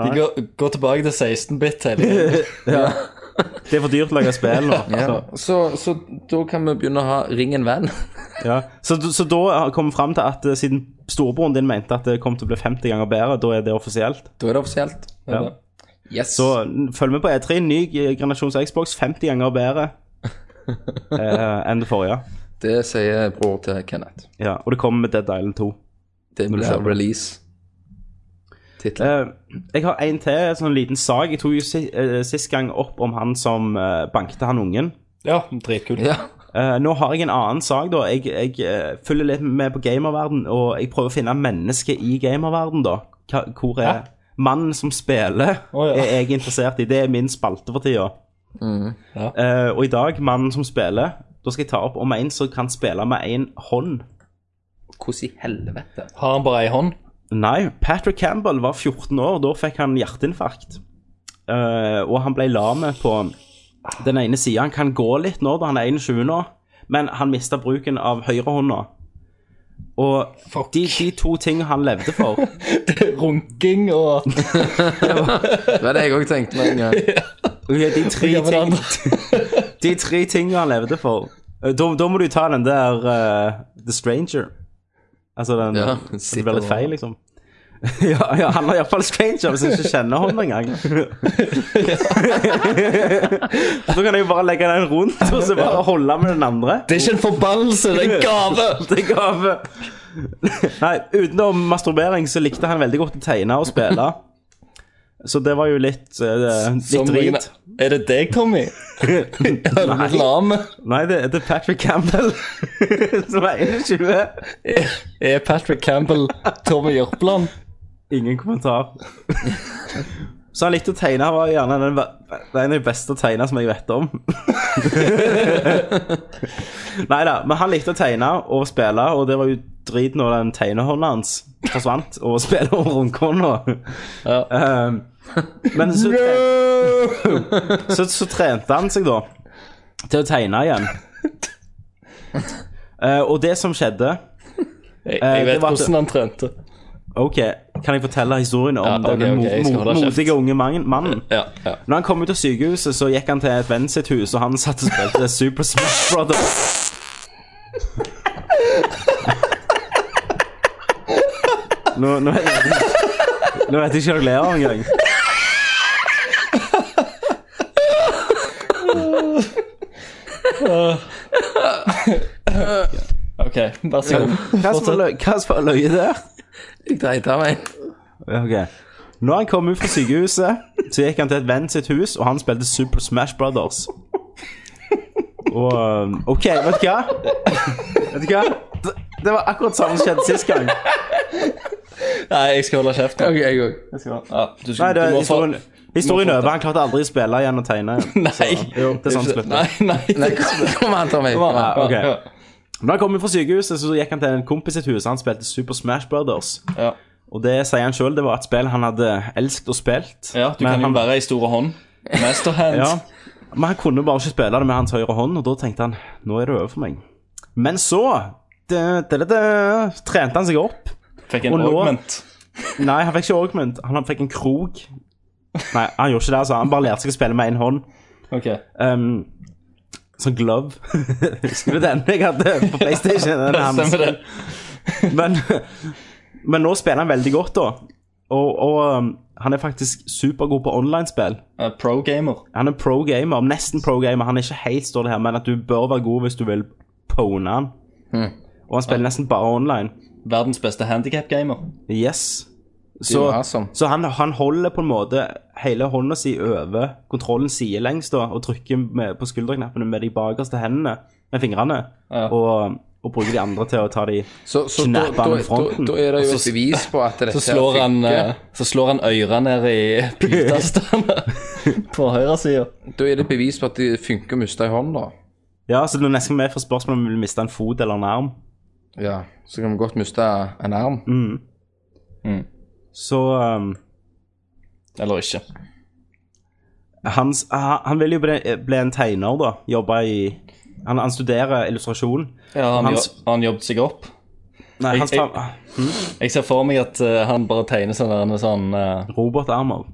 Speaker 8: De går, går tilbake til 16-bit hele tiden.
Speaker 6: Det er for dyrt å lage spill nå.
Speaker 7: Ja.
Speaker 6: Så,
Speaker 7: Så, så da kan vi begynne å ha Ring en venn.
Speaker 6: ja. så, så da kom vi fram til at eh, siden storebroren din mente at det kom til å bli 50 ganger bedre, da er det offisielt.
Speaker 7: Da er det offisielt.
Speaker 6: Ja.
Speaker 7: Yes.
Speaker 6: Så n- følg med på E3. Ny g- generasjons Xbox, 50 ganger bedre eh, enn det forrige.
Speaker 7: Det sier bror til Kenneth.
Speaker 6: Ja, og det kommer med Dead Island 2.
Speaker 7: Det
Speaker 6: Når du ser
Speaker 7: blir
Speaker 6: på.
Speaker 7: release. Tittel.
Speaker 6: Eh, jeg har en til en sånn liten sak. Jeg tok jo si, eh, sist gang opp om han som eh, bankte han ungen.
Speaker 8: Ja, dritkult.
Speaker 7: Ja.
Speaker 6: Eh, nå har jeg en annen sak, da. Jeg, jeg eh, følger litt med på gamerverden, og jeg prøver å finne mennesket i gamerverden, da. Hva, hvor er mannen som spiller,
Speaker 8: Å, ja.
Speaker 6: er jeg interessert i. Det er min spalte for tida.
Speaker 8: Ja.
Speaker 6: Eh, og i dag, mannen som spiller, da skal jeg ta opp om en som kan spille med én hånd.
Speaker 7: Hvordan i helvete?
Speaker 8: Har han bare ei hånd?
Speaker 6: Nei, Patrick Campbell var 14 år, da fikk han hjerteinfarkt. Eh, og han ble lame på den ene sida. Han kan gå litt nå, da han er 21 nå, men han mista bruken av høyrehånda. Og
Speaker 8: Fuck.
Speaker 6: de, de to tingene han levde for
Speaker 8: Runking og
Speaker 7: Det var det jeg òg tenkte meg en gang.
Speaker 6: Ja, De tre,
Speaker 8: Ja, men
Speaker 6: ting,
Speaker 8: han-
Speaker 6: de tre tingene han levde for. Eh, Da, da må du ta den der eh, The Stranger. Altså den
Speaker 7: Ja,
Speaker 6: Det blir litt feil, liksom. ja, ja, han er iallfall stranger hvis jeg ikke kjenner hånden engang. Så da kan jeg jo bare legge den rundt og så bare holde med den andre.
Speaker 8: Det er ikke en forbannelse, det er en gave!
Speaker 6: Det er gave. Nei, utenom masturbering så likte han veldig godt å tegne og spille. Så det var jo litt, eh,
Speaker 8: Som
Speaker 6: litt drit.
Speaker 8: regner- Er det deg, Tommy? Har du blitt lam?
Speaker 6: Nei, det, det er Patrick Campbell som er 21.
Speaker 8: Er Patrick Campbell Tommy Jørpeland?
Speaker 6: Ingen kommentar. Så han likte å tegne. Han var gjerne den, ve- den ene av de beste tegnerne som jeg vet om. Nei da, men han likte å tegne og spille, og det var jo drit når den tegnehånda hans forsvant, og spille over rundkånda.
Speaker 8: Ja.
Speaker 6: Um, men så, så, så trente han seg da til å tegne igjen. Eh, og det som skjedde
Speaker 8: Jeg,
Speaker 6: Eh,
Speaker 8: jeg
Speaker 6: det
Speaker 8: vet
Speaker 6: var-
Speaker 8: hvordan han trente.
Speaker 6: Ok, kan jeg fortelle historien om
Speaker 8: Ja, ok,
Speaker 6: denne
Speaker 8: ok, jeg skal
Speaker 6: mo-
Speaker 8: holde
Speaker 6: mo-
Speaker 8: kjeft.
Speaker 6: modige unge man- mannen?
Speaker 8: Ja, ja.
Speaker 6: Når han kom ut av sykehuset, så gikk han til et venn sitt hus, og han satt og spilte Super Smash Brothers. Nå, nå, vet jeg, nå vet jeg ikke hva jeg ler av engang.
Speaker 8: OK, vær så god.
Speaker 6: Hva som var lø- hva som var løye der?
Speaker 7: Jeg dreit av meg.
Speaker 6: Ok. Når han kom ut fra sykehuset, så gikk han til et venn sitt hus, og han spilte Super Smash Brothers. Og um, OK, vet du hva? Vet du hva? Det- Det var akkurat samme som skjedde sist gang. Nei,
Speaker 8: Nei, jeg skal holde kjeft. nå.
Speaker 7: Ok, jeg òg.
Speaker 8: Ja, du, skal,
Speaker 6: det
Speaker 8: du,
Speaker 6: var
Speaker 8: må for,
Speaker 6: historien, Historien
Speaker 7: Må
Speaker 6: er
Speaker 7: få
Speaker 6: over. Han klarte aldri å spille igjen og tegne igjen.
Speaker 8: Nei.
Speaker 6: Jo, det er sånn det slutter.
Speaker 8: Nei, nei.
Speaker 7: Nei, kom an til meg.
Speaker 6: Ja, ok.
Speaker 8: Ja.
Speaker 6: Men han kom jo fra sykehuset, så gikk han til en kompis sitt hus. Han spilte Super Smash Brothers.
Speaker 8: Ja.
Speaker 6: Og det sier han sjøl, det var et spill han hadde elsket og spilt.
Speaker 8: Ja, du
Speaker 6: men
Speaker 8: kan jo
Speaker 6: han,
Speaker 8: være i store hånd. Masterhand.
Speaker 6: ja, Men han kunne bare ikke spille det med hans høyre hånd, og da tenkte han nå er det over for meg. Men så da, da, da, da, trente han seg opp.
Speaker 8: Fikk en
Speaker 6: Og nå-
Speaker 8: augment.
Speaker 6: Nei, han fikk ikke augment. Han fikk en krok. Nei, han gjorde ikke det, altså. Han bare lærte seg å spille med én hånd.
Speaker 8: Ok.
Speaker 6: Um, sånn glove. Husker du den jeg hadde på PlayStation? Den hans.
Speaker 8: Stemmer det.
Speaker 6: Men, men nå spiller han veldig godt, da. Og, og um, han er faktisk supergod på online-spill.
Speaker 8: Eh, Pro gamer.
Speaker 6: Han er pro gamer, nesten pro gamer. Han er ikke helt står det her, men at du bør være god hvis du vil pone han. Og han spiller nesten bare online.
Speaker 8: Verdens beste handicap-gamer.
Speaker 6: Yes.
Speaker 7: Så,
Speaker 6: Så, så han, han holder på en måte hele hånda si over kontrollen sidelengs da, og trykker med, på skulderknappene med de bakerste hendene, med fingrene,
Speaker 8: Ja.
Speaker 6: og, og bruker de andre til å ta de
Speaker 7: så, så da,
Speaker 6: knapper
Speaker 7: da,
Speaker 6: han i
Speaker 7: da,
Speaker 6: fronten.
Speaker 7: da er det jo
Speaker 8: Og
Speaker 7: et
Speaker 8: så-
Speaker 7: bevis på at dette
Speaker 8: Så slår
Speaker 7: her
Speaker 8: han,
Speaker 7: funker.
Speaker 8: eh, så slår han øra ned i pytastene på høyresida.
Speaker 7: Da er det bevis på at det funker å miste ei hånd, da.
Speaker 6: Ja, så det er nesten mer for spørsmål om vi vil miste en fot eller en arm.
Speaker 7: Ja, så kan vi godt miste en arm.
Speaker 6: Mm. Så um,
Speaker 8: Eller ikke.
Speaker 6: hans, ha- han vil jo bli, bli en tegner, da. Jobbe i Han, han studerer illustrasjon.
Speaker 8: Ja, han,
Speaker 6: Hans-
Speaker 8: jo, har han jobbet seg opp.
Speaker 6: Nei,
Speaker 8: Jeg-
Speaker 6: hans
Speaker 8: jeg-
Speaker 6: fa-
Speaker 8: Jeg ser for meg at eh, han bare tegner sånne, der- sånn eh,
Speaker 6: robotarmer.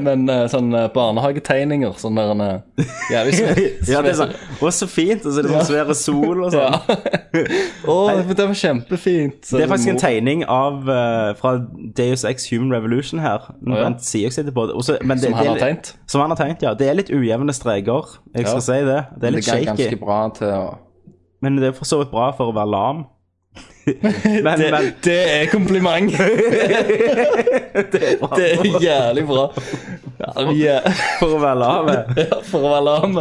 Speaker 8: Men eh, sånn eh, barnehagetegninger. Sånn der en eh, jævlig svært.
Speaker 6: Ja, det er sånn. Å, så fint! Og så er det sånn svære sol og sånn.
Speaker 8: Ja. Å, det var kjempefint. Så
Speaker 6: Det er faktisk en
Speaker 8: mor-
Speaker 6: tegning av eh, fra Deus Ex Human Revolution her. Nå
Speaker 8: Å, ja.
Speaker 6: vent, sier jeg sitter på det. Også, men det
Speaker 8: Som
Speaker 6: det
Speaker 8: han
Speaker 6: er
Speaker 8: har
Speaker 6: litt-
Speaker 8: tegnet.
Speaker 6: Som han har tegnet, ja. Det er litt ujevne streker. Jeg skal si det. Det er
Speaker 7: Det
Speaker 6: litt
Speaker 7: går
Speaker 6: shaky.
Speaker 7: ganske bra til å
Speaker 6: Men det er for så vidt bra for å være lam. men,
Speaker 8: Det,
Speaker 6: men
Speaker 8: det er kompliment. det er jævlig bra. Ja, vi er-
Speaker 6: for å være lam
Speaker 8: ja, for å være lam.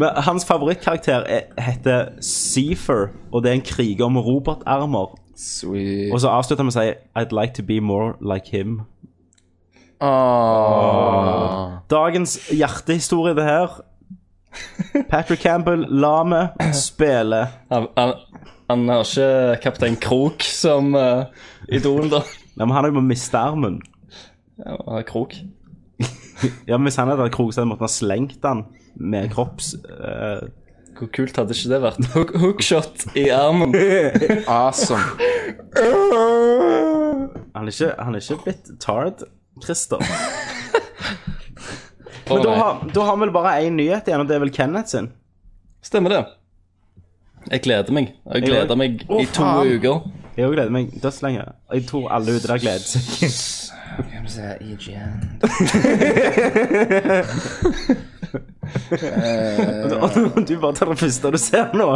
Speaker 6: Men hans favorittkarakter er, heter Seafer, og det er en kriger med robotarmer.
Speaker 7: Sweet.
Speaker 6: Og så avslutter han med å si I'd like to be more like him.
Speaker 7: Åh.
Speaker 6: Dagens hjertehistorie, det her. Patrick Campbell, lame, spiller
Speaker 8: Han, han, han har ikke Kaptein Krok som eh, idol, da.
Speaker 6: Ja, men han har jo bare mistet armen.
Speaker 8: Ja, han har Krok.
Speaker 6: Ja, men Hvis han hadde hatt krok, så hadde han måttet ha slengt den med kropps... eh,
Speaker 8: Hvor kult hadde ikke det vært? Hook, hookshot i armen.
Speaker 7: Awesome.
Speaker 6: han, er ikke, han er ikke blitt tard, Christer.
Speaker 7: Å,
Speaker 6: Men da
Speaker 7: nei.
Speaker 6: har, da har vi vel bare én nyhet igjen, og det er vel Kenneth sin.
Speaker 8: Stemmer det. Jeg gleder meg. Jeg gleder meg i to uker.
Speaker 6: Jeg gleder meg dødslenge. Jeg tror alle ute der gleder seg.
Speaker 7: Skal vi se, IGN.
Speaker 6: Og Altså, Du bare tar det første du ser nå.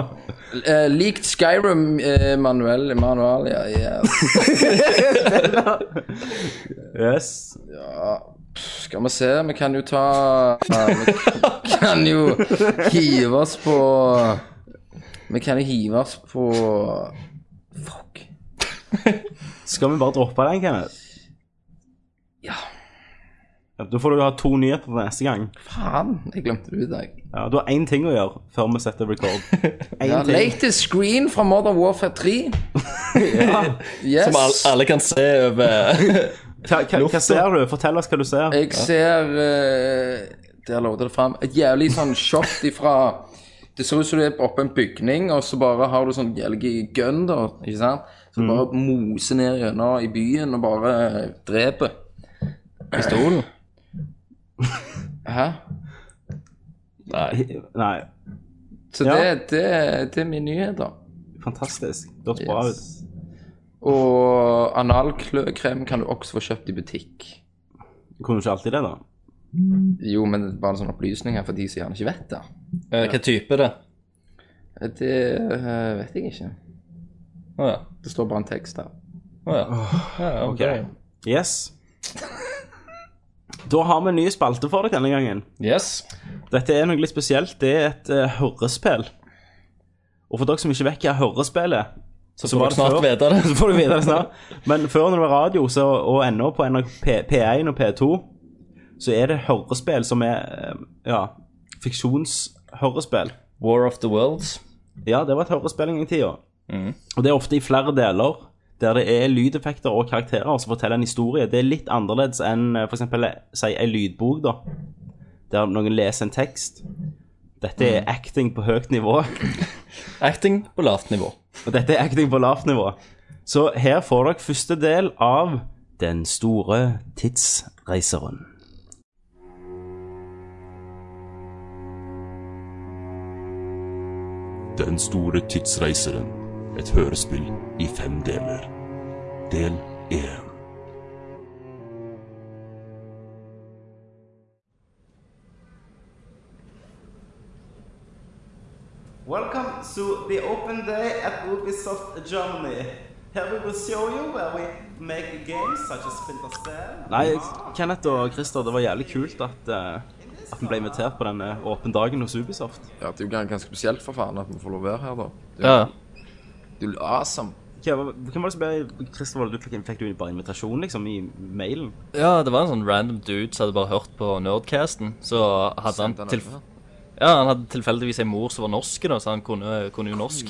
Speaker 7: Eh, Leaked Skyrim eh, manuell manual, ja, yes.
Speaker 6: Yes.
Speaker 7: Skal vi se, vi kan jo ta eh, Vi kan jo hive oss på Vi kan jo hive oss på Fuck.
Speaker 6: Skal vi bare droppe den, Kenneth?
Speaker 7: Ja.
Speaker 6: Ja, Da får du ha to nyheter til neste gang.
Speaker 7: Faen, jeg glemte det ut, jeg.
Speaker 6: Ja, Du har én ting å gjøre før vi setter record. Én
Speaker 7: Ja,
Speaker 6: ting.
Speaker 7: latest screen fra Modern Warfare 3. Yes.
Speaker 8: Som alle, alle kan se over
Speaker 6: Hva, hva, hva ser du? Fortell oss hva du ser.
Speaker 7: Jeg ser eh, Der lå det fram. Et jævlig sånn shot ifra Det ser ut som du er oppe en bygning, og så bare har du sånn jævlig gun, da. Ikke sant? Så du
Speaker 8: Mm.
Speaker 7: bare moser ned gjennom i byen og bare eh, dreper.
Speaker 8: pistolen.
Speaker 7: Hæ?
Speaker 8: Nei.
Speaker 6: Nei,
Speaker 7: Så
Speaker 6: Ja.
Speaker 7: det, det, det er min nyhet, da.
Speaker 6: fantastisk. Det hørtes bra ut.
Speaker 7: Yes. Og analkløkrem kan du også få kjøpt i butikk.
Speaker 6: Du kunne ikke alltid det, da.
Speaker 7: Jo, men bare en sånn opplysning her for de som gjerne ikke vet det.
Speaker 8: Eh, Hva type er det?
Speaker 7: Det eh, vet jeg ikke.
Speaker 8: Å ja.
Speaker 7: Det står bare en tekst her.
Speaker 8: Å ja. ja ok.
Speaker 6: Yes. Da har vi en ny spalte for deg denne gangen.
Speaker 8: Yes.
Speaker 6: Dette er noe litt spesielt. Det er et eh, hørespill. Og for dere som ikke vet hva hørespill er,
Speaker 8: Så,
Speaker 6: Så
Speaker 8: får du
Speaker 6: var det
Speaker 8: snart
Speaker 6: før.
Speaker 8: vite det.
Speaker 6: Så får du vite det snart. Men før når det var radio, så, og ennå på NRK P- P1 og P2, så er det hørespill som er eh, Ja, fiksjonshørespill.
Speaker 8: War of the Worlds.
Speaker 6: Ja, det var et hørespill en gang i tida. Og det er ofte i flere deler. Der det er lydeffekter og karakterer som forteller en historie. Det er litt annerledes enn eh, for eksempel si, ei lydbok, da. Der noen leser en tekst. Dette er acting på høyt nivå.
Speaker 8: Acting på lavt nivå.
Speaker 6: Og dette er acting på lavt nivå. Så her får dere første del av Den store tidsreiseren.
Speaker 11: Den store tidsreiseren. Et hørespill i fem deler. Del én.
Speaker 6: Welcome to the open day at Ubisoft Germany. Here we will show you where we make games such as Splinter Cell. Nei, Kenneth og Christer, det var jævlig kult at eh, at vi ble invitert på denne åpen dagen hos Ubisoft.
Speaker 7: Ja, det er jo ganske spesielt for faen at vi får lov å være her, da. Det,
Speaker 8: Ja.
Speaker 7: det er jo awesome.
Speaker 6: Hva hva- hvem var det som ble Christer, var det du fikk, fikk du bare invitasjon, liksom, i mailen?
Speaker 8: ja, det var en sånn random dude som hadde bare hørt på Nerdcasten. Så hadde han,
Speaker 7: Sendte han
Speaker 8: tilf
Speaker 7: over.
Speaker 8: ja, han hadde tilfeldigvis ei mor som var norsk, da, så han kunne, kunne jo norsk.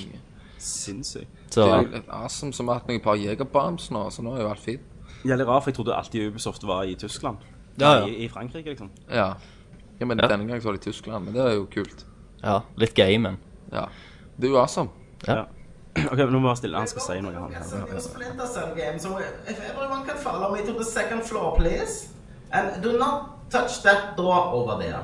Speaker 6: Sinnssykt.
Speaker 8: Så
Speaker 7: Det er jo litt awesome som har hatt noen par jegerbombs nå, så nå er jo alt fint.
Speaker 6: Jævlig rart, for jeg trodde alltid Ubisoft var i Tyskland.
Speaker 8: Ja, ja.
Speaker 6: I, I Frankrike, liksom.
Speaker 7: Ja. ja men
Speaker 8: Ja.
Speaker 7: denne gangen så var det i Tyskland, men det er jo kult.
Speaker 8: ja, litt gay, men.
Speaker 7: Ja. Det er jo awesome.
Speaker 6: Ok, nå må jeg være stille. Han skal si noe, han her.
Speaker 12: Splinter Cell game, so if everyone can follow me to the second floor, please. And do not touch that door over there.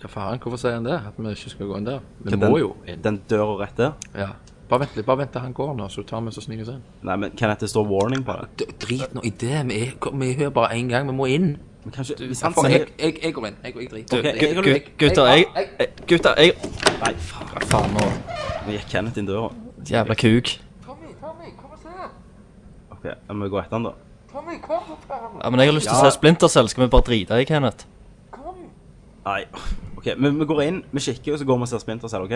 Speaker 7: Hva faen, hvorfor sier han det? At vi ikke skal gå inn der? Vi
Speaker 6: Hva,
Speaker 7: må
Speaker 6: den-
Speaker 7: jo inn.
Speaker 6: Den døra rett der.
Speaker 7: Ja. Bare vent litt, bare vent til han går nå, så du tar med så sniker oss inn.
Speaker 6: Nei, men Kenneth, det står warning på det.
Speaker 7: D- Drit nå i det, vi er, kom- vi er her bare én gang, vi må inn.
Speaker 6: Men kanskje, hvis han
Speaker 7: Jeg, jeg,
Speaker 6: sier
Speaker 7: jeg, jeg går inn. Jeg, jeg driter.
Speaker 8: Du,
Speaker 6: Ok,
Speaker 7: Jeg-
Speaker 8: gu-
Speaker 7: jeg-
Speaker 8: gu-
Speaker 7: jeg-
Speaker 8: gutter, jeg,
Speaker 7: jeg-
Speaker 8: jeg Gutter, jeg
Speaker 6: Nei, faen.
Speaker 8: Faen nå.
Speaker 6: Nå gikk Kenneth inn døra.
Speaker 8: Jævla kuk.
Speaker 7: Tommy, Tommy, kom og se!
Speaker 6: Ok, jeg må gå etter han, da.
Speaker 7: Tommy, kom og ta
Speaker 8: Ja, men jeg har lyst til å se Splintercell. Skal vi bare drite i Kenneth?
Speaker 7: Kom!
Speaker 6: Nei. Ok, men vi går inn, vi kikker, og så går vi og ser Splinter Cell, OK?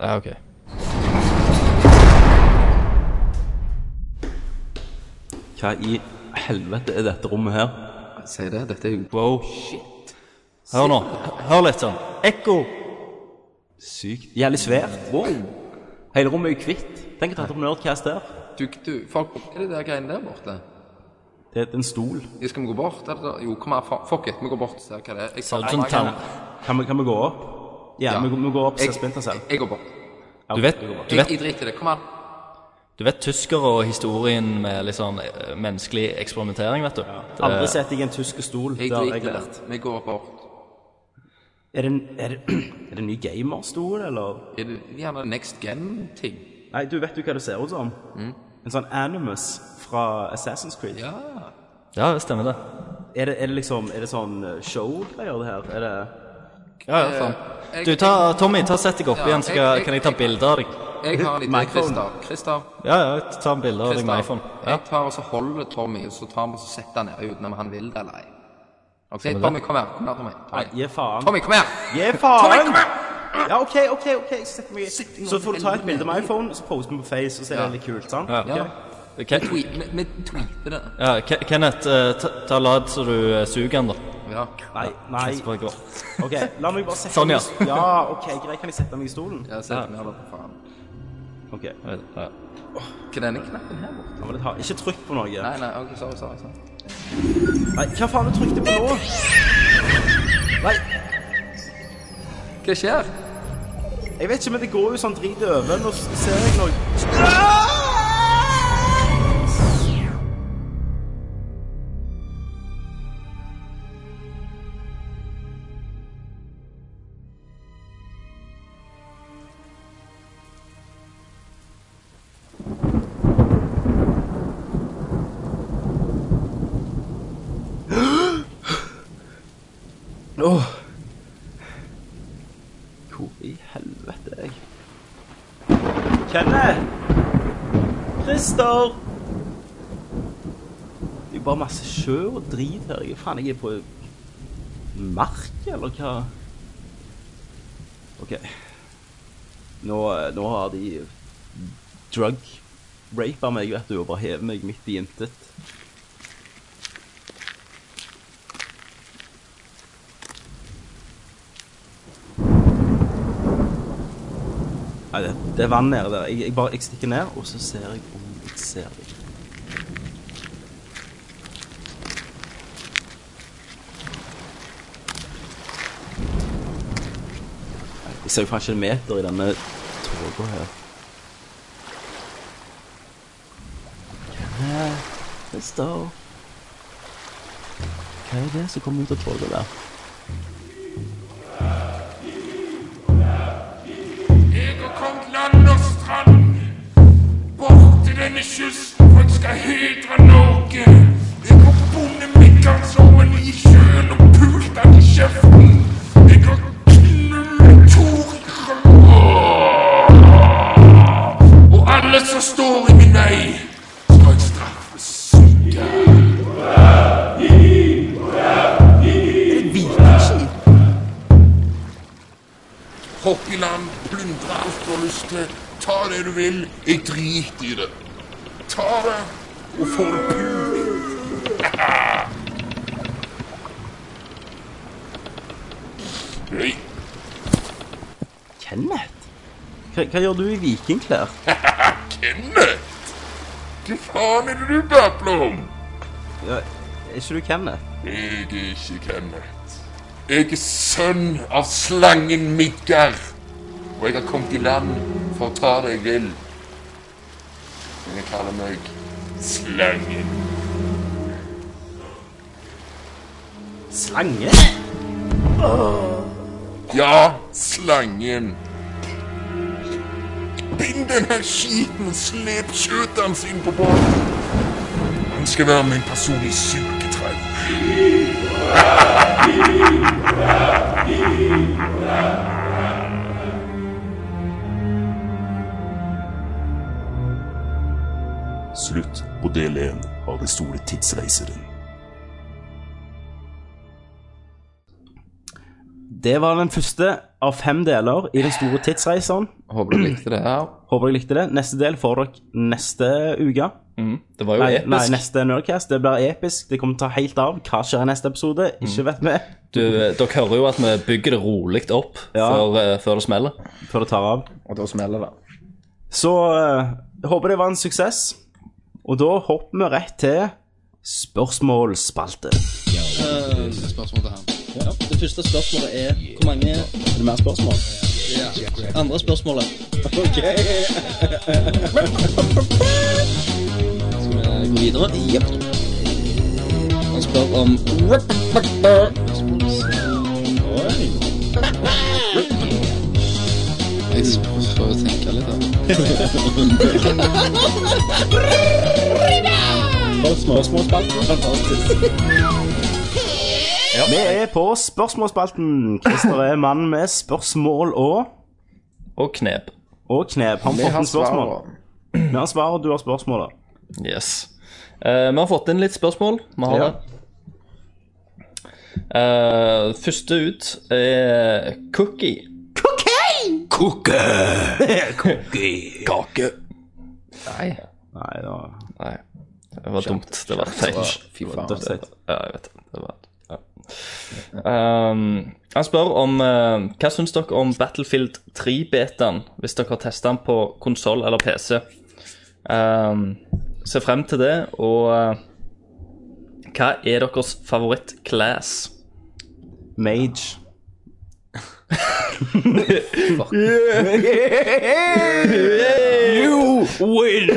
Speaker 8: Ja, OK.
Speaker 6: Hva i helvete er dette rommet her?
Speaker 7: Si det, dette er jo
Speaker 8: Wow. Hør nå. Hør litt sånn. Ekko.
Speaker 6: Sykt. Jævlig svært. Wow. Hele rommet er jo hvitt. Tenk å ta et nerdcast der.
Speaker 7: Du, du, folk Er det der greiene der borte?
Speaker 6: Det er en stol.
Speaker 7: Ja, Skal vi gå bort? Eller? Jo, kom her, fa- fuck it, vi går bort og ser hva det er. Jeg,
Speaker 8: Sergeant
Speaker 7: jeg-
Speaker 8: Tann.
Speaker 6: Kan vi, kan vi gå opp? Ja,
Speaker 7: Ja.
Speaker 6: Vi, går- vi går opp og ser
Speaker 7: Jeg-
Speaker 6: Splinter Cell.
Speaker 7: Jeg går bort.
Speaker 8: Du vet, du
Speaker 7: Jeg,
Speaker 8: vet,
Speaker 7: jeg driter i det. Kom her.
Speaker 8: du vet tyskere og historien med litt sånn eh, menneskelig eksperimentering, vet du. Det-
Speaker 6: Aldri sett deg i en tysk stol.
Speaker 7: Eh, Jeg
Speaker 6: Det har
Speaker 7: driter
Speaker 6: jeg
Speaker 7: i
Speaker 6: lært.
Speaker 7: det. Vi går bort.
Speaker 6: Er det, en- er det, er det en ny gamerstol, eller?
Speaker 7: Er det gjerne next gen-ting?
Speaker 6: Nei, du vet jo hva det ser ut som. En sånn Animus fra Assassin's Creed.
Speaker 7: Mm. Ja.
Speaker 8: Ja, det stemmer det.
Speaker 6: Er, det, er det liksom Er det sånn eh, show-greier, det her? Er det
Speaker 8: Ja, ja,
Speaker 7: Eh,
Speaker 8: faen. Du, ta, Tommy, ta sett deg opp
Speaker 7: Ja,
Speaker 8: igjen, så skal,
Speaker 7: jeg-
Speaker 8: kan jeg ta
Speaker 7: jeg-
Speaker 8: bilde av deg.
Speaker 7: Jeg har en idé,
Speaker 6: Microphone.
Speaker 7: Christer. Christer.
Speaker 8: Ja, ja, ta en bilde av deg med
Speaker 7: Christer.
Speaker 8: iPhone. Ja.
Speaker 7: Jeg tar og så holder Tommy, og så tar vi og så setter han ned uten om han vil det eller ei. Ok,
Speaker 8: det.
Speaker 7: Tommy, kom her. Kom her, Tommy. Tommy.
Speaker 6: Nei, gi faen.
Speaker 7: Tommy, kom her!
Speaker 6: Gi
Speaker 7: Tommy,
Speaker 6: faen!
Speaker 7: kom her!
Speaker 6: Ja, OK, OK, ok, sett meg i. Så får du ta et bilde med iPhone, så poster vi på Face, og så er
Speaker 7: Ja.
Speaker 6: det litt kult, sant?
Speaker 8: Ja.
Speaker 7: Ja.
Speaker 8: Ke-
Speaker 7: Tweet, vi, vi tweeter det.
Speaker 8: ja, Ke- Kenneth, eh, ta, ta lad så du eh, suger den, da.
Speaker 7: Ja.
Speaker 6: Nei, nei.
Speaker 8: Så bare gå.
Speaker 6: OK, la meg bare sette
Speaker 8: Sånn, ja.
Speaker 6: meg i- Ja, OK, greit. Kan jeg sette meg i stolen?
Speaker 7: Ja, sett ned da, for faen.
Speaker 6: OK.
Speaker 8: Ja.
Speaker 7: Hva er denne knappen her borte?
Speaker 6: Da må det ta. Ikke trykk på noe.
Speaker 7: Nei, nei, ok, sorry, sorry. sorry.
Speaker 6: Nei, hva faen du trykte på nå? Nei,
Speaker 7: Hva skjer?
Speaker 6: jeg vet ikke, men det går jo sånn drit over. Nå ser jeg noe. Åh. Hvor i helvete er jeg? Kenneth! Christer! Det er jo bare masse sjø og drit her. Jeg, faen, jeg er på mark, eller hva? eh, Ok. Nå, nå har de drug raper meg, vet du, og bare hever meg midt i intet. Nei, det, det er vann nede der. Jeg, jeg bare jeg stikker ned, og så ser jeg om jeg ser dem. Nei, Jeg ser jo faen ikke en meter i denne tåka her. Her, det står Hva er det som kommer ut av tåka der?
Speaker 13: Jeg er kommet land og strand, bort til denne kysten, for jeg skal hedre Norge. Jeg har bundet middagsåren i sjøen og pult den i kjeften. Jeg har knullet Torgrim. Og alle som står i min vei, skal jeg straffes. Hopp i land, plundre alt du har lyst til. Ta det du vil. Jeg driter i det. Ta det, og få det pult. Hei.
Speaker 6: Kenneth? Hva, hva gjør du i vikingklær?
Speaker 13: Kenneth! Hva faen er det du babler om?
Speaker 6: Ja, er ikke du Kenneth?
Speaker 13: Jeg er ikke Kenneth. Jeg er sønn av slangen Midgar. Og jeg har kommet i land for å ta det jeg vil. Men jeg kaller meg Slangen.
Speaker 6: Slange?
Speaker 13: Ja, slangen. Bind denne skiten og slep kjøttet hans inn på båten. Han skal være min personlige sugetreff.
Speaker 11: Slutt på del 1 av Den store tidsreiseren.
Speaker 6: Det var den første av fem deler i Den store tidsreiseren.
Speaker 7: Håper dere likte det. her.
Speaker 6: Håper dere likte det. Neste del får dere neste uke.
Speaker 8: det var jo
Speaker 6: nei,
Speaker 8: episk.
Speaker 6: Nei, neste Nerdcast. Det blir episk. Det kommer til å ta helt av. Hva skjer i neste episode? Ikke vet vi.
Speaker 8: Du, eh, dere hører jo at vi bygger det rolig opp før, eh, før det smeller.
Speaker 6: Før det tar av.
Speaker 7: Og da smeller det.
Speaker 6: Så eh, håper det var en suksess. Og da hopper vi rett til spørsmålsspalte.
Speaker 14: Ja. Det første spørsmålet er hvor mange
Speaker 6: Er det mer spørsmål?
Speaker 14: Andre spørsmålet.
Speaker 6: Ok.
Speaker 14: Skal vi gå videre? Jepp. Han spør om Jeg får jo tenke litt,
Speaker 6: Vi er på spørsmålsspalten. Christer er mann med spørsmål og
Speaker 8: Og knep.
Speaker 6: Og knep. Han
Speaker 8: Vi
Speaker 6: har
Speaker 8: har
Speaker 6: fått spørsmål. Vi har svaret, du har spørsmålet.
Speaker 8: Yes. Eh, vi har fått inn litt spørsmål. Vi har
Speaker 6: Ja.
Speaker 8: det. Eh, første ut er Cookie. Cookie! Cookie. Kake. Nei.
Speaker 6: Nei, det var
Speaker 8: Det var dumt. Det var
Speaker 7: Skjønt.
Speaker 8: feil.
Speaker 7: Fy faen, det var dødsfeit.
Speaker 8: Ja, jeg vet det. det var, ja. Ehm, han spør om eh, Hva syns dere om Battlefield 3-betaen, hvis dere har testa den på konsoll eller PC? Ehm, ser frem til det, og eh, hva er deres favoritt-class?
Speaker 6: Mage. You win!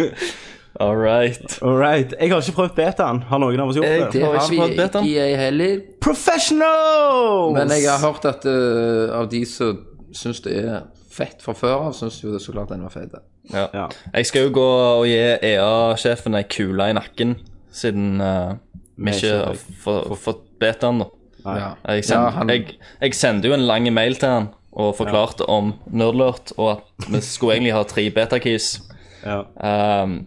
Speaker 8: All right.
Speaker 6: Jeg har ikke prøvd betaen. Har noen av oss gjort det?
Speaker 7: Det har vi ikke i ei heller.
Speaker 6: Professionals!
Speaker 7: Men jeg har hørt at eh, av de som syns det er fett fra før av, syns jo det så klart den var feit.
Speaker 8: Ja. Jeg skal jo gå og gi EA-sjefen ei kule i nakken, siden eh, vi
Speaker 7: Vi
Speaker 8: ikke
Speaker 7: ikke-
Speaker 8: har få- fått betaen nå.
Speaker 7: Ja.
Speaker 8: Jeg, send,
Speaker 7: Ja, han-
Speaker 8: jeg, jeg sendte jo en lang mail til han og forklarte om Nerdlurt, og at vi skulle egentlig ha tre betakeys. Um,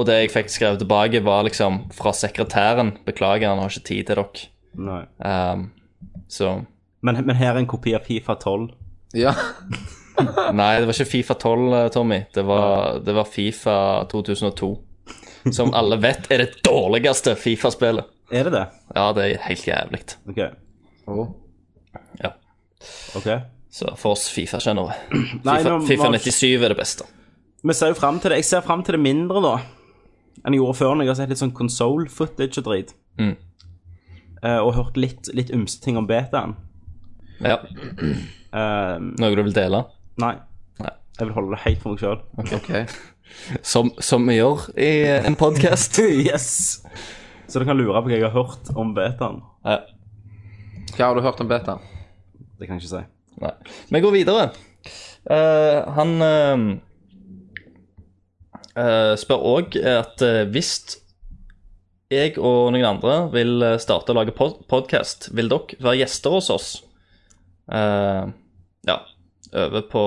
Speaker 8: og det jeg fikk skrevet tilbake, var liksom fra sekretæren Beklager, han har ikke tid til dere.
Speaker 6: Nei.
Speaker 8: Um, så
Speaker 6: Men, men her er en kopi av Fifa 12.
Speaker 7: Ja.
Speaker 8: Nei, det var ikke Fifa 12, Tommy. Det var, det var Fifa 2002. Som alle vet er det dårligste Fifa-spillet.
Speaker 6: Er det det?
Speaker 8: Ja, det er helt jævlig.
Speaker 6: Ok.
Speaker 8: Oh. Ja.
Speaker 6: Ok.
Speaker 8: Så for oss Fifa-kjennere.
Speaker 6: Nei,
Speaker 8: FIFA,
Speaker 6: nå
Speaker 8: FIFA
Speaker 6: var-
Speaker 8: 97 er det beste.
Speaker 6: Vi ser jo frem til det. Jeg ser frem til det mindre, da, enn jeg gjorde før, når jeg har sett litt sånn console-footage og drit.
Speaker 8: Mm.
Speaker 6: Eh, og hørt litt, litt ymse ting om betaen.
Speaker 8: Ja. Noe du vil dele?
Speaker 6: Nei. Jeg vil holde det helt for meg sjøl.
Speaker 8: Som, som vi gjør i en podkast.
Speaker 6: yes. Så du kan lure på hva jeg har hørt om betaen.
Speaker 7: Hva har du hørt om beta?
Speaker 6: Det kan jeg ikke si.
Speaker 8: Nei. Vi går videre. Eh, han eh, eh, spør òg at eh, hvis jeg og noen andre vil eh, starte å lage pod podkast, vil dere være gjester hos oss? Eh, ja. Øve på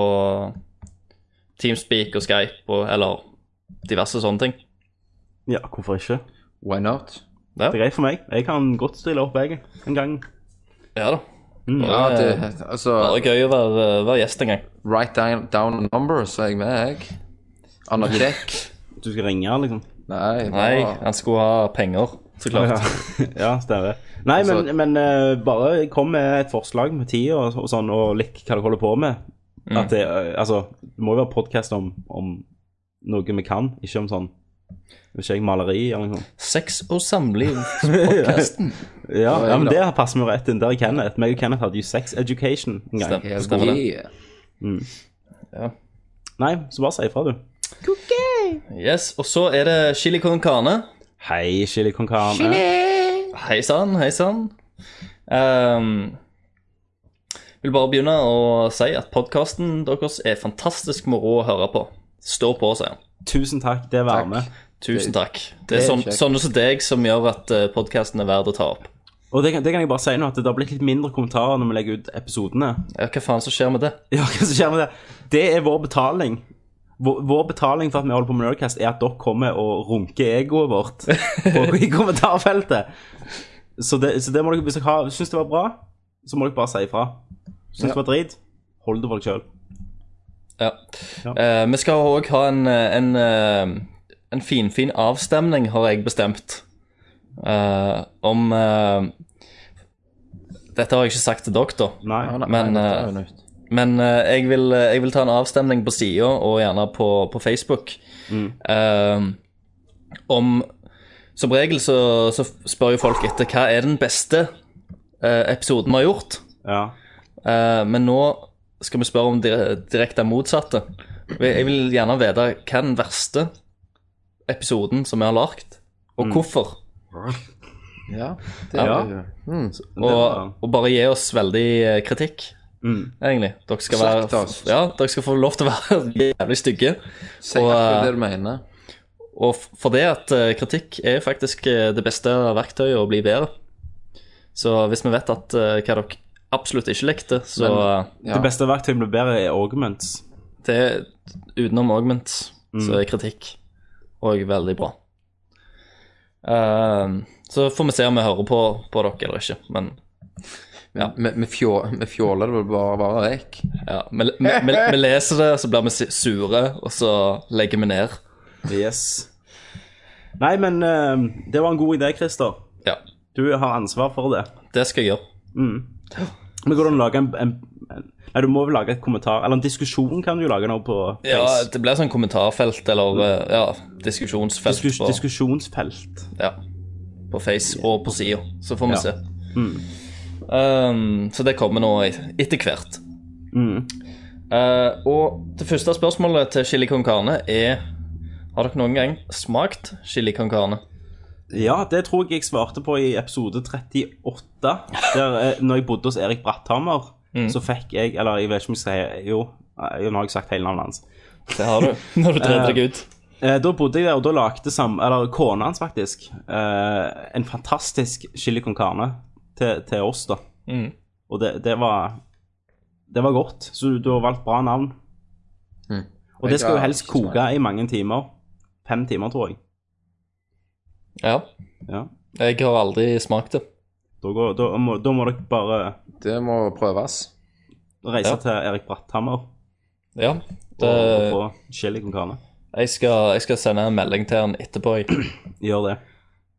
Speaker 8: Teamspeak og Skype og, eller diverse sånne ting.
Speaker 6: Ja, hvorfor ikke?
Speaker 7: Why not?
Speaker 6: Det er greit for meg. Jeg kan godt stille opp, jeg, en gang.
Speaker 8: Ja da.
Speaker 6: Mm.
Speaker 7: Ja, det, altså,
Speaker 8: Bare gøy å være, være gjest en gang.
Speaker 7: Write down, down a number, så er jeg med, jeg. Anarkekk.
Speaker 6: Du skal ringe, liksom?
Speaker 7: Nei.
Speaker 8: Nei,
Speaker 7: bare-
Speaker 8: han skulle ha penger, så klart.
Speaker 6: Ja, ja stemmer. Nei, men, men eh, bare kom med et forslag med tida og, og sånn, og litt hva du holder på med.
Speaker 8: Mm.
Speaker 6: At det, eh, altså, det må jo være podkast om, om noe vi kan, ikke om sånn Hvis ikke jeg maleri eller noe sånt.
Speaker 8: Sex og samliv-podkasten.
Speaker 6: Ja,
Speaker 8: Ja,
Speaker 6: ja, men
Speaker 8: ja.
Speaker 6: det passer meg rett inn der i Kenneth. Meg og Kenneth hadde jo sex education en gang.
Speaker 8: Stem- stemmer det.
Speaker 6: Mm.
Speaker 8: Ja.
Speaker 6: Nei, så bare si ifra, du.
Speaker 8: Yes, og så er det chili con carne.
Speaker 6: Hei, chili con carne.
Speaker 8: Hei sann, hei sann. Ehm, vil bare begynne å si at podkasten deres er fantastisk moro å høre på. Stå på, sier han.
Speaker 6: Eh, Tusen takk, det var med.
Speaker 8: Tusen takk. Det
Speaker 6: det
Speaker 8: er
Speaker 6: er
Speaker 8: sånn,
Speaker 6: kjekt.
Speaker 8: sånne som deg som gjør at podkasten er verd å ta opp.
Speaker 6: Og det kan, det kan jeg bare si nå, at det har blitt litt mindre kommentarer når vi legger ut episodene.
Speaker 8: Ja, hva faen som skjer med det?
Speaker 6: Ja, hva som skjer med det? Det er vår betaling. Vår, vår betaling for at vi holder på med Nerdcast, er at dere kommer og runker egoet vårt på, i kommentarfeltet. Så det, så det må dere, hvis dere har- syns det var bra, så må dere bare si ifra. Syns det var drit, hold det for dere sjøl.
Speaker 8: Ja. Eh, vi skal òg ha en, eh, en, eh, en finfin avstemning, har jeg bestemt. Eh, om eh, Dette har jeg ikke sagt til dere, da. men
Speaker 7: dette er
Speaker 8: eh,
Speaker 7: jo nytt.
Speaker 8: men eh, jeg, vil, jeg vil ta en avstemning på sida, og gjerne på, på Facebook.
Speaker 7: Mm.
Speaker 8: Eh, om Som regel så, så spør jo folk etter hva er den beste eh, episoden vi har gjort. Eh, men nå skal vi spørre om dire- direkte motsatte. Jeg vil gjerne vite hva er den verste episoden som vi har lagd, og hvorfor.
Speaker 7: Ja, det
Speaker 8: Ja.
Speaker 7: er jo mm.
Speaker 8: Og, og bare gi oss veldig eh, kritikk,
Speaker 6: Mm.
Speaker 8: egentlig. Dere skal,
Speaker 7: Sagt
Speaker 8: være,
Speaker 7: oss.
Speaker 8: ja, dere skal få lov til å være jævlig stygge. eh,
Speaker 7: Si akkurat det du mener.
Speaker 8: Og f- for det at eh, kritikk er faktisk eh, det beste verktøyet å bli bedre. Så hvis vi vet at eh, hva dere absolutt ikke likte, så eh,
Speaker 6: Det beste verktøyet blir bedre, er arguments.
Speaker 8: det er utenom augments,
Speaker 6: Mm.
Speaker 8: så er kritikk òg veldig bra. Ehm, så får vi se om vi hører på, på dere eller ikke, men ja.
Speaker 7: Vi fjå- vi fjåler det vel bare bare vekk.
Speaker 8: Ja, vi, vi, vi, vi leser det, så blir vi si- sure, og så legger vi ned.
Speaker 6: Yes. Nei, men eh, det var en god idé, Christer.
Speaker 8: Ja.
Speaker 6: Du har ansvar for det.
Speaker 8: Det skal jeg gjøre.
Speaker 6: Mm. Men går det an å lage en, en, en Nei, du må vel lage et kommentar Eller en diskusjon kan du jo lage nå på Face.
Speaker 8: Ja, det blir sånn kommentarfelt eller eh, ja, diskusjonsfelt
Speaker 6: Mm. Diskus,
Speaker 8: på,
Speaker 6: diskusjonsfelt.
Speaker 8: ja, på Face og på sida. Så får vi
Speaker 6: Ja.
Speaker 8: se.
Speaker 6: Mm.
Speaker 8: Ehm, så det kommer nå et- etter hvert.
Speaker 6: Mm.
Speaker 8: Eh, og det første spørsmålet til chili con carne er Har dere noen gang smakt chili con carne?
Speaker 6: Ja, det tror jeg jeg svarte på i episode 38. Der, eh, når jeg bodde hos Erik Bratthammer,
Speaker 8: Mm.
Speaker 6: så fikk jeg Eller jeg vet ikke om jeg skal si Jo, eh, nå har jeg sagt hele navnet hans.
Speaker 8: Det har du, når du drev deg ut.
Speaker 6: Eh, Da bodde jeg der, og da lagde sam, eller kona hans faktisk eh, en fantastisk chili con carne til, til oss, da.
Speaker 8: Mm.
Speaker 6: Og det, det var Det var godt. Så du, du har valgt bra navn.
Speaker 8: Mm.
Speaker 6: Og det skal jo helst koke i mange timer. Fem timer, tror jeg.
Speaker 8: Ja.
Speaker 6: Ja.
Speaker 8: Jeg har aldri smakt det.
Speaker 6: Da, går, da, må, da må dere bare
Speaker 7: Det må prøves.
Speaker 6: reise
Speaker 8: Ja.
Speaker 6: til Erik Bratthammer.
Speaker 8: Ja. Det,
Speaker 6: Og- og få chili con carne.
Speaker 8: jeg, skal, jeg skal sende en melding til han etterpå. Jeg.
Speaker 6: Gjør det.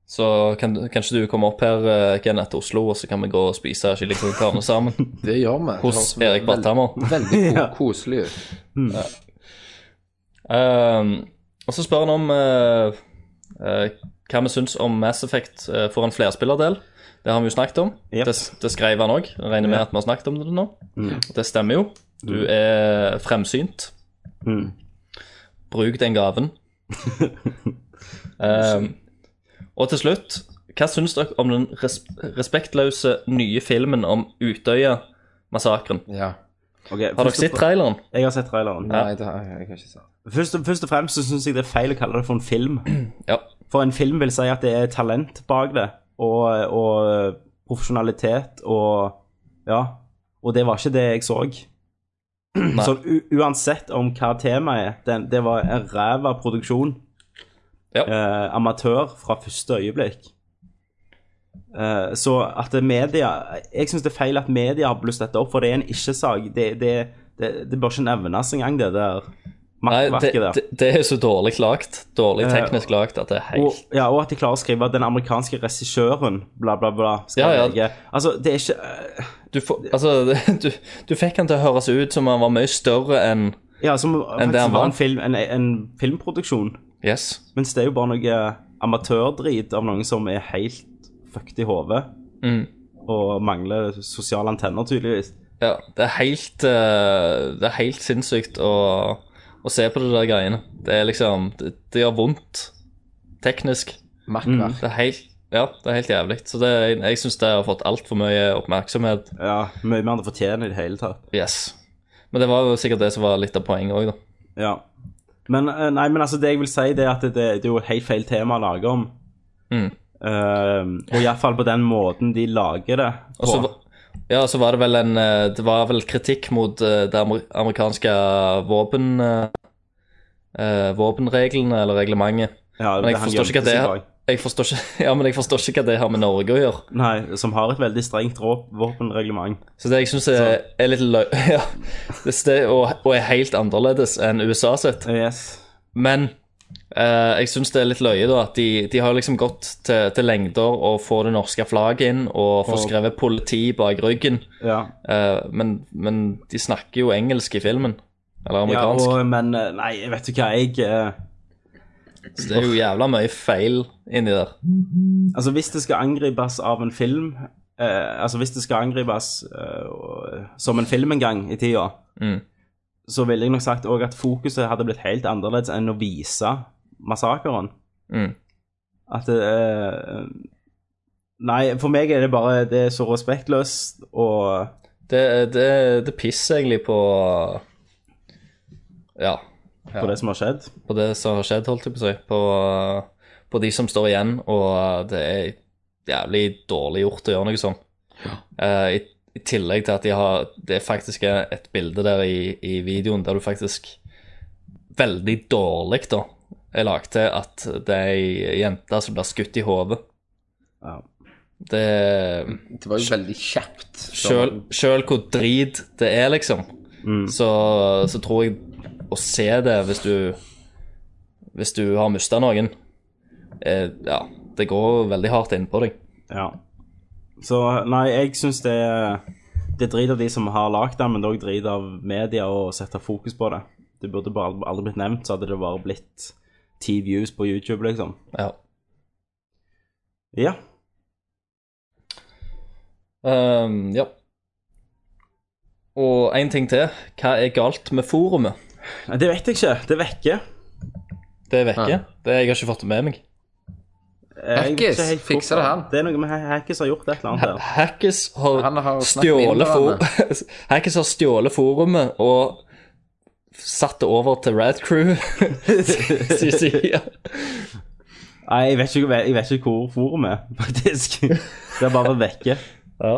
Speaker 8: Så kan, kanskje du kommer opp her eh, igjen etter Oslo, og så kan vi gå og spise chili con carne sammen.
Speaker 7: Det gjør vi.
Speaker 8: Hos Erik Barthammer.
Speaker 7: Veldig ko koselig ut.
Speaker 8: Ja. Ehm, og så spør han om eh, eh, hva vi syns om Mass Effect eh, for en flerspillerdel. Det har vi jo snakket om. Det, det skrev han òg. Regner med
Speaker 6: Ja.
Speaker 8: at vi har snakket om det nå.
Speaker 6: Mm.
Speaker 8: Det stemmer jo. Du er fremsynt.
Speaker 6: Mm.
Speaker 8: Bruk den gaven. Ehm, og til slutt, hva syns dere om den res respektløse nye filmen om Utøya-massakren? har dere
Speaker 6: først og
Speaker 8: sett
Speaker 6: fre-
Speaker 8: traileren?
Speaker 6: Jeg har sett traileren.
Speaker 8: Nei,
Speaker 7: det har jeg ikke sett.
Speaker 6: Først, og- først og fremst så syns jeg det er feil å kalle det for en film.
Speaker 8: Ja.
Speaker 6: For en film vil si at det er talent bak det, og, og profesjonalitet og Ja. Og det var ikke det jeg så. Så u uansett om hva temaet er, den, det var en ræva produksjon. Eh, amatør fra første øyeblikk. Eh, så at det media Jeg syns det er feil at media har blusset dette opp, for det er en ikke-sak. Det, det, det, det bør ikke nevnes engang, det der
Speaker 8: Nei, det,
Speaker 6: makkverket der.
Speaker 8: det, det er så dårlig lagt. Dårlig
Speaker 6: Eh,
Speaker 8: teknisk lagt at det er helt
Speaker 6: Og, ja, og at de klarer å skrive at den amerikanske regissøren bla, bla, bla skal
Speaker 8: Ja, ja.
Speaker 6: lege. Altså, det er ikke eh,
Speaker 8: du, får- altså, du, du fikk han til å høres ut som han var mye større enn
Speaker 6: Ja, som
Speaker 8: enn det
Speaker 6: faktisk
Speaker 8: han
Speaker 6: var
Speaker 8: var.
Speaker 6: en, film, en, en filmproduksjon.
Speaker 8: Yes.
Speaker 6: Mens det er jo bare noe eh, amatørdrit av noen som er helt fucked i hodet.
Speaker 8: Mm.
Speaker 6: Og mangler sosiale antenner, tydeligvis.
Speaker 8: Ja, det er helt, eh, det er helt sinnssykt å, å se på det der greiene. Det er liksom Det, det gjør vondt teknisk.
Speaker 6: Mm.
Speaker 7: Makkverk.
Speaker 8: Det er helt ja, det er helt jævlig. Så det, jeg, jeg syns det har fått altfor mye oppmerksomhet.
Speaker 6: Ja, mye mer enn det fortjener i det hele tatt.
Speaker 8: Yes. Men det var jo sikkert det som var litt av poenget òg, da.
Speaker 6: Ja. Men, eh, nei, men altså, det jeg vil si, det er at det, det er jo et helt feil tema å lage om.
Speaker 8: Mm.
Speaker 6: Um, og iallfall på den måten de lager det på.
Speaker 8: Og så, va- ja, så var det vel en eh, Det var vel kritikk mot eh, det amer- amerikanske våpen... eh, eh, våpenreglene eller reglementet.
Speaker 6: Ja,
Speaker 8: men jeg
Speaker 6: det han
Speaker 8: forstår ikke hva
Speaker 6: gjemte
Speaker 8: det
Speaker 6: seg
Speaker 8: har jeg forstår ikke, ja, men jeg forstår ikke hva det har med Norge å gjøre.
Speaker 6: Nei, som har et veldig strengt rå- våpenreglement.
Speaker 8: Så det jeg syns er, er litt lø... Ja, det, det- og, og er helt annerledes enn USA sitt. Men eh, jeg syns det er litt løye, da, at de, de har liksom gått til, til lengder å få det norske flagget inn og få
Speaker 6: Og-
Speaker 8: skrevet politi bak ryggen.
Speaker 6: Ja.
Speaker 8: Eh, men, men de snakker jo engelsk i filmen. Eller
Speaker 6: Ja,
Speaker 8: amerikansk.
Speaker 6: og, men eh, nei, vet du hva, jeg eh,
Speaker 8: Så det er jo jævla mye feil inni der.
Speaker 6: Altså, hvis det skal angripes av en film eh, Altså, hvis det skal angripes eh, og- som en film en gang i tida,
Speaker 8: Mm.
Speaker 6: så ville jeg nok sagt òg at fokuset hadde blitt helt annerledes enn å vise massakren.
Speaker 8: Mm.
Speaker 6: At det eh, Nei, for meg er det bare Det er så respektløst og
Speaker 8: Det, det, det pisser egentlig på Ja.
Speaker 6: På det som har skjedd?
Speaker 8: På det som har skjedd, holdt jeg på å si. På, på de som står igjen, og det er jævlig dårlig gjort å gjøre noe sånt. Eh, i, I tillegg til at de har Det er faktisk et bilde der i, i videoen der du faktisk veldig dårlig, da, er lagt til at det er ei jente som blir skutt i hodet.
Speaker 6: Ja.
Speaker 8: Det
Speaker 7: Det var jo veldig kjapt.
Speaker 8: Sjøl, sjøl hvor drit det er, liksom,
Speaker 6: Mm.
Speaker 8: så, så tror jeg å se det hvis du Hvis du har mista noen eh, Ja, det går veldig hardt inn på deg.
Speaker 6: Ja. Så nei, jeg syns det Det driter av de som har lagd den, men det er òg drit av media å sette fokus på det. Det burde bare ald- aldri blitt nevnt, så hadde det bare blitt ti views på YouTube, liksom.
Speaker 8: Ja.
Speaker 6: Ja.
Speaker 8: Ehm, ja. Og én ting til. Hva er galt med forumet?
Speaker 6: Det vet jeg ikke. Det vekker.
Speaker 8: Det er vekke?
Speaker 6: Ja.
Speaker 8: Det jeg har ikke fått det med meg.
Speaker 6: Jeg vet ikke helt
Speaker 7: fikser det
Speaker 6: hvorfor. Det er noe med ha- Hackis har gjort et eller annet her.
Speaker 8: Hackis har,
Speaker 6: snakket med
Speaker 8: stjålet for... Hackis har stjålet forumet og satt det over til Rad Crew. sin side.
Speaker 6: Nei, jeg vet ikke, jeg vet ikke hvor forum er, faktisk. Det har bare vært vekke.
Speaker 8: Ja.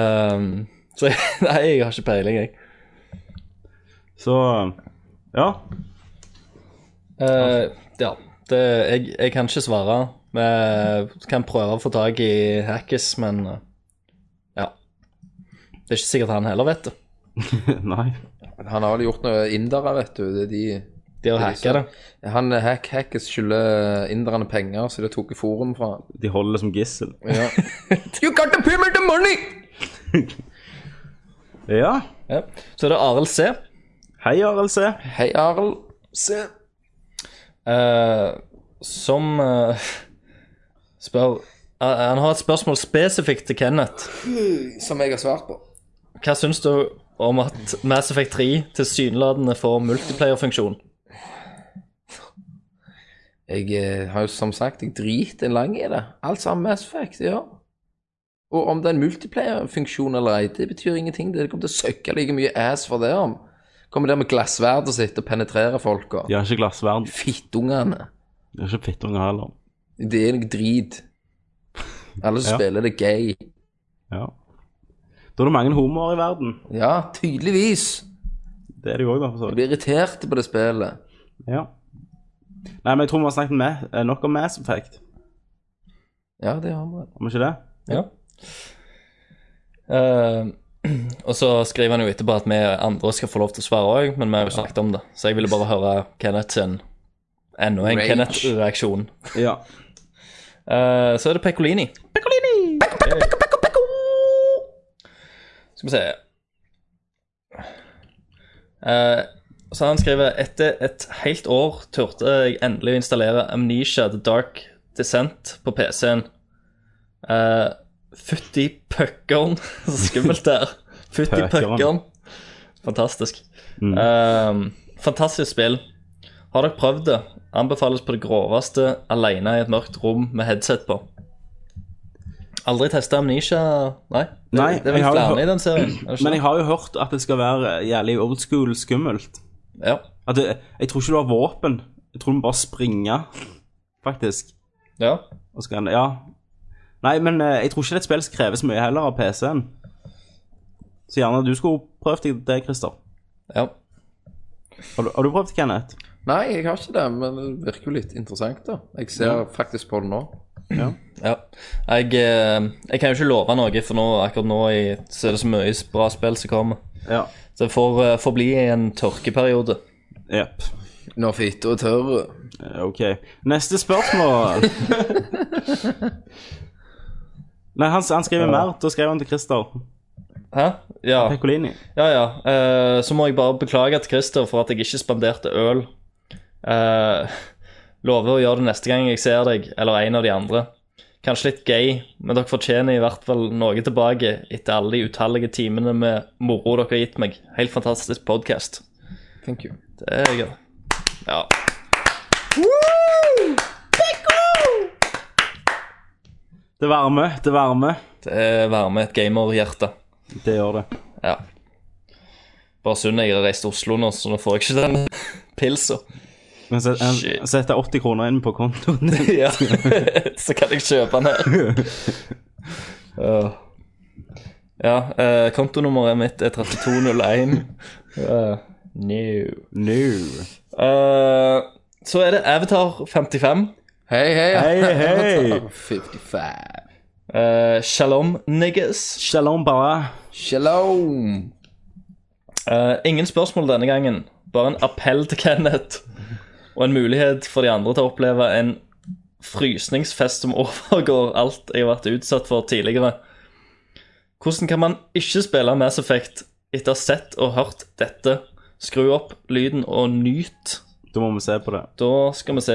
Speaker 8: Ehm, så nei, jeg har ikke peiling, jeg.
Speaker 6: Så ja.
Speaker 8: Eh, ja. Det, jeg, jeg kan ikke svare. Vi kan prøve å få tak i Hackis, men eh, ja. Det er ikke sikkert han heller vet det.
Speaker 6: Nei.
Speaker 7: Han har vel gjort noe indere, vet du. Det er de
Speaker 8: De har hacka det.
Speaker 7: Han hack hackes skylder inderne penger, så det tok i forum fra han.
Speaker 6: De holder det som gissel.
Speaker 7: Ja. you got to pay me the money!
Speaker 6: Ja.
Speaker 8: ja. Så er det Arild C.
Speaker 6: Hei, Arild C.
Speaker 7: Hei, Arild C.
Speaker 8: Eh, som eh, spør eh, Han har et spørsmål spesifikt til Kenneth.
Speaker 7: Som jeg har svart på.
Speaker 8: Hva syns du om at Mass Effect 3 tilsynelatende får multiplayer-funksjon?
Speaker 7: Jeg eh, har jo som sagt, jeg driter lang i det. Alt sammen Mass Effect, ja. Og om det er en multiplayer-funksjon eller ei, det betyr ingenting. Det kommer til å søkke like mye ass for det om. Kommer der med glassverdet sitt og penetrerer folk og
Speaker 6: De har ikke glassverd.
Speaker 7: Fittungene.
Speaker 6: De har ikke fittunger heller.
Speaker 7: Det er noe drit. Alle som
Speaker 6: Ja.
Speaker 7: spiller det gay.
Speaker 6: Ja. Da er det mange homoer i verden.
Speaker 7: Ja, tydeligvis.
Speaker 6: Det er det jo òg, da. for så
Speaker 7: Jeg
Speaker 6: vidt.
Speaker 7: blir irritert på det spillet.
Speaker 6: Ja. Nei, men jeg tror vi har snakket med, eh, nok om Mass Effect.
Speaker 7: Ja, det har vi.
Speaker 6: Har vi ikke det?
Speaker 8: Ja. Eh, og så skriver han jo etterpå at vi andre skal få lov til å svare òg, men vi har jo snakket om det. Så jeg ville bare høre Kenneth sin enda en
Speaker 7: Rage.
Speaker 8: Kenneth-reaksjon.
Speaker 6: Ja.
Speaker 8: Eh, så er det Pecolini. Pecolini! Skal vi se Eh, Så han skriver Etter et helt år turte jeg endelig å installere Amnesia The Dark Descent på PC-en. Eh, Fytti puckeren, så skummelt det er. Fytti
Speaker 6: Puckeren.
Speaker 8: puckeren. Fantastisk.
Speaker 7: Mm.
Speaker 6: Mm.
Speaker 8: Eh, fantastisk spill. Har dere prøvd det? Anbefales på det groveste alene i et mørkt rom med headset på. Aldri testa Amnesia Nei, det,
Speaker 6: Nei,
Speaker 8: det er
Speaker 6: jeg
Speaker 8: vel
Speaker 6: har jo
Speaker 8: flere
Speaker 6: hørt-
Speaker 8: i den serien. er
Speaker 7: Eh,
Speaker 8: det ikke
Speaker 6: Men jeg
Speaker 8: det?
Speaker 6: har jo hørt at det skal være jævlig old school skummelt.
Speaker 8: Ja.
Speaker 6: At det, jeg tror ikke du har våpen. Jeg tror du må bare springe, faktisk.
Speaker 8: Ja.
Speaker 6: Og så kan, ja. Nei, men eh, jeg tror ikke det er et spill som krever så mye heller av PC-en. Så gjerne du skulle prøvd deg det, Christer.
Speaker 8: Ja.
Speaker 6: Har du, har du prøvd, Kenneth?
Speaker 7: Nei, jeg har ikke det, men det virker jo litt interessant, da. Jeg ser faktisk på det nå.
Speaker 8: Ja. Jeg, eh, jeg kan jo ikke love noe, for nå, akkurat nå i, så er det så mye bra spill som kommer.
Speaker 6: Ja.
Speaker 8: Så det får, eh, får bli en tørkeperiode.
Speaker 6: Jepp.
Speaker 7: Når fitta er tørr.
Speaker 6: Eh, OK. Neste spørsmål. Nei, han, han skriver mer. Da skrev han til Christer.
Speaker 8: Hæ? Ja,
Speaker 6: Pekolini.
Speaker 8: ja. ja. Eh, så må jeg bare beklage til Christer for at jeg ikke spanderte øl. Eh, lover å gjøre det neste gang jeg ser deg, eller en av de andre. Kanskje litt gay, men dere fortjener i hvert fall noe tilbake etter alle de utallige timene med moro dere har gitt meg. Helt fantastisk podkast.
Speaker 7: Thank you.
Speaker 8: Det er gøy. Ja.
Speaker 6: Det varmer, det varmer.
Speaker 8: Det er varme et gamerhjerte.
Speaker 6: Det gjør det.
Speaker 8: Ja. Bare synd jeg har reist til Oslo nå, så nå får jeg ikke den pilsa.
Speaker 6: Men set,
Speaker 8: Shit.
Speaker 6: en, setter 80 kroner inn på kontoen din.
Speaker 8: Ja. så kan jeg kjøpe den her. Ja. Ja, eh, kontonummeret mitt er 3201. Uh, new.
Speaker 6: No.
Speaker 8: Eh, så er det Avatar 55.
Speaker 7: Hei, hei.
Speaker 6: Hei, hei.
Speaker 7: 55.
Speaker 8: Eh, shalom, niggas.
Speaker 6: Shalom, bare.
Speaker 7: Shalom.
Speaker 8: Eh, ingen spørsmål denne gangen. Bare en appell til Kenneth. Og en mulighet for de andre til å oppleve en frysningsfest som overgår alt jeg har vært utsatt for tidligere. Hvordan kan man ikke spille Mass Effect etter å ha sett og hørt dette? Skru opp lyden og nyt.
Speaker 6: Da må vi se på det.
Speaker 8: Da skal vi se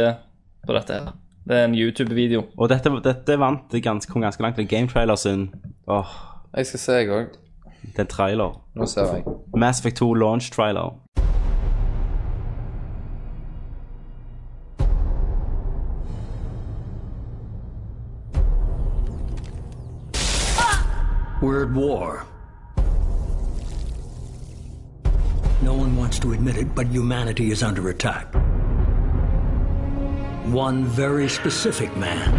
Speaker 8: på dette her. Det er en YouTube-video.
Speaker 6: Og dette, dette vant ganske, kom ganske langt med Game Trailer sin. Åh,
Speaker 7: Jeg skal se, jeg òg.
Speaker 6: det er en trailer.
Speaker 7: Nå ser jeg.
Speaker 6: Mass Effect 2 launch trailer.
Speaker 15: We're at war. No one wants to admit it, but humanity is under attack. One very specific man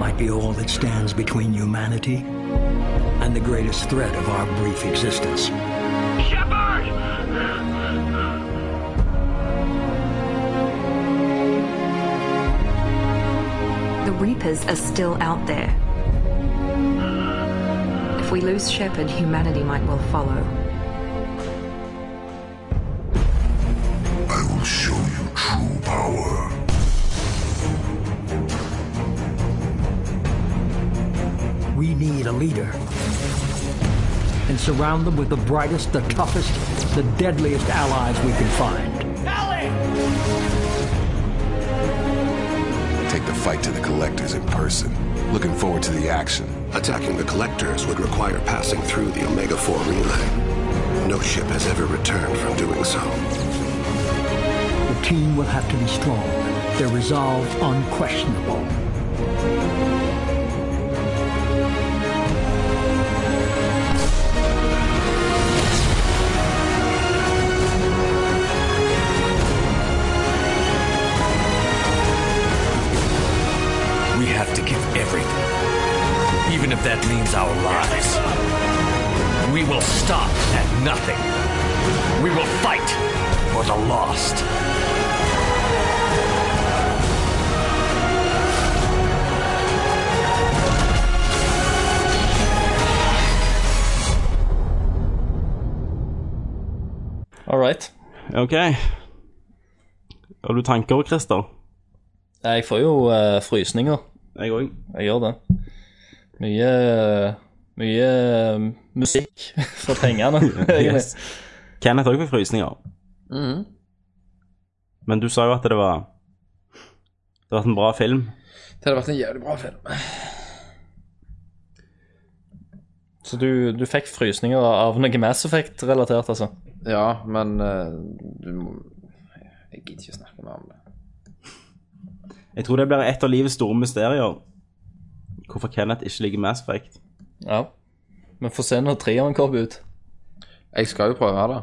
Speaker 15: might be all that stands between humanity and the greatest threat of our brief existence.
Speaker 4: The Reapers are still out there. If we lose Shepard, humanity might well follow.
Speaker 15: leader. And surround them with the brightest, the toughest, the deadliest allies we can find.
Speaker 16: Take the fight to the collectors in person. Looking forward to the action. Attacking the collectors would require passing through the Omega 4 relay. No ship has ever returned from doing so.
Speaker 15: The team will have to be strong, their resolve unquestionable.
Speaker 17: We have to give everything. Even if that means our lives. We will stop at nothing. We will fight for the lost.
Speaker 8: All right.
Speaker 6: OK. Har du tanker, Christer?
Speaker 8: Jeg får jo eh, frysninger.
Speaker 6: Jeg òg.
Speaker 8: Jeg gjør det. Mye Mye eh, musikk for pengene. egentlig.
Speaker 6: Yes. Kenneth òg fikk frysninger.
Speaker 7: Mhm.
Speaker 6: Men du sa jo at det var Det har vært en bra film.
Speaker 7: Det hadde vært en jævlig bra film.
Speaker 8: Så du, du fikk frysninger av noe Mass Effect-relatert, altså?
Speaker 7: Ja, men eh, du må Jeg gidder ikke snakke mer om det.
Speaker 6: Jeg tror det blir et av livets store mysterier. Hvorfor Kenneth ikke liker Mass Effect.
Speaker 8: Ja. Vi får se når treeren kommer ut.
Speaker 7: Jeg skal jo prøve det.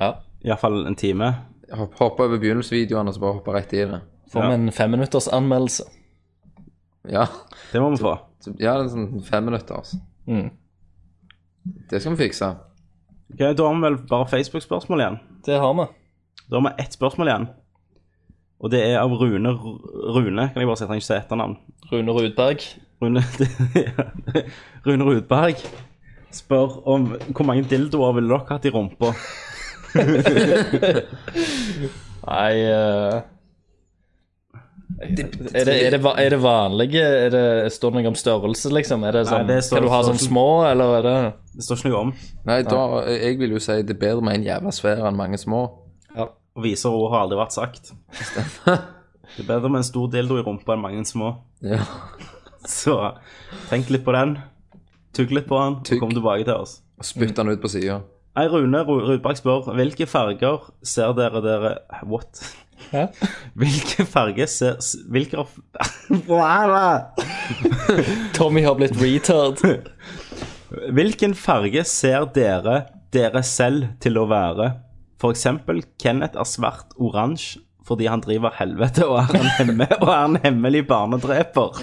Speaker 8: Ja.
Speaker 6: Iallfall en time.
Speaker 7: Hopp, hoppe over begynnelsesvideoene og så bare hoppe rett i det.
Speaker 8: Får vi en femminuttersanmeldelse?
Speaker 7: Ja.
Speaker 6: Det må vi få.
Speaker 7: Ja, det er sånn fem minutter, altså.
Speaker 8: Mm.
Speaker 7: Det skal vi fikse.
Speaker 6: Ok, Da har vi vel bare Facebook-spørsmål igjen.
Speaker 8: Det har vi.
Speaker 6: Da har vi ett spørsmål igjen. Og det er av Rune R- Rune, kan jeg bare si, jeg trenger ikke si etternavn.
Speaker 8: Rune Rudberg.
Speaker 6: Rune, Rune Rudberg spør om hvor mange dildoer ville dere hatt i rumpa?
Speaker 8: Nei eh, er, det, er, det, va- er det vanlige? Er det, står det noe om størrelse, liksom? Er det sånn,
Speaker 7: det står-
Speaker 8: Skal du ha sånn
Speaker 7: står-
Speaker 8: små, eller er det
Speaker 6: Det står ikke noe om.
Speaker 7: Nei, da, jeg vil jo si det er bedre med en jævla svær enn mange små.
Speaker 8: Ja.
Speaker 6: Og viser ord har aldri vært sagt. Det er bedre med en stor dildo i rumpa enn mange små.
Speaker 7: Ja.
Speaker 6: Så tenk litt på den. Tugg litt på den, og kom tilbake til oss.
Speaker 7: Og spytt den ut på sida.
Speaker 6: Nei, Rune Ru- Rudberg spør hvilke farger ser dere dere What?
Speaker 8: Hæ?
Speaker 6: Hvilke farger ser s- Hvilke av-
Speaker 8: Tommy har blitt retard.
Speaker 6: Hvilken farge ser dere dere selv til å være? For eksempel, Kenneth er svart oransje fordi han driver helvete og er en, hemme, og er en hemmelig barnedreper.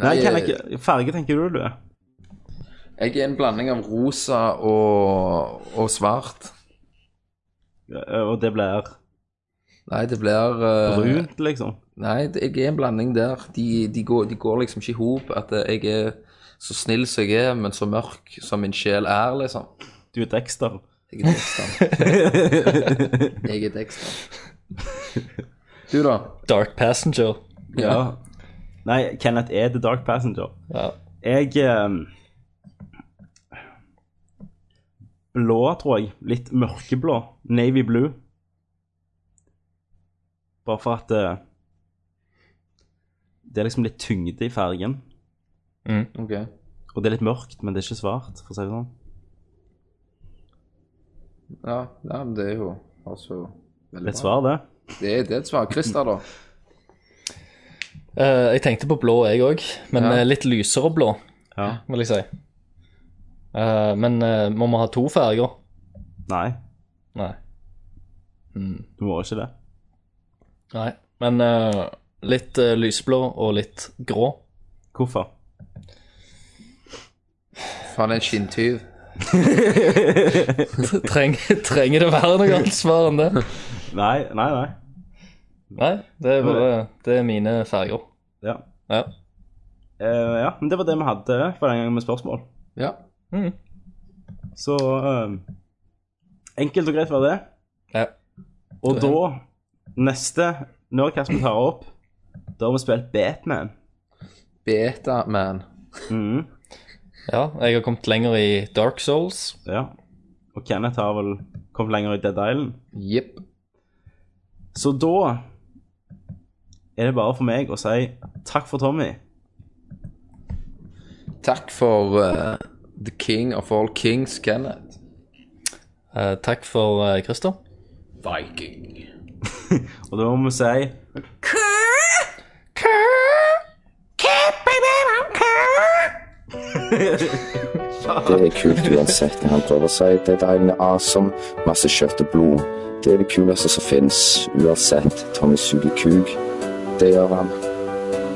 Speaker 6: Nei,
Speaker 7: Nei,
Speaker 6: Kenneth, farge tenker du du er?
Speaker 7: Jeg er en blanding av rosa og, og svart.
Speaker 6: Og det blir
Speaker 7: Nei, det blir eh,
Speaker 6: brunt, liksom?
Speaker 7: Nei, det- jeg er en blanding der. De, de, går, de går liksom ikke i hop. At eh, jeg er så snill som jeg er, men så mørk som min sjel er, liksom.
Speaker 6: Du er Dexter.
Speaker 7: Jeg er Dexter. jeg er Dexter. Du, da?
Speaker 8: Dark Passenger.
Speaker 6: Ja. Nei, Kenneth er The Dark Passenger.
Speaker 8: Ja.
Speaker 6: Jeg ehm, Blå, tror jeg. Litt mørkeblå. Navy blue. Bare for at eh, Det er liksom litt tyngde i fargen.
Speaker 7: Ok.
Speaker 6: Og det er litt mørkt, men det er ikke svart, for å si det sånn.
Speaker 7: Ja, ja men det er jo altså veldig
Speaker 6: Det er et svar, det.
Speaker 7: bra. Det, er- det er et svar. Christer, da?
Speaker 8: Eh, jeg tenkte på blå, jeg òg, men
Speaker 7: Ja.
Speaker 8: eh, litt lysere blå,
Speaker 6: Ja.
Speaker 8: vil jeg si. Eh, men eh, må vi ha to farger?
Speaker 6: Nei,
Speaker 8: Nei. Mm.
Speaker 6: du må ikke det.
Speaker 8: Nei. Men eh, litt eh, lysblå og litt grå.
Speaker 6: Hvorfor?
Speaker 7: Faen, det er en skinntyv.
Speaker 8: Treng, trenger det være noe annet svar enn det?
Speaker 6: Nei, nei, nei.
Speaker 8: Nei, det er bare Det er mine farger.
Speaker 6: Ja.
Speaker 8: Ja.
Speaker 6: Eh, ja, men det var det vi hadde for den gangen med spørsmål.
Speaker 7: Ja.
Speaker 8: Mm.
Speaker 6: Så eh, enkelt og greit var det.
Speaker 8: Ja.
Speaker 6: Og da, neste Når Kasper tar opp, da har vi spilt Batman. Mm,
Speaker 7: Beta-man.
Speaker 8: Ja, jeg har kommet lenger i Dark Souls.
Speaker 6: Ja. Og Kenneth har vel kommet lenger i Dead Island.
Speaker 7: Jepp.
Speaker 6: Så da er det bare for meg å si takk for Tommy.
Speaker 7: Takk for eh, the king of all kings, Kenneth.
Speaker 8: Eh, takk for eh, Christer.
Speaker 7: Viking.
Speaker 6: Og da må vi si
Speaker 18: Det er kult uansett hva han prøver å si. Det er en awesome. Masse kjøtt og blod. Det er det kuleste som fins. Uansett. Tommy suger kuk. Det gjør han.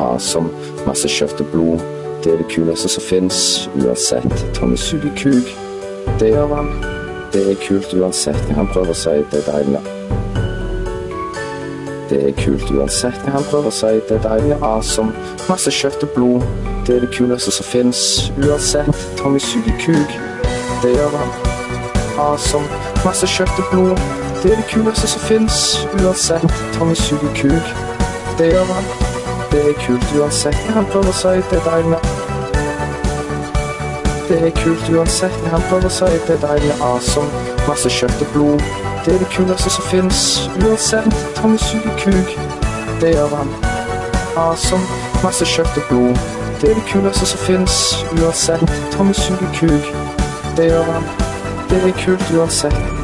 Speaker 18: Awesome. Masse kjøtt og blod. Det er det kuleste som fins. Uansett. Tommy suger kuk. Det gjør han. Det er kult uansett hva han prøver å si. Det er deilig. Det er kult uansett hva han prøver å si. Det er deilig. Awesome. Masse kjøtt og blod. Det er det kuleste som fins. Uansett. Tommy suger kuk. Det gjør han. Awesome. Masse kjøtt og blod. Det er det kuleste som fins. Uansett. Tommy suger kuk. Det gjør han. Det er kult uansett hva han prøver å si. Det er deilig. Det er kult uansett hva han prøver å si. Det er deilig awesome. Masse kjøtt og blod. Det er det kuleste som fins. Uansett. Tommy suger kuk. Det gjør han. Awesome. Masse kjøtt og blod. Det er det kuleste som fins. Uansett. Tommy suger kuk. Det gjør han. Det er kult uansett.